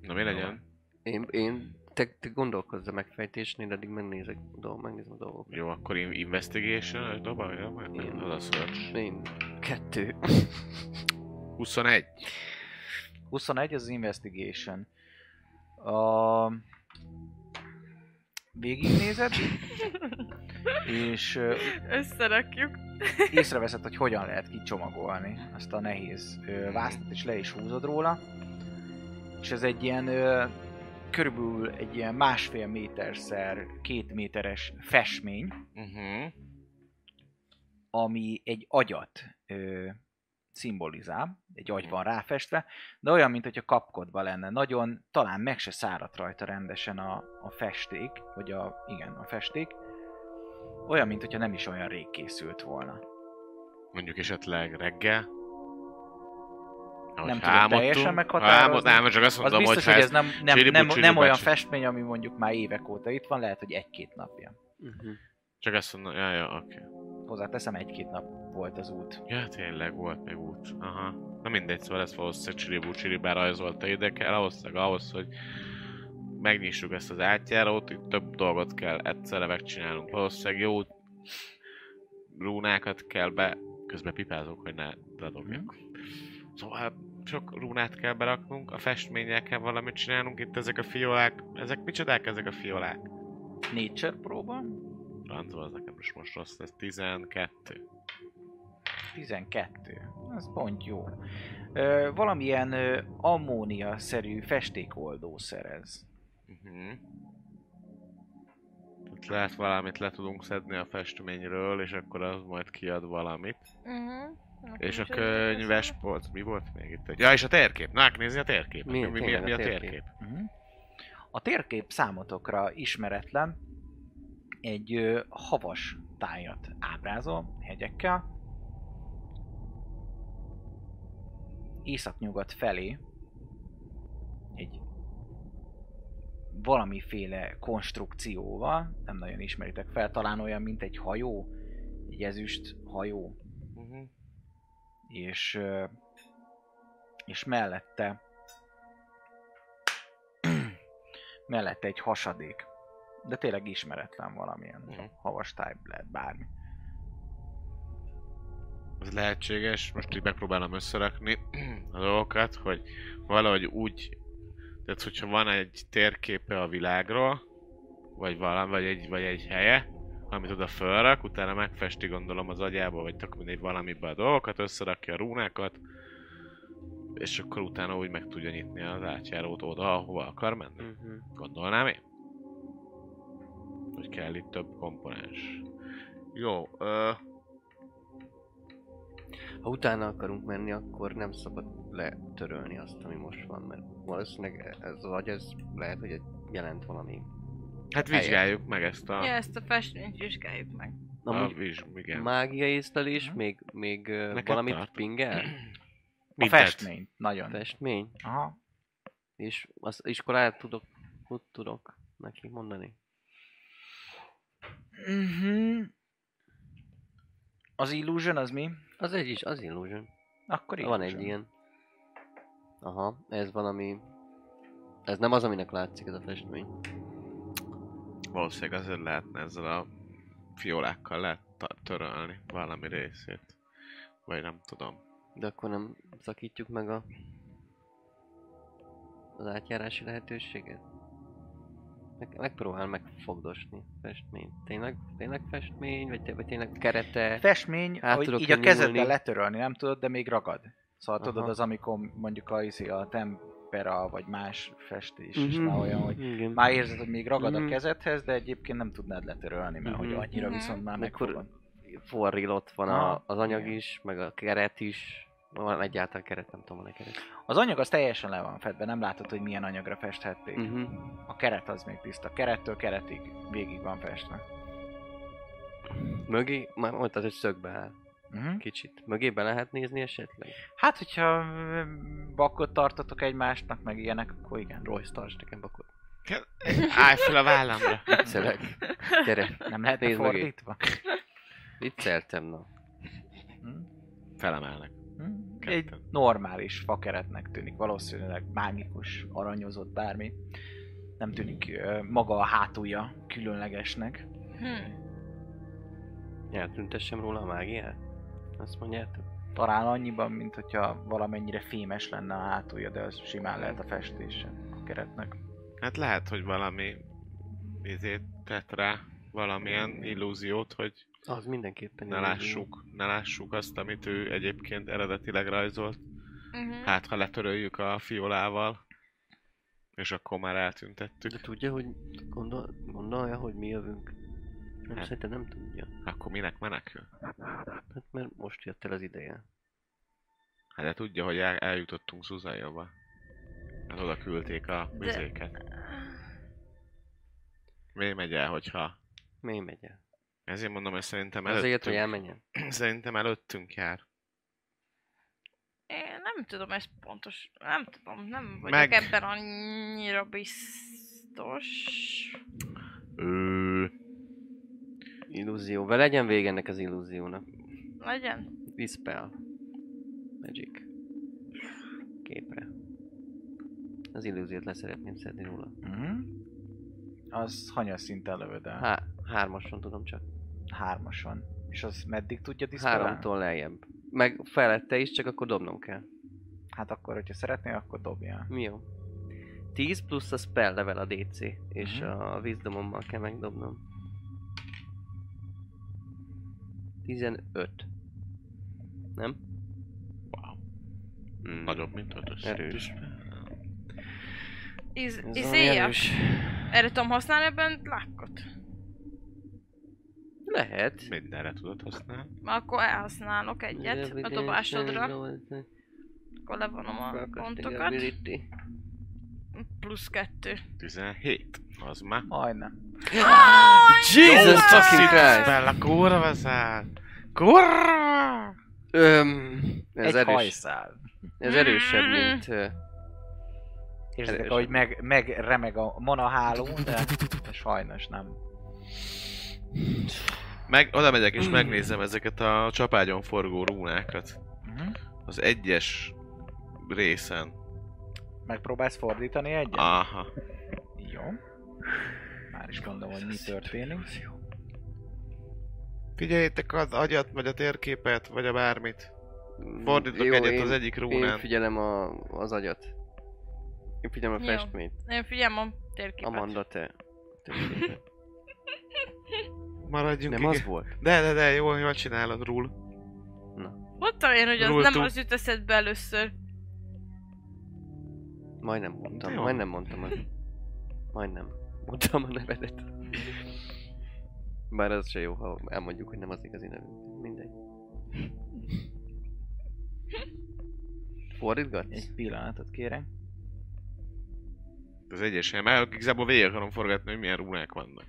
na mi legyen? Én, én te, te gondolkozz a megfejtésnél, addig megnézek, dolg, megnézem a dolgokat. Jó, akkor in- investigation dobálja már? Igen. Nem, az a search. Én kettő. 21. 21 az investigation. A... Végignézed, és ö, Összerakjuk. észreveszed, hogy hogyan lehet kicsomagolni azt a nehéz ö, vásztat, és le is húzod róla. És ez egy ilyen, ö, körülbelül egy ilyen másfél méterszer, két méteres festmény, Uh-huh. ami egy agyat ö, szimbolizál, egy agy van ráfestve, de olyan, mint hogyha kapkodva lenne. Nagyon, talán meg se száradt rajta rendesen a, a festék, vagy a, igen, a festék. Olyan, mint hogyha nem is olyan rég készült volna. Mondjuk esetleg reggel. Ahogy tudom ha álmodtunk- teljesen ha meghatározni. álmod, nem, csak azt Az mondom, biztos, hogy, hogy ez nem, nem, csiribú, nem, nem csiribú, olyan bácsi. festmény, ami mondjuk már évek óta itt van, lehet, hogy egy-két napja. Mhm, Uh-huh. Csak azt mondom, ja, ja, oké. Okay. Hozzáteszem, egy-két nap volt az út. Ja, tényleg volt még út. Aha. Na mindegy, szóval ez valószínűleg Csiribú Csiribá rajzolta ide kell, valószínűleg ahhoz, hogy megnyissuk ezt az átjárót, itt több dolgot kell egyszerre megcsinálnunk. Valószínűleg jó rúnákat kell be... Közben pipázok, hogy ne ledobjak. Szóval sok rúnát kell beraknunk, a festménnyel kell valamit csinálnunk, itt ezek a fiolák, ezek micsodák ezek a fiolák? Nature próba, Rancba, az nekem is most rossz lesz. 12. 12. Az pont jó. Ö, valamilyen ö, ammónia-szerű festékoldó szerez. Mhm. Uh-huh. Itt lehet valamit le tudunk szedni a festményről, és akkor az majd kiad valamit. Uh-huh. és a könyves polc, mi volt még itt? Egy... Ja, és a térkép. Na, nézni a térkép. Mi- Mi, mi, mi, tényleg mi a a térkép. térkép? Mhm. A térkép számotokra ismeretlen egy ö, havas tájat ábrázol hegyekkel. Északnyugat felé egy valamiféle konstrukcióval, nem nagyon ismeritek fel, talán olyan, mint egy hajó, egy ezüst hajó, Uh-huh. és, ö, és mellette mellette egy hasadék. De tényleg ismeretlen valamilyen Mhm. havas táj lehet bármi. Ez lehetséges, most így megpróbálom összerakni a dolgokat, hogy valahogy úgy, tehát hogyha van egy térképe a világról, vagy valami, vagy egy, vagy egy helye, amit oda fölrak, utána megfesti gondolom az agyába, vagy tök mindegy valamibe a dolgokat, összerakja a rúnákat, és akkor utána úgy meg tudja nyitni az átjárót oda, ahova akar menni. Uh-huh. Gondolnám én. Hogy kell itt több komponens. Jó, ö, Ha utána akarunk menni, akkor nem szabad letörölni azt, ami most van, mert valószínűleg ez az agy, ez lehet, hogy jelent valami. hát Helyet. vizsgáljuk meg ezt a... Ja, ezt a festményt vizsgáljuk meg. Amúgy Amúgy a, is, igen. mágia észlelés, még, még ö, Neked valamit tart? pingel, A Mindent. festmény, nagyon. festmény, Aha. és az iskolát tudok, hogy tudok neki mondani. Mhm. Az illusion az mi? Az egy is, az illusion. Akkor illusion. Van egy ilyen. Aha, ez valami... Ez nem az, aminek látszik ez a festmény. Valószínűleg azért lehetne ezzel a fiolákkal lehet ta- törölni valami részét. Vagy nem tudom. De akkor nem szakítjuk meg a... az átjárási lehetőséget? Meg, megpróbál megfogdosni festmény. Tényleg, tényleg festmény? Vagy, te- vagy tényleg kerete? festmény, Át hogy tudok így a én kezedben nyúlni. letörölni, nem tudod, de még ragad. Szóval Aha. tudod, az amikor mondjuk a, izé, a tempera, vagy más festés, mm-hmm. és Mhm, már olyan, hogy Igen. már érzed, hogy még ragad a Mhm. kezedhez, de egyébként nem tudnád letörölni, mert hogy Mhm. annyira Mhm. viszont már Akkor- megfogod. forril ott van a, Aha, az anyag igen. is, meg a keret is. Van egyáltalán keret, nem tudom, van-e keret. Az anyag az teljesen le van fedve, nem látod, hogy milyen anyagra festhették. Mm. Uh-huh. A keret az még tiszta. Kerettől keretig végig van festve. Mögé, már mondtad, hogy szögbe áll. Mm-hmm. Kicsit. Mögé be lehet nézni esetleg? Hát, hogyha ö, bakot tartotok egymásnak, meg ilyenek, akkor igen. Royce, tartsd nekem bakot. Állj fel a vállamra! Viccelek. Gyere. Nem lehet Nézd mögé. fordítva? Vicceltem, na. Mm. Felemelnek. Hmm, Egy Ketten. normális fakeretnek tűnik, valószínűleg mágikus, aranyozott bármi. Nem tűnik ö, maga a hátulja különlegesnek. Hm. Eltüntessem róla a mágiát? Azt mondjátok? Talán annyiban, mint hogyha valamennyire fémes lenne a hátulja, de az simán lehet a festése a keretnek. Hát lehet, hogy valami izét tett rá valamilyen illúziót, hogy Az mindenképpen ne illúzió. lássuk, ne lássuk azt, amit ő egyébként eredetileg rajzolt. Mhm. Hát, ha letöröljük a fiolával, és akkor már De eltüntettük, tudja, hogy gondol, gondolja, hogy mi jövünk? Nem, Hát. szerintem nem tudja. akkor minek menekül? Hát mert most jött el az ideje. Hát de tudja, hogy el, eljutottunk Suzanne-ba. Hát oda küldték a De- vizéket. Mi megy el, hogyha... Mi megy el? Ezért mondom, hogy szerintem előttünk, Azért, hogy elmenjen. szerintem előttünk jár. Én nem tudom, ez pontos. Nem tudom, nem vagyok Meg- ebben annyira biztos. Ő... Illúzió. Ve legyen vége ennek az illúziónak. Legyen. Dispel. Magic. Képre. Az illúziót leszeretném szedni róla. Mm-hmm. Az hanyas szinten lövöd el? Há, hármason tudom csak. Hármason. És az meddig tudja diszparálni? Háromtól lejjebb. Meg felette is, csak akkor dobnom kell. Hát akkor, hogyha szeretnél, akkor dobjál. Mi jó? 10 plusz a spell level a DC, és Mhm. a wisdomommal kell megdobnom. 15. Nem? Wow. Nagyobb, mint ötös. Erős. Iz, Ez valami izéja. erős. Erre tudom használni ebben lákkot. Lehet. Mindenre tudod használni. Már Akkor elhasználok egyet a dobásodra. Akkor levonom a pontokat. Plusz kettő. 17. Az már. Majdnem. Ah! Jesus fucking Christ! Bella, kurva szár! Kurva! Öm, ez Egy erős. hajszál. Mm. Ez erősebb, mint... ö, Érzitek, Erősen. ahogy meg, megremeg a monaháló, de, de sajnos nem. Meg, oda megyek és megnézem ezeket a csapágyon forgó rúnákat. Mhm. Az egyes részen. Megpróbálsz fordítani egyet? Aha. Jó. Már is gondolom, hogy mi történik. Figyeljétek az agyat, vagy a térképet, vagy a bármit. Mm, Fordítok jó, egyet én- az egyik Én rúnán. figyelem a, az agyat. Én figyelem a Jó. festményt. Én figyelem a térképet. Amanda, te. te figyelj. Maradjunk Nem az volt? De, de, de, jól, jól csinálod, rúl. Mondtam én, hogy az Rultuk. nem az jut eszedbe először. Majdnem mondtam, Jó. majdnem mondtam a... Majdnem. Mondtam a nevedet. Bár az se jó, ha elmondjuk, hogy nem az igazi nevünk. Mindegy. Fordítgatsz? Egy pillanatot kérek. Az egyesen, mert igazából végig akarom forgatni, hogy milyen rúnák vannak.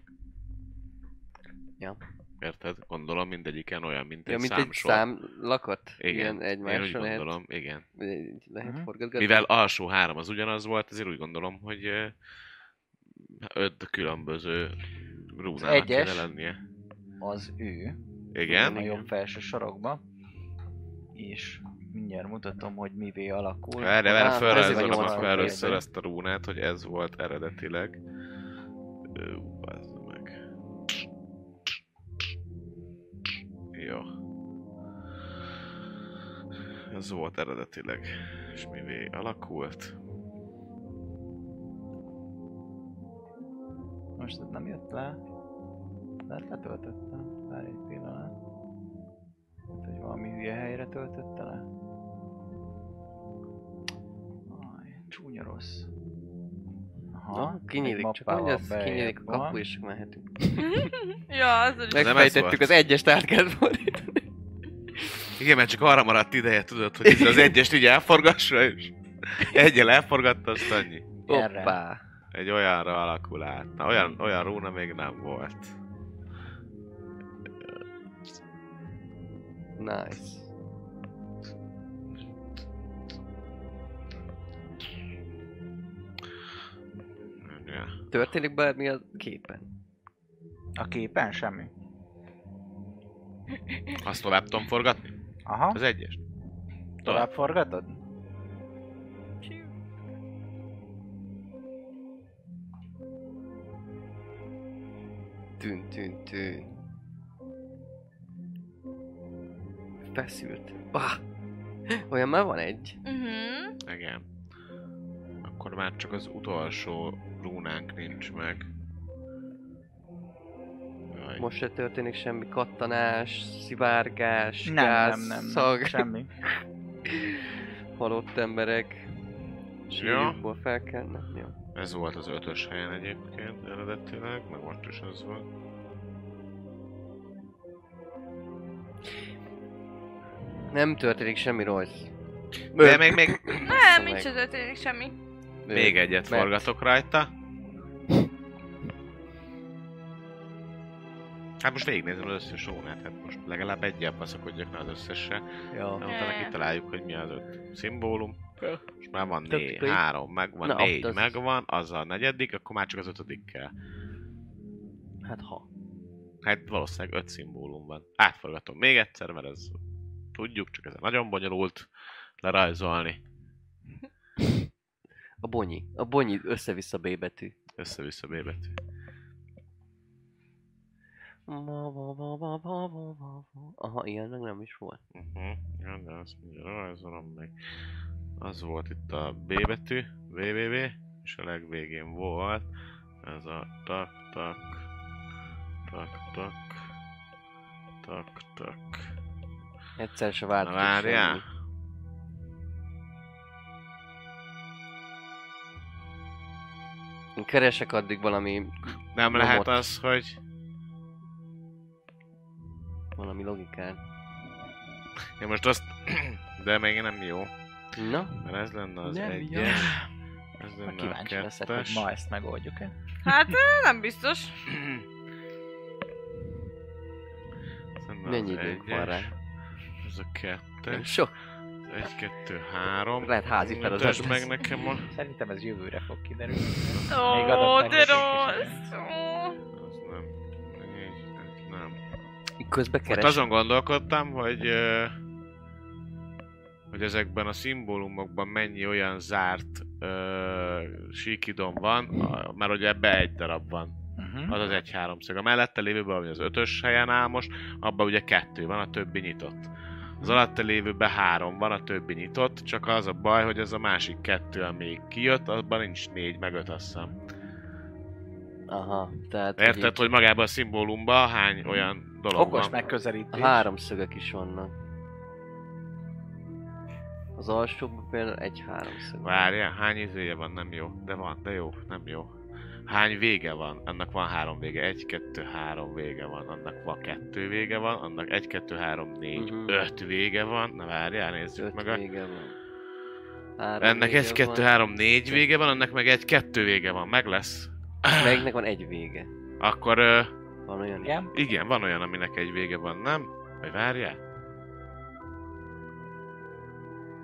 Ja. Érted? Gondolom mindegyiken olyan, mint Ja, egy mint egy számsor. számlakat? Igen, Ilyen Én úgy egymásra lehet, gondolom, igen. lehet Mhm. forgatgatni? Mivel alsó három az ugyanaz volt, ezért úgy gondolom, hogy ö, öt különböző rúnának egyes. kéne lennie. Az ő. a Igen? jobb felső sorokba. És mindjárt mutatom, hogy mivé alakul. Erre, Á, erre felrajzolom ezért akkor van először nyolcvan. ezt a rúnát, hogy ez volt eredetileg. Ö, bazd meg. Jó. Ez volt eredetileg. És mivé alakult. Most ez nem jött le. Lehet letöltöttem. Várj egy pillanat. Hát, hogy valami hülye helyre töltötte le. Aj, csúnya rossz. Aha, Na, kinyílik, egy csak mappával mondja, az bejebb kinyílik a van. kapu, és mehetünk. ja, az is. Meg- ez Megfejtettük volt? az egyes tárgyát fordítani. Igen, mert csak arra maradt ideje, tudod, hogy ez az egyest így elforgassa, és egyel elforgatta, azt annyi. Erre. Hoppá. Egy olyanra alakul át. Na, olyan, olyan rúna még nem volt. Nice. Ja. Történik bármi a képen? A képen semmi. Azt tovább tudom forgatni? Aha, Az egyest? tovább forgatod? Tűn, tűn, tűn. Feszült. Bah! Olyan már van egy. Mhm. Igen. Akkor már csak az utolsó rúnánk nincs meg. Jaj. Most se történik semmi kattanás, szivárgás, Nem, gáz, nem, nem, nem, szag, semmi. halott emberek. Ja. Sírjukból felkelnek. Jó. Ez volt az ötös helyen egyébként eredetileg, meg most is az van. Nem történik semmi rossz. De még, még, Nem, nincs az történik semmi. még egyet Mert- forgatok rajta. Hát most végignézem az összes rúnát, hát most legalább egyel baszakodjak már az összessel. Ja. De utána Ne. kitaláljuk, hogy mi az öt szimbólum. És már van Tök né- jó. három, megvan, Na, Na, négy, ott az- megvan, az a negyedik, akkor már csak az ötödik kell. Hát ha. Hát valószínűleg öt szimbólum van. Átforgatom még egyszer, mert ez tudjuk, csak ez nagyon bonyolult lerajzolni. A bonyi. A bonyi össze-vissza B betű. Össze-vissza B betű. Aha, ilyen meg nem is volt. Uh-huh. Ja, de azt mondja, rajzolom meg. Az volt itt a B betű, BBB, és a legvégén volt ez a tak, tak, tak, tak, tak, tak. Egyszer se Na váltott várjál! semmi. Én keresek addig valami, Nem Robot. lehet az, hogy... valami logikát. Ja, most azt... De még nem jó. Na, Mert ez lenne az Nem jó. egyes. Ez Na, lenne a kíváncsi leszek, hogy kettes. ma ezt megoldjuk-e. Hát ö, nem biztos. Ez lenne Mennyi az időnk van rá? egyes. Ez a kettes. sok. Ez Egy, kettő, három. Lehet házi feladat Mutasd lesz. meg nekem a... Szerintem ez jövőre fog kiderülni. Még adott Ó, neki de is. rossz! Ó. Az nem. Négy, öt, Nem. Közben Most keres. azon gondolkodtam, hogy... ö, hogy ezekben a szimbólumokban mennyi olyan zárt ö, síkidon van, a- mert ugye ebbe egy darab van. Hm? Uh-huh. Az az egy háromszög. A mellette lévőben, ami az ötös helyen áll most, abban ugye kettő van, a többi nyitott. Az alatta lévőben három van, a többi nyitott, csak az a baj, hogy ez a másik kettő, ami kijött, abban nincs négy, meg öt, azt hiszem. Aha, tehát... Érted, így hogy magában a szimbólumban hány olyan dolog Okos van? megközelítés. A háromszögek is vannak. Az alsóban például egy háromszög. Várjál, hány izéje van, nem jó. De van, de jó, nem jó. Hány vége van? Annak van három vége. Egy, kettő, három vége van. Annak van kettő vége van. Annak egy, kettő, három, négy, Mhm. öt vége van. Na várjál, nézzük Öt meg a... vége van. Hát Három Ennek vége egy, kettő, van. három, négy vége van, annak meg egy, kettő vége van. Meg lesz. Melyiknek van egy vége. Akkor ö, Van olyan is. Igen? igen, van olyan, aminek egy vége van, nem? Vagy várjál?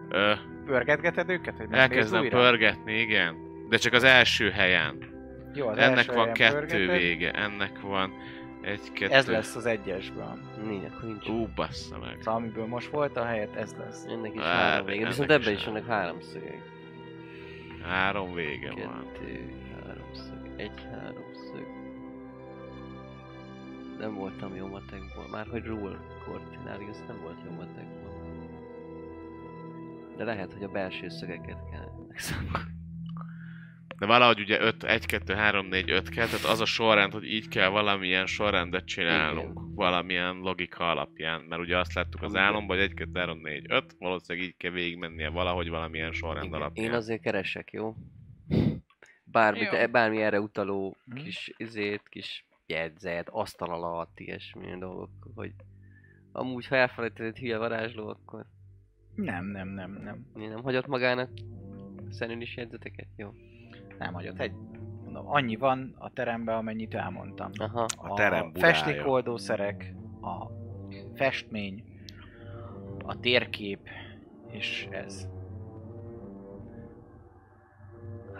Ö, Pörgetgeted őket? Hogy megnézd Elkezdem újra? pörgetni, igen. De csak az első helyen. Jó, az ennek első van helyen kettő pörgeted. vége, ennek van egy, kettő... Ez lesz az egyesben. Négy, akkor nincs. Ú, bassza meg. Szóval amiből most volt a helyet, ez lesz. Ennek is Várj, három vége. Viszont ennek is ebben is három. vannak háromszögek. Három vége van. Kettő, háromszög, egy háromszög. Nem voltam jó matekból. Már hogy rule kortinárius nem volt jó matekból. De lehet, hogy a belső szögeket kell megszámolni. De valahogy ugye 5, 1, 2, 3, 4, 5 kell, tehát az a sorrend, hogy így kell valamilyen sorrendet csinálnunk. Valamilyen logika alapján, mert ugye azt láttuk az Igen. álomban, hogy 1, 2, 3, 4, 5, valószínűleg így kell végigmennie valahogy valamilyen sorrend Igen, alapján. Én azért keresek, jó? Bármit, Jó. e- bármi erre utaló Hm? Mhm. kis izét, kis jegyzet, asztal alatt, ilyesmi dolgok, hogy amúgy, ha elfelejtett egy hülye varázsló, akkor Nem, nem, nem, nem. mi nem hagyott magának szenül is jegyzeteket? Jó. Nem hagyott. Egy, mondom, annyi van a teremben, amennyit elmondtam. Aha. A terem burája. festékoldószerek, a festmény, a térkép, és ez.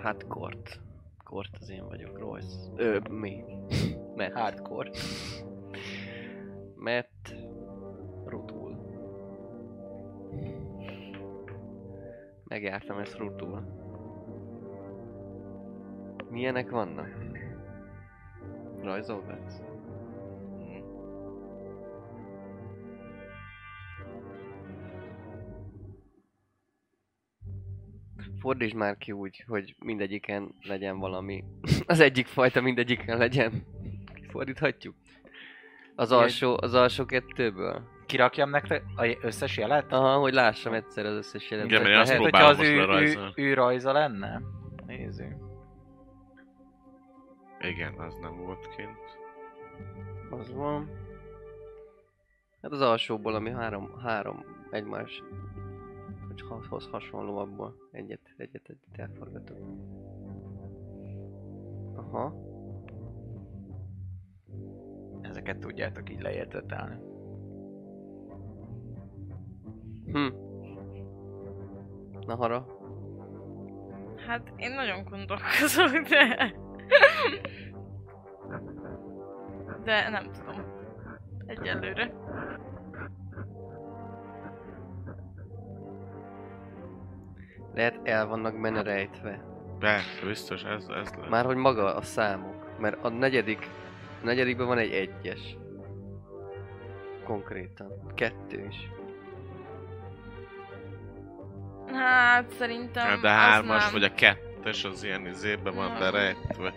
Hát Kort. Kort az én vagyok, Royce. Ö, mi? Matt. Hardcore. Matt. Rutul. Megjártam ezt Rutul. Milyenek vannak? Rajzolgatsz? Hm. Fordítsd már ki úgy, hogy mindegyiken legyen valami. Az egyik fajta mindegyiken legyen. Fordíthatjuk. Az Ilyen- alsó, az alsó kettőből. Kirakjam nektek az összes jelet? Aha, hogy lássam egyszer az összes jelentet. Igen, mert én azt Hát, Lehet, hogyha próbálom az most ő, ő, lerajzolni. ő rajza lenne? Nézzük. Igen, az nem volt kint. az van. Hát az alsóból, ami három, három egymás hogy ha- hoz hasonló abból. Egyet, egyet, egyet elforgatok. Aha. Ezeket tudjátok így leértetelni. Hm. Na hara. Hát én nagyon gondolkozok, de... De nem tudom. Egyelőre. Lehet el vannak benne rejtve. Persze, biztos ez, ez lesz. Már hogy maga a számok. Mert a negyedik, a negyedikben van egy egyes. Konkrétan. Kettő is. Hát szerintem Ja, de az hármas nem. vagy a kettes az ilyen izébe van Nem. berejtve,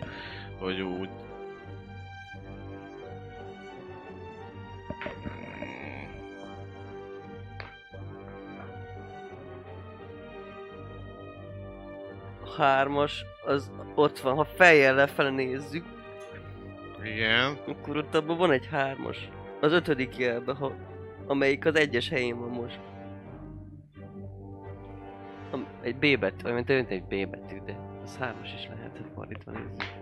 hogy úgy... A hármas, az ott van, ha fejjel lefele nézzük, Igen. akkor ott abban van egy hármas. Az ötödik jelben, ha, amelyik az egyes helyén van most. Am- Egy B betű, vagy mint egy B betű, de az hármas is lehet, hogy fordítva nézzük.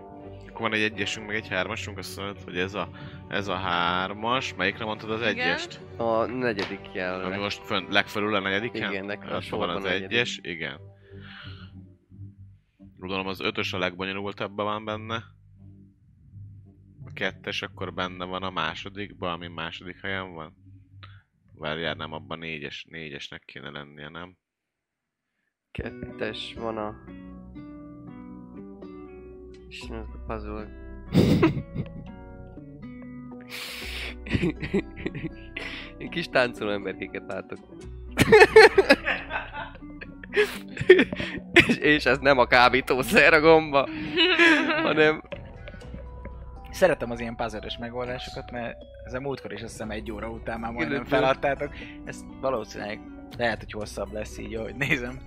akkor van egy egyesünk, meg egy hármasunk, azt mondod, hogy ez a, ez a hármas, melyikre mondtad az Igen. egyest? A negyedik Ami jelölet. most fönn, legfelül a negyediken? Igen, legfelül Akkor sorban van az a negyedik. egyes, igen. Gondolom az ötös a legbonyolultabban van benne. A kettes akkor benne van a másodikban, ami második helyen van. Várjál, nem abban négyes, négyesnek kéne lennie, nem? Kettes van a... Istenem, ez a puzzle. Én kis táncoló emberkéket látok. és, és ez nem a kábítószer a gomba, hanem... Szeretem az ilyen puzzle megoldásokat, mert ez a múltkor is azt hiszem egy óra után már majdnem Időtől. feladtátok. Ez valószínűleg lehet, hogy hosszabb lesz így, ahogy nézem.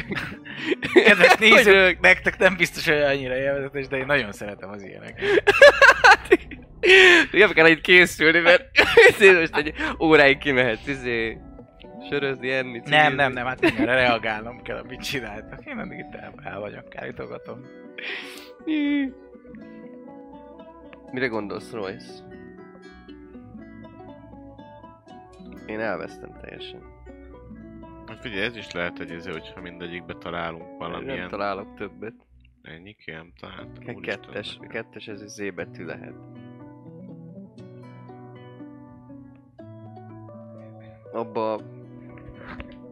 Kedves nézők, nektek nem biztos, hogy annyira élvezetes, de én nagyon szeretem az ilyeneket. Nem kell itt készülni, mert ezért most egy óráig kimehetsz, izé... Sörözni, enni, Nem, cigizni. nem, nem, hát mindenre reagálnom kell, amit csináltak. Én mindig itt el, el vagyok, kárítogatom. Mire gondolsz, Royce? Én elvesztem teljesen. Hát figyelj, ez is lehet egy ezért, hogyha mindegyikbe találunk valamilyen... Nem találok többet. Ennyi ki nem találtam. Ke- úristen, Kettes, nekem. kettes ez egy Z betű lehet. Abba a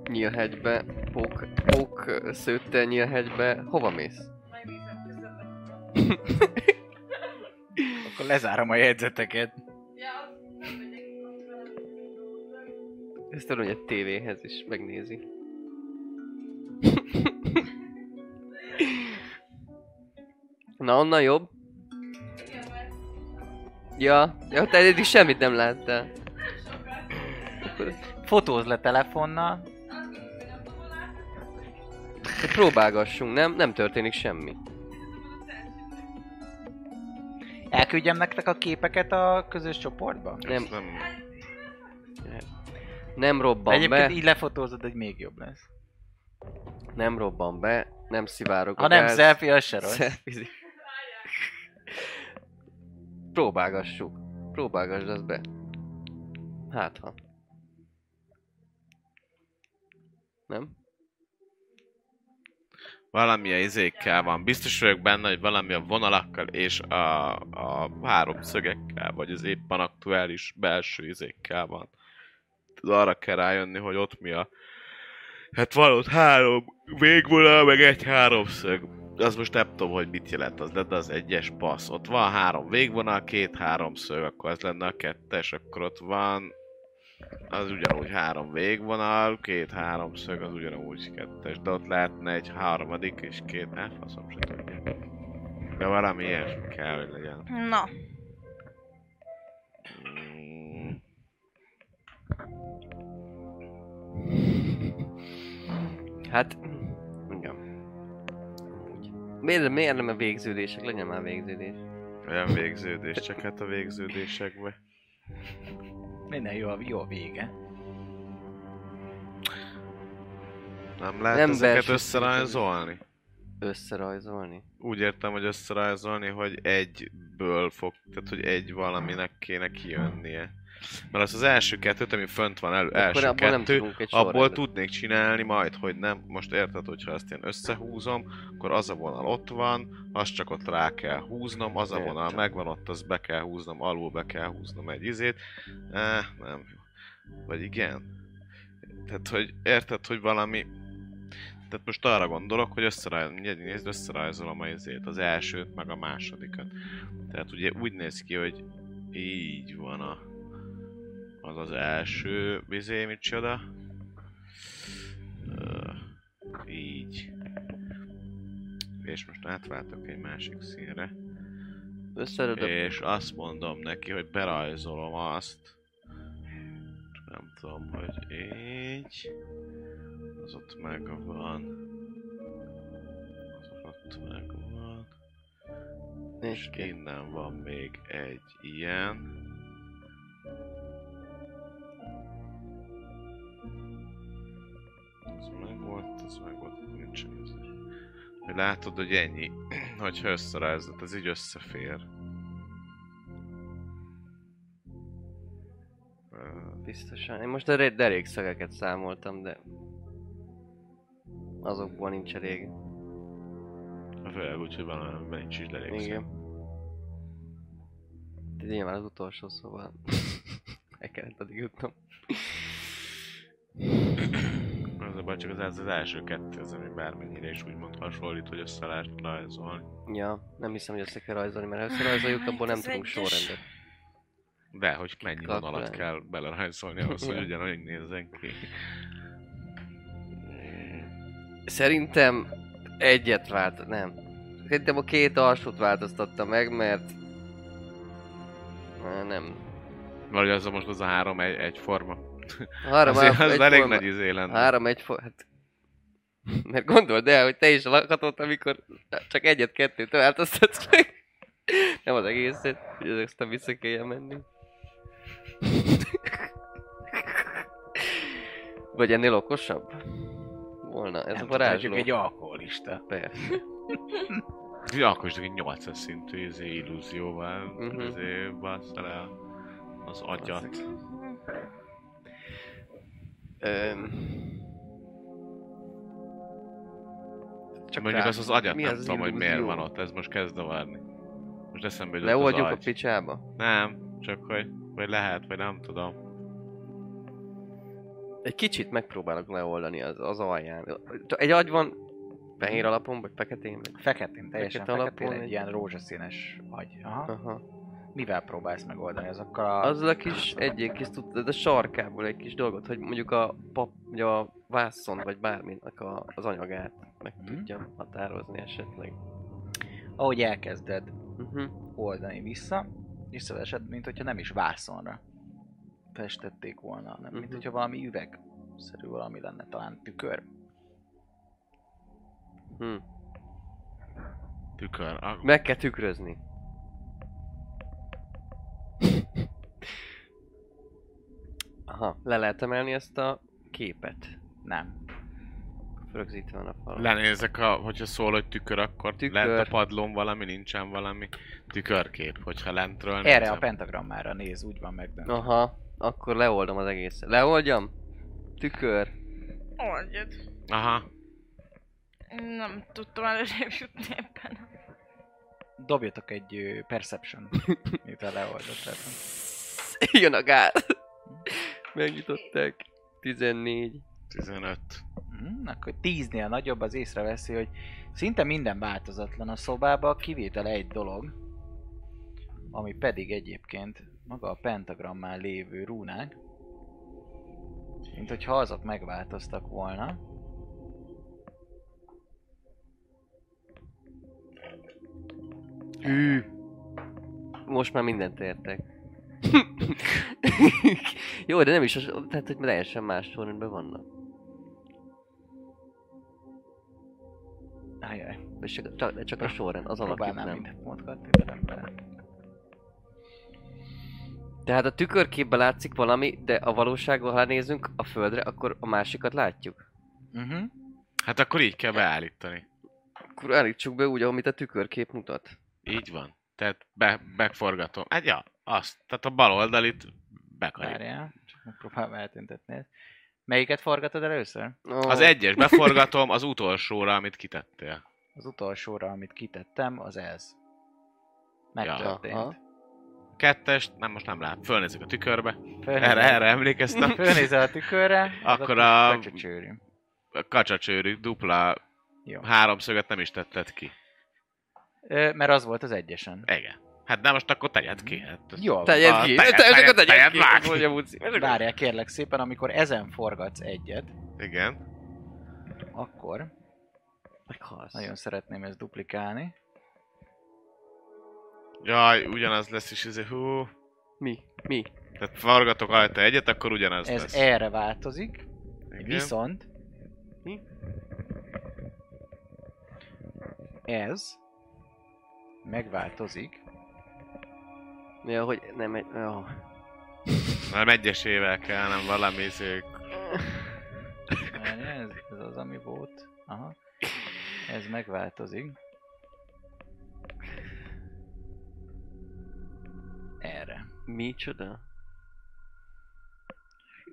nyílhegybe, pók, pók szőtte nyílhegybe, hova mész? Megnézem közben. Akkor lezárom a jegyzeteket. Ja, az nem megyek. ott van. Ezt tudom, hogy egy tévéhez is megnézi. Na, onnan jobb? Ja, ja, te eddig semmit nem láttál. Akkor Fotóz le telefonnal. Hát próbálgassunk, nem? Nem történik semmi. Elküldjem nektek a képeket a közös csoportba? Ezt nem... Nem robban Egyébként be, így lefotózod, hogy még jobb lesz. nem robban be, nem szivárog Ha nem selfie, az se rossz. selfie. Próbálgassuk. Próbálgassd azt be. Hát ha. Nem? Valami a izékkel van. Biztos vagyok benne, hogy valami a vonalakkal és a, a háromszögekkel, vagy az éppen aktuális belső izékkel van. Tehát Arra kell rájönni, hogy ott mi a... Hát van ott három végvonal, meg egy háromszög. Az most nem tudom, hogy mit jelent az, de de az egyes passz. Ott van három végvonal, két háromszög, akkor az lenne a kettes, akkor ott van az ugyanúgy három végvonal, két háromszög, az ugyanúgy kettes, de ott lehetne egy harmadik és két, hát faszom se tudja. De valami ilyesmi kell, hogy legyen. Na, Mm. Hát... Igen. Úgy. Miért, miért nem a végződések? Legyen már végződés. Olyan végződés, csak hát a végződésekbe. Minden jó, a- jó a vége. Nem Nem lehet nem ezeket belső összerajzolni? Összerajzolni? Úgy értem, hogy összerajzolni, hogy egyből fog, tehát hogy egy valaminek kéne kijönnie. Mert az az első kettőt, ami fönt van elő, Akkor első abból nem kettő, tudunk egy Abból sorrendet. tudnék csinálni majd, hogy nem. Most érted, hogyha ezt én összehúzom, akkor az a vonal ott van, azt csak ott rá kell húznom, az a Értem. vonal megvan, ott azt be kell húznom, alul be kell húznom egy izét. Eh, nem. Vagy igen. Tehát, hogy érted, hogy valami... Tehát most arra gondolok, hogy összerajzolom, nézd, összerajzolom a izét, az elsőt, meg a másodikat. Tehát ugye úgy néz ki, hogy így van a... Az az első, bizé, micsoda. Ö, így. És most átváltok egy másik színre. Összeredöbb És azt mondom neki, hogy berajzolom azt. Csak Nem tudom, hogy így. Az ott megvan. Az ott megvan. És Nézd ki. innen van még egy ilyen. Ez meg volt, ez meg volt, nincsen ez. Hogy látod, hogy ennyi, hogyha összerázod, az így összefér. Ö, Biztosan. Én most a re- derékszögeket számoltam, de... Azokból nincs elég. Főleg úgy, hogy valamiben nincs is derékszög. Igen. De nyilván az utolsó, szóval... El kellett addig jutnom. Az a baj, csak az, az, az első kettő, az ami bármennyire is úgymond hasonlít, hogy össze lehet rajzolni. Ja, nem hiszem, hogy össze kell rajzolni, mert ha összerajzoljuk, abból nem Ez tudunk egyes. sorrendet. De, hogy mennyi Kalkulálni. vonalat kell belerajzolni ahhoz, hogy ugyanúgy nézzen ki. Szerintem egyet vált, nem. Szerintem a két alsót változtatta meg, mert... Á, Nem. Valahogy az a most az a három egy, egyforma. Három Azért alsó, az egy elég forma- nagy izé lenne. Három egy for... Hát... Mert gondold el, hogy te is lakhatod, amikor csak egyet-kettőt változtatsz meg. Nem az egészet, hogy ezek aztán vissza kelljen menni. Vagy ennél okosabb? Volna, ez nem a tud, varázsló. mondjuk egy alkoholista. Persze. Ja, akkor is csak egy 800 szintű izé illúzióval Mhm. uh-huh. izé bassza le az agyat. Basszik. Öm... Csak Mondjuk az az agyat mi nem az az tudom, hogy miért illúzió? van ott, ez most kezd zavarni. Most eszembe jutott Leoldjuk az a agy. picsába. Nem, csak hogy, vagy lehet, vagy nem tudom. Egy kicsit megpróbálok leoldani az, az alján. Egy agy van fehér alapon, vagy feketén, vagy... Feketén, teljesen Fekete fekete alapon feketén, egy- egy ilyen rózsaszínes agy. Aha. Aha. Mivel próbálsz megoldani azokkal a... Hát, Azzal a kis egyik kis tud, de sarkából egy kis dolgot, hogy mondjuk a pap, vagy a vászon, vagy bárminek a, az anyagát meg Mhm. tudjam határozni esetleg. Ahogy elkezded Uh-huh. oldani vissza, visszavezet, mint hogyha nem is vászonra festették volna, hanem mint Mhm. hogyha valami üveg szerű valami lenne, talán tükör. Hm. Tükör. Ak- Meg kell tükrözni. Aha, le lehet emelni ezt a képet. Nem. Rögzítve van a falon. Lenézek, a, hogyha szól, hogy tükör, akkor Tükör. tükör. lent a padlón valami, nincsen valami tükörkép, hogyha lentről Erre a nézem. pentagrammára néz, úgy van meg. Aha, akkor leoldom az egészet. Leoldjam? Tükör. Oldjad. Aha, Nem tudtam előrébb jutni ebben. Dobjatok egy ö, perception, miután leoldottátok. Jön a gáz. Megnyitották. 14. 15. Mhm, Akkor tíznél nagyobb az észreveszi, hogy szinte minden változatlan a szobában, kivétel egy dolog, ami pedig egyébként maga a pentagrammán lévő rúnák, mint hogyha azok megváltoztak volna. Hű. Most már mindent értek. Jó, de nem is, az- tehát hogy teljesen más sorrendben vannak. Ajaj, És csak, csak, csak a sorrend, az alakjuk próbálnám nem. mindent mozgatni, de nem bele. Tehát a tükörképben látszik valami, de a valóságban, ha nézünk a földre, akkor a másikat látjuk. Uh-huh. Hát akkor így kell beállítani. Akkor állítsuk be úgy, amit a tükörkép mutat. Így van. Tehát be, megforgatom. Hát ja, azt. Tehát a bal oldalit bekarít. Várjál, csak megpróbálom eltüntetni ezt. Melyiket forgatod először? Oh, Az egyes beforgatom az utolsóra, amit kitettél. Az utolsóra, amit kitettem, az ez. Megtörtént. aha. Kettes, nem, most nem lát. Fölnézek a tükörbe. Fölnézel- Erre, erre emlékeztem. Fölnézel a tükörre, az Akkor a... a- kis pöcsöcsőrű. A kacsacsőrű dupla Jó. háromszöget nem is tetted ki. Ö, Mert az volt az egyesen. Igen. Hát de most akkor tegyed ki. Hát, Jó. Tegyed Ah, ki! tegyed, Tegyed, tegyed, tegyed tegyed, ki! vágj! Mondja Buci. Várjál kérlek szépen, amikor ezen forgatsz egyet, Igen. akkor Meghalsz. nagyon szeretném ezt duplikálni. Jaj, ugyanaz lesz is, izé, hú. Mi? Mi? Tehát forgatok rajta egyet, akkor ugyanaz Ez lesz. erre változik, Igen. viszont... Mi? Ez megváltozik. Ja, hogy nem egy... Oh. Nem egyesével kell, nem valami izé, Várjál, Ez, ez az, ami volt. Aha. Ez megváltozik. Erre. Micsoda?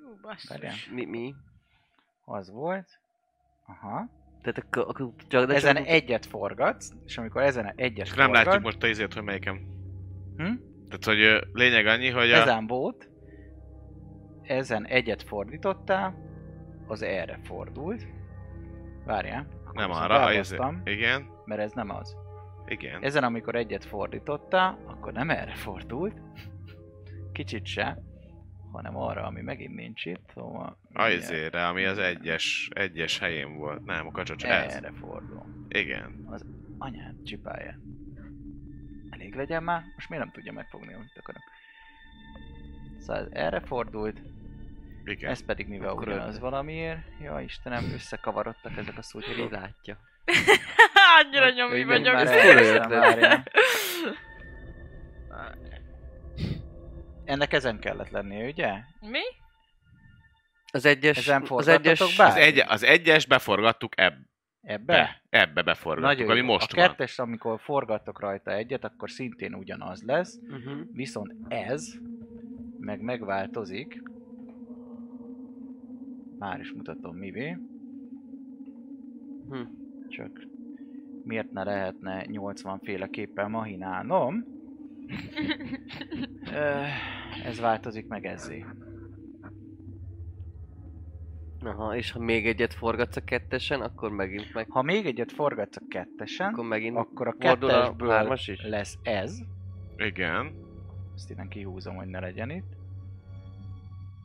Hú, basszus. Várjál. Mi, mi? Az volt. Aha. Tehát akkor, akkor csak... Ezen csak, egyet forgatsz, és amikor ezen egyet És nem forgatsz... látjuk most a izét, hogy melyikem. Hm? Tehát, hogy ö, lényeg annyi, hogy a... Ezen volt, ezen egyet fordítottál, az erre fordult. Várjál. akkor Nem viszont arra, a izé. elbasztam, Igen, Mert ez nem az. igen. Ezen, amikor egyet fordítottál, akkor nem erre fordult. Kicsit se. Hanem arra, ami megint nincs itt. Szóval... A mindjárt izére, ami az egyes, egyes helyén volt. Nem, a kacsacs, ez. Erre fordul. Igen. Anyád csipája. Elég legyen már, most miért nem tudja megfogni, amit akarok. Szóval ez erre fordult, Igen. ez pedig mivel Akkor ugyanaz ördög. valamiért. Ja Istenem, összekavarodtak ezek a Ki szútyogok. látja? Hát, Annyira nyomi Üljön vagyok. már ez el, kurva Isten ötlet. várja. Ennek ezen kellett lennie, ugye? Mi? Az egyes... Ezen az forgattatok egyes... bár? Az, egy, az egyes beforgattuk ebbe. Ebbe? Ebbe beforgattuk, Nagyon ami jó. most a van. kettes, amikor forgattok rajta egyet, akkor szintén ugyanaz lesz. Uh-huh. Viszont ez meg megváltozik. Már is mutatom mivé. Hm. Csak miért ne lehetne 80 féleképpen mahinálnom? Ö, ez változik meg ezzé. Aha, és ha még egyet forgatsz a kettesen, akkor megint meg... Ha még egyet forgatsz a kettesen, Akkor megint... akkor a fordul a kettesből hármas is? lesz ez. Igen. Ezt innen kihúzom, hogy ne legyen itt.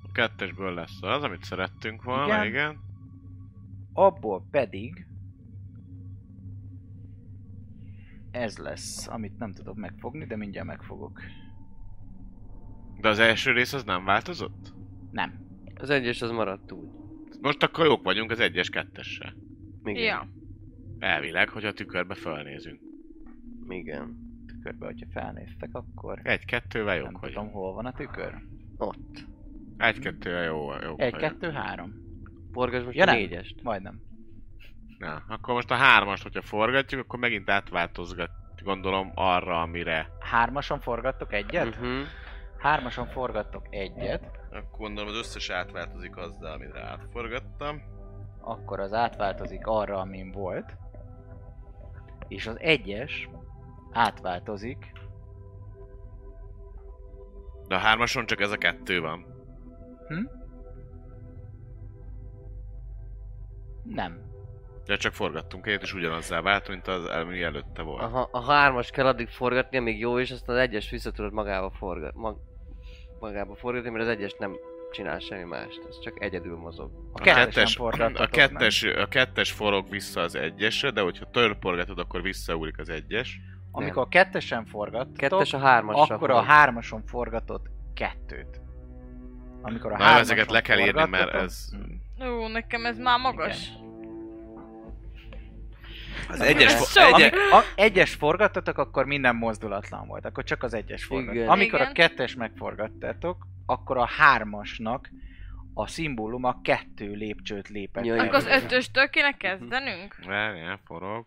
A kettesből lesz az, amit szerettünk volna, Igen. igen. igen. abból pedig ez lesz, amit nem tudok megfogni, de mindjárt megfogok. De az első rész az nem változott? Nem. Az egyes az maradt úgy. Most akkor jók vagyunk az egyes kettessel. Igen. Ja. Elvileg, hogy a tükörbe fölnézünk. Igen. Tükörbe, hogyha felnéztek, akkor Egy-kettővel nem jók tudom, vagyunk. hol van a tükör. Ott. Egy-kettővel jó, jók Egy, vagyunk. kettő, három. Forgass most Ja, ja, a nem. négyest. Majdnem. Na, akkor most a hármast, hogyha forgatjuk, akkor megint átváltozgat, gondolom arra, amire. Hármason forgattok egyet? Mhm. Uh-huh. Hármason forgattok egyet, Akkor gondolom az összes átváltozik azzal, amire átforgattam. akkor az átváltozik arra, amin volt. És az egyes átváltozik De a hármason csak ez a kettő van. nem. De csak forgattunk egyet, és ugyanazzá vált, mint az ami előtte volt. Aha, a hármas kell addig forgatni, amíg jó, és aztán az egyes vissza tudod magába, forgat, mag, magába forgatni, mert az egyes nem csinál semmi mást, ez csak egyedül mozog. A, A kettesen kettes, a, forgattatok, kettes, a kettes forog vissza az egyesre, de hogyha törporgatod, akkor visszaúlik az egyes. nem. Amikor a kettesen forgattatok, Kettes a hármassal. akkor a hármason forgatott kettőt. Amikor a Na, hármason ezeket le kell írni, mert forgattatok- ez- Mm. Ó, nekem ez már magas. Az egyes egyes, fo- sok. Ami, a, egyes forgattatok, akkor minden mozdulatlan volt, akkor csak az egyes forgat. Igen. Amikor a Igen. kettes megforgattátok, akkor a hármasnak a szimbóluma kettő lépcsőt lépett. Ja, el. Akkor az ötöstől kéne kezdenünk? Várjál, forog.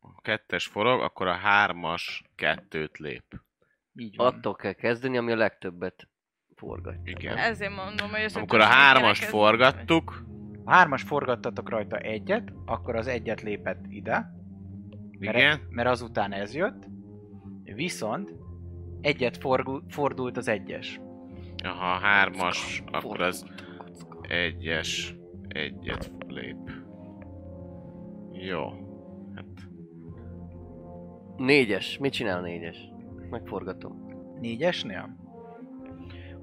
A kettes forog, akkor a hármas kettőt lép. Így van. Attól kell kezdeni, ami a legtöbbet forgat. Igen. Ezért mondom, hogy az Amikor a ötöstől kéne hármast kezdeni. forgattuk, A hármas forgattatok rajta egyet, akkor az egyet lépett ide, igen, mert azután ez jött, viszont egyet forgu, fordult az egyes. ha a hármas, akkor az egyes, egyet lép. Jó. Hát, Négyes. Mit csinál a négyes? Megforgatom. Négyesnél?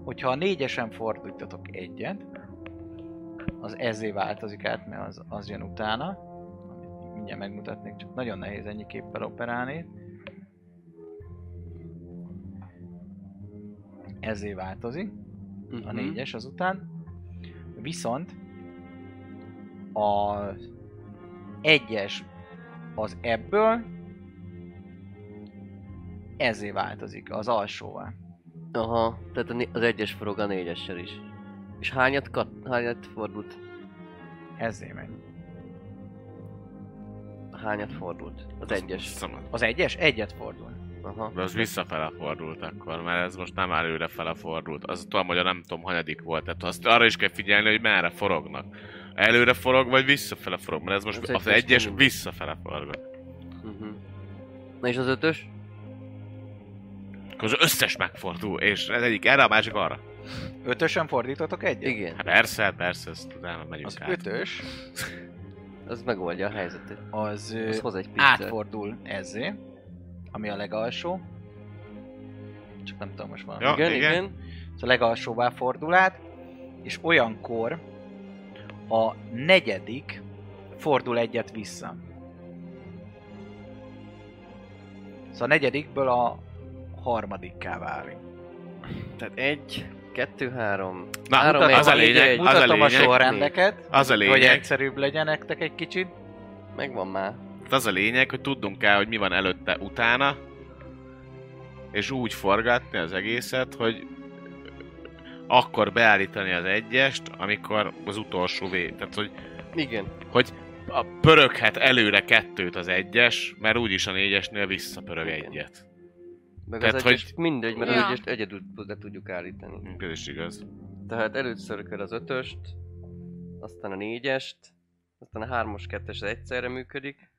Hogyha a négyesen fordítatok egyet, az ezé változik át, mert az, az jön utána. Amit Mindjárt megmutatnék, csak nagyon nehéz ennyi képpel operálni. Ezé változik a Mhm. négyes azután. Viszont az egyes az ebből ezé változik, az alsóvá. Aha, tehát a né- az egyes forog a négyessel is. És hányat, kat- hányat fordult? Ezé megy. Hányat fordult? Az egyes. Szamat. Az egyes? Egyet fordul. Aha. De az visszafele fordult akkor, mert ez most nem előrefele fordult. Az tudom, hogy a nem tudom hanyadik volt, tehát azt arra is kell figyelni, hogy merre forognak. Előre forog, vagy visszafele forog, mert ez most Ez az, egy az kis egyes minimum. visszafele forog. Uh-huh. Na és az ötös? Akkor az összes megfordul, és az egyik erre, a másik arra. Ötösen fordítotok egyet? Igen. Hát persze, persze, ezt tudom, megyünk Az át. ötös, Az megoldja a helyzetet. az, ö, Az hoz egy pizzát. átfordul ezzé, ami a legalsó. Csak nem tudom most már. Ja. Igen, igen. igen. Ez a legalsóvá fordul át, és olyankor a negyedik fordul egyet vissza. Szóval a negyedikből a harmadikká válik. Tehát egy, kettő, három. Na, Három mutat, az a egy. lényeg, az a Mutatom a lényeg, sorrendeket, az a hogy lényeg, egyszerűbb legyen nektek egy kicsit. Megvan már. Hát az a lényeg, hogy tudnunk kell, hogy mi van előtte, utána, és úgy forgatni az egészet, hogy akkor beállítani az egyest, amikor az utolsó vé... Tehát, hogy Igen. a pöröghet előre kettőt az egyes, mert úgyis a négyesnél visszapörög Igen. egyet. Meg Tehát, az hogy- Hm. egyes mindegy, mert az Ja. egyest egyedül le tudjuk állítani. Ez is igaz. Tehát először kell az ötöst, aztán a négyest, aztán a hármas, kettes az egyszerre működik.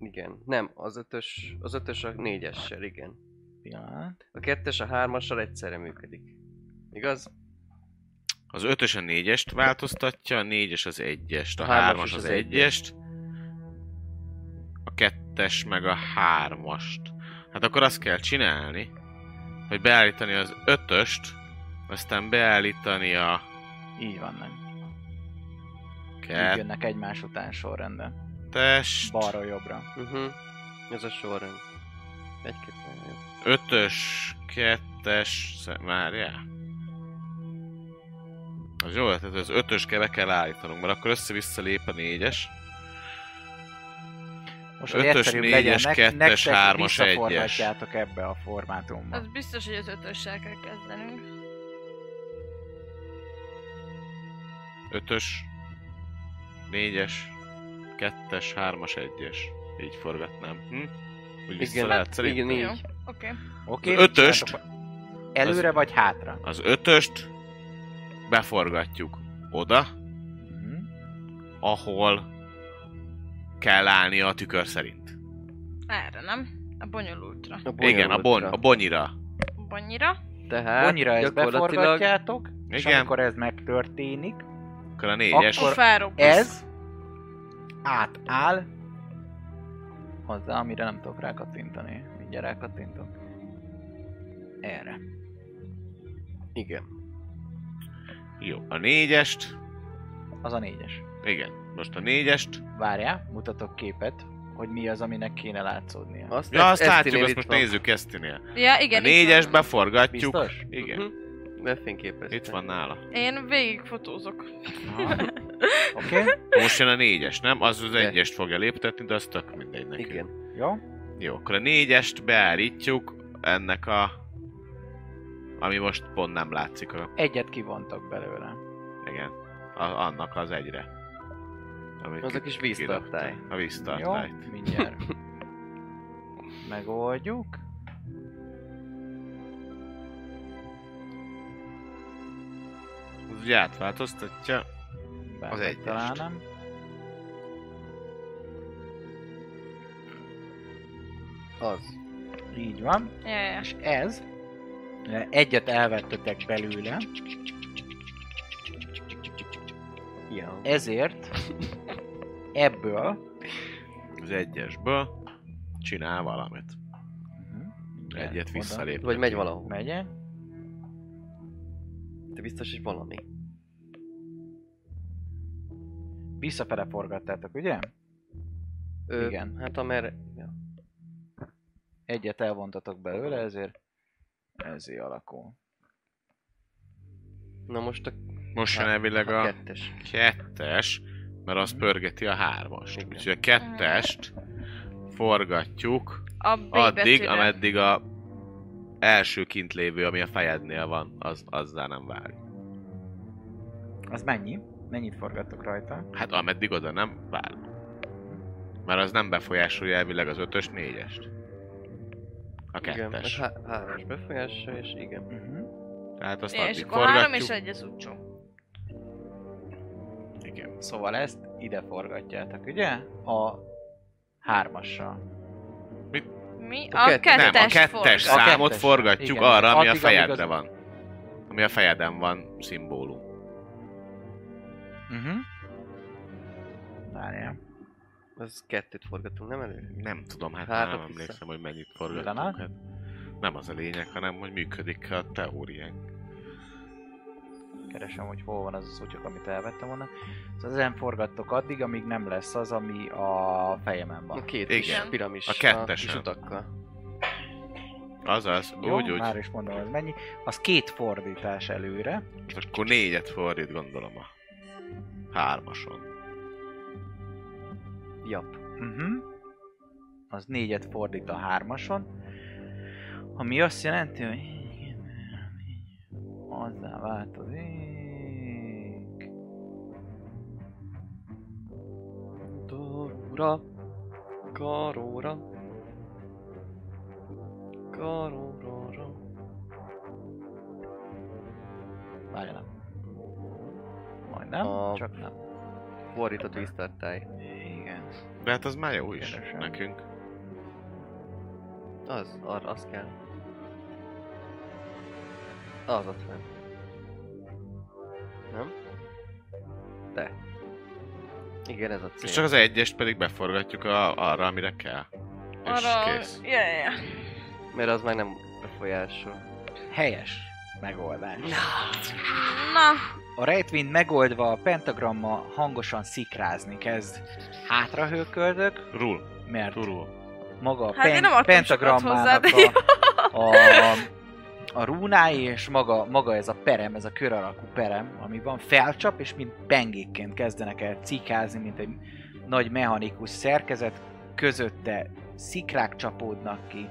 Igen, nem, az ötös, az ötös a négyessel, igen. Pillanat. A kettes a hármassal egyszerre működik. Igaz? Az ötös a négyest változtatja, a négyes az egyest, a, A hármas hármas is az az egyest, a kettes meg a hármast. Hát akkor azt kell csinálni, hogy beállítani az ötöst, aztán beállítani a Így vannak. Így kettest, jönnek egymás után sorrendben. Balról jobbra. Uh-huh. Ez a sorrend. Egy, kettő, jó. ötös, kettes, sze- várjál. Az jó, tehát az ötös kell be kell állítanunk, mert akkor össze-vissza lép a négyes. Most, hogy Ötös, egyszerűbb négyes, legyen, nek- kettes, nektek hármas, visszaforgatjátok ebbe a formátumba. Az biztos, hogy az ötössel kell kezdenünk. Ötös, négyes, kettes, hármas, egyes. Így forgatnám. Hm? Úgy vissza lehet szerintem. igen, Jó, így. oké. Oké, Az ötöst. csináltok- Előre vagy hátra? Az ötöst beforgatjuk oda, Mhm. ahol kell állnia a tükör szerint. Erre nem. A bonyolultra. A Igen, a, bon, bonyolultra. a bonyira. Bonyira. Tehát Annyira ezt beforgatjátok, és Hát, Igen, amikor akkor, ez megtörténik, a négyes. Akkor Akkor felrobbansz. ez átáll hozzá, amire nem tudok rákattintani. Mindjárt rákattintok. Erre. Igen. Jó, a négyest. Az a négyes. Igen, most a négyest. Várjál, mutatok képet, hogy mi az, aminek kéne látszódnia. Azt, Ja, ezt- azt ezt látjuk, én azt itt most van. nézzük Esztinél. Ja, A igen, itt négyes van. beforgatjuk. Biztos? Igen, Mhm. Befényképeztem. itt van nála. Én végig fotózok. Aha. Oké, okay. Most jön a négyes, nem? Az az egyest fogja léptetni, de az tök mindegy neki. Igen. jó. Jó, akkor a négyest beállítjuk ennek a... Ami most pont nem látszik a... Egyet kivontok belőle. Igen. A, annak az egyre. Amit Az a ki- kis kidobtam. víztartály. A Jó, víztartály. mindjárt. Megoldjuk. Az Ugye átváltoztatja. Bár Az egyest. Talán nem. Az. Így van. Ja, ja. És ez, eh, egyet elvettetek belőle, Ja. ezért ebből Az egyesből csinál valamit. Mhm. Egyet Oda visszalép. Vagy megy valahol. Megye. De biztos, hogy valami. Visszafele forgattátok, ugye? Ö, Igen. Hát amerre... Ja. Egyet elvontatok belőle, ezért ezért alakul. Na most a, Most Hát, jön elvileg a a kettes. kettes, mert az pörgeti a hármast. Igen. Úgyhogy a kettest forgatjuk A B addig, betűre. ameddig a első kint lévő, ami a fejednél van, az, azzal nem vág. Az mennyi? Mennyit forgattok rajta? Hát ameddig oda nem vág. Mert az nem befolyásolja elvileg az ötös, négyest. A Igen, ez kettes. há- hármas befolyása, és igen. Uh-huh. Tehát Hát azt És addig akkor három és egy forgatjuk. az utcsó. Igen. Szóval ezt ide forgatjátok, ugye? A hármassal. Mi? A A, kettes- Nem, a kettest kettes A forgat. számot kettes. forgatjuk Igen. arra, ami a Addig, amíg az- fejedre van. Ami a fejeden van szimbólum. Uh-huh. Várjál. Az kettőt forgatunk, nem elő? Nem tudom, hát Hát, már nem ott vissza. emlékszem, hogy mennyit forgattunk. Pillanat. Hát nem az a lényeg, hanem hogy működik a teóriánk. Keresem, hogy hol van az a szutyok, amit elvettem onnan. Szóval ezen forgattok addig, amíg nem lesz az, ami a fejemen A van. két Igen. kis piramis. A kettesen. kis utakkal. Azaz, úgy, úgy. Már is mondom, az mennyi. Az két fordítás előre. Most akkor négyet fordít, gondolom a hármason. Jap. Uh-huh. Az négyet fordít a hármason. Ami azt jelenti, hogy... Azzá változik... Dorura, karóra, karóra, Várjanak. Majdnem, A- csak nem. Fordított víztartály. Igen. De hát az már jó is Keresem. nekünk. Az, arra az kell. Az ott van. Nem? De. Igen, ez a cél. És csak az egyest pedig beforgatjuk a, arra, amire kell. És Arra... kész. Ja, ja, ja. Mert az már nem befolyásol. Helyes megoldás. Na, A rejtvényt megoldva a pentagramma hangosan szikrázni kezd. Hátra hőköldök, Rul, mert turul. maga a Hát én pen- nem adtam sokat pentagrammának hozzá, de a, a, a rúnái, és maga, maga ez a perem, ez a kör alakú perem, ami van, felcsap, és mint pengékként kezdenek el cikázni, mint egy nagy mechanikus szerkezet, közötte szikrák csapódnak ki,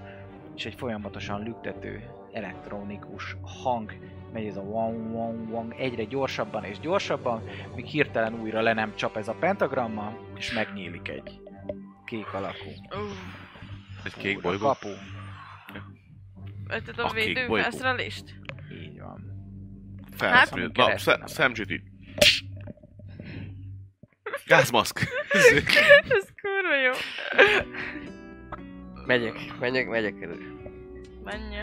és egy folyamatosan lüktető elektronikus hang megy ez a wang wang wang egyre gyorsabban és gyorsabban, míg hirtelen újra le nem csap ez a pentagramma, és megnyílik egy kék alakú Egy kék fura bolygó. kapu. ötöd A a kék bolygó. védőfelszerelést? Így van. Felszmű. Hát- Na, szem- szemcsüt így. Gázmaszk. Ez kurva jó. Megyek, megyek, megyek elő. Menj.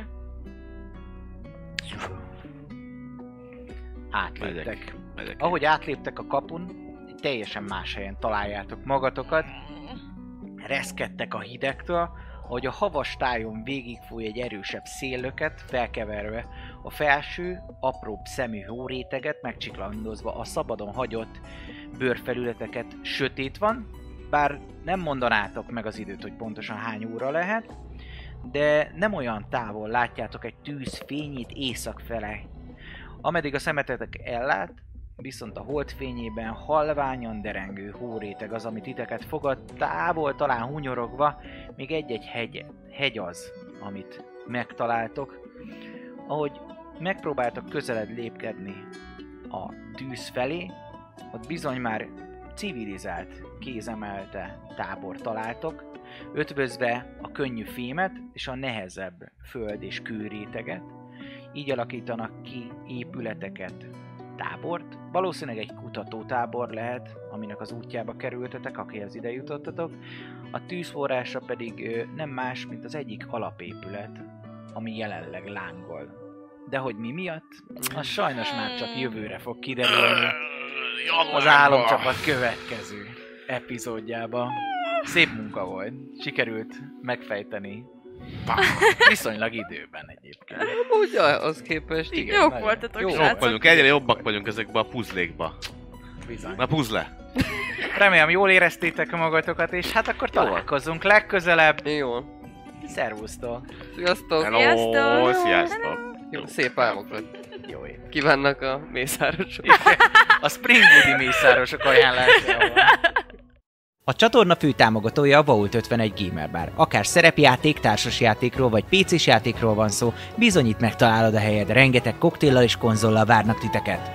Átléptek. Megyek. Megyek. Ahogy átléptek a kapun, egy teljesen más helyen találjátok magatokat, reszkedtek a hidegtől, ahogy a havas tájon végigfúj egy erősebb széllöket, felkeverve a felső, apróbb szemű hóréteget, megcsiklandozva a szabadon hagyott bőrfelületeket sötét van, bár nem mondanátok meg az időt, hogy pontosan hány óra lehet, de nem olyan távol látjátok egy tűz fényét észak fele. Ameddig a szemetetek ellát, viszont a holdfényében halványan derengő hóréteg az, ami titeket fogad, távol talán hunyorogva, még egy-egy hegy, hegy az, amit megtaláltok. Ahogy megpróbáltok közeled lépkedni a tűz felé, ott bizony már civilizált, kézemelte tábor találtok, ötvözve a könnyű fémet és a nehezebb föld és kőréteget, így alakítanak ki épületeket, tábort. Valószínűleg egy kutatótábor lehet, aminek az útjába kerültetek, akihez ide jutottatok. A tűzforrása pedig ö, nem más, mint az egyik alapépület, ami jelenleg lángol. De hogy mi miatt? Az sajnos már csak jövőre fog kiderülni az álomcsapat következő epizódjába. Szép munka volt. Sikerült megfejteni. Viszonylag időben egyébként. Ugye, az képest, igen. Igen. Hát Jók nagyon. voltatok, Jók Jók srácok. vagyunk, egyre jobbak vagyunk ezekbe a puzlékba. Bizony. Na puzle! Remélem jól éreztétek magatokat, és hát akkor Jól. találkozunk legközelebb. Jó. Szervusztok! Sziasztok! Hello! Sziasztok! Sziasztok! Jó, szép álmokat. Jó éjjel. Kívánnak a mészárosok. A Springwoodi mészárosok ajánlásával. A csatorna fő támogatója a Vault 51 Gamer Bar. Akár szerepjáték, társasjátékról vagy pc játékról van szó, bizonyít megtalálod a helyed, rengeteg koktéllal és konzollal várnak titeket.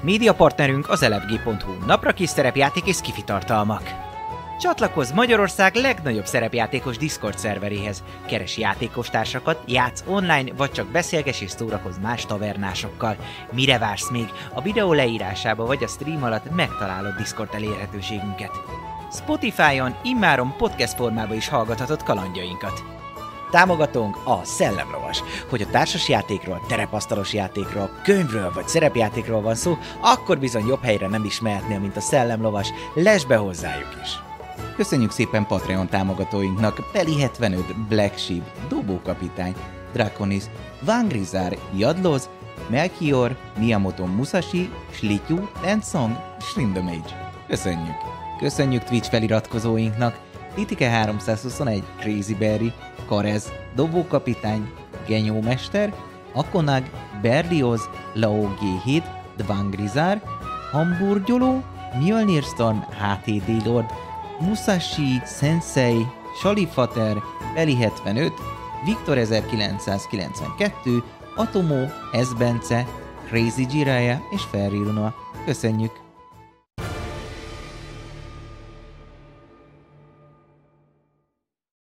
Média partnerünk az elefg.hu, napra kis szerepjáték és kifitartalmak. tartalmak. Csatlakozz Magyarország legnagyobb szerepjátékos Discord szerveréhez. Keres játékostársakat, játsz online, vagy csak beszélges és szórakozz más tavernásokkal. Mire vársz még? A videó leírásába vagy a stream alatt megtalálod Discord elérhetőségünket. Spotify-on immáron podcast formában is hallgathatod kalandjainkat. Támogatónk a Szellemlovas. Hogy a társas játékról, terepasztalos játékról, könyvről vagy szerepjátékról van szó, akkor bizony jobb helyre nem is mehetnél, mint a Szellemlovas. Lesz be hozzájuk is! Köszönjük szépen Patreon támogatóinknak Peli 75, Black Sheep, Dobókapitány, Draconis, Vangrizár, Jadloz, Melchior, Miyamoto Musashi, Slityu, Ensong, Shrindamage. Köszönjük! Köszönjük Twitch feliratkozóinknak Litike 321, Crazy Berry, Karez, Dobókapitány, Genyómester, Akonag, Berlioz, Lao G7, Dvangrizár, Hamburgyoló, Mjölnir Storm, HTD Lord, Musashi, Sensei, Salifater, Beli 75, Viktor 1992, Atomó, Ezbence, Crazy Jiraya és Ferri Luna. Köszönjük!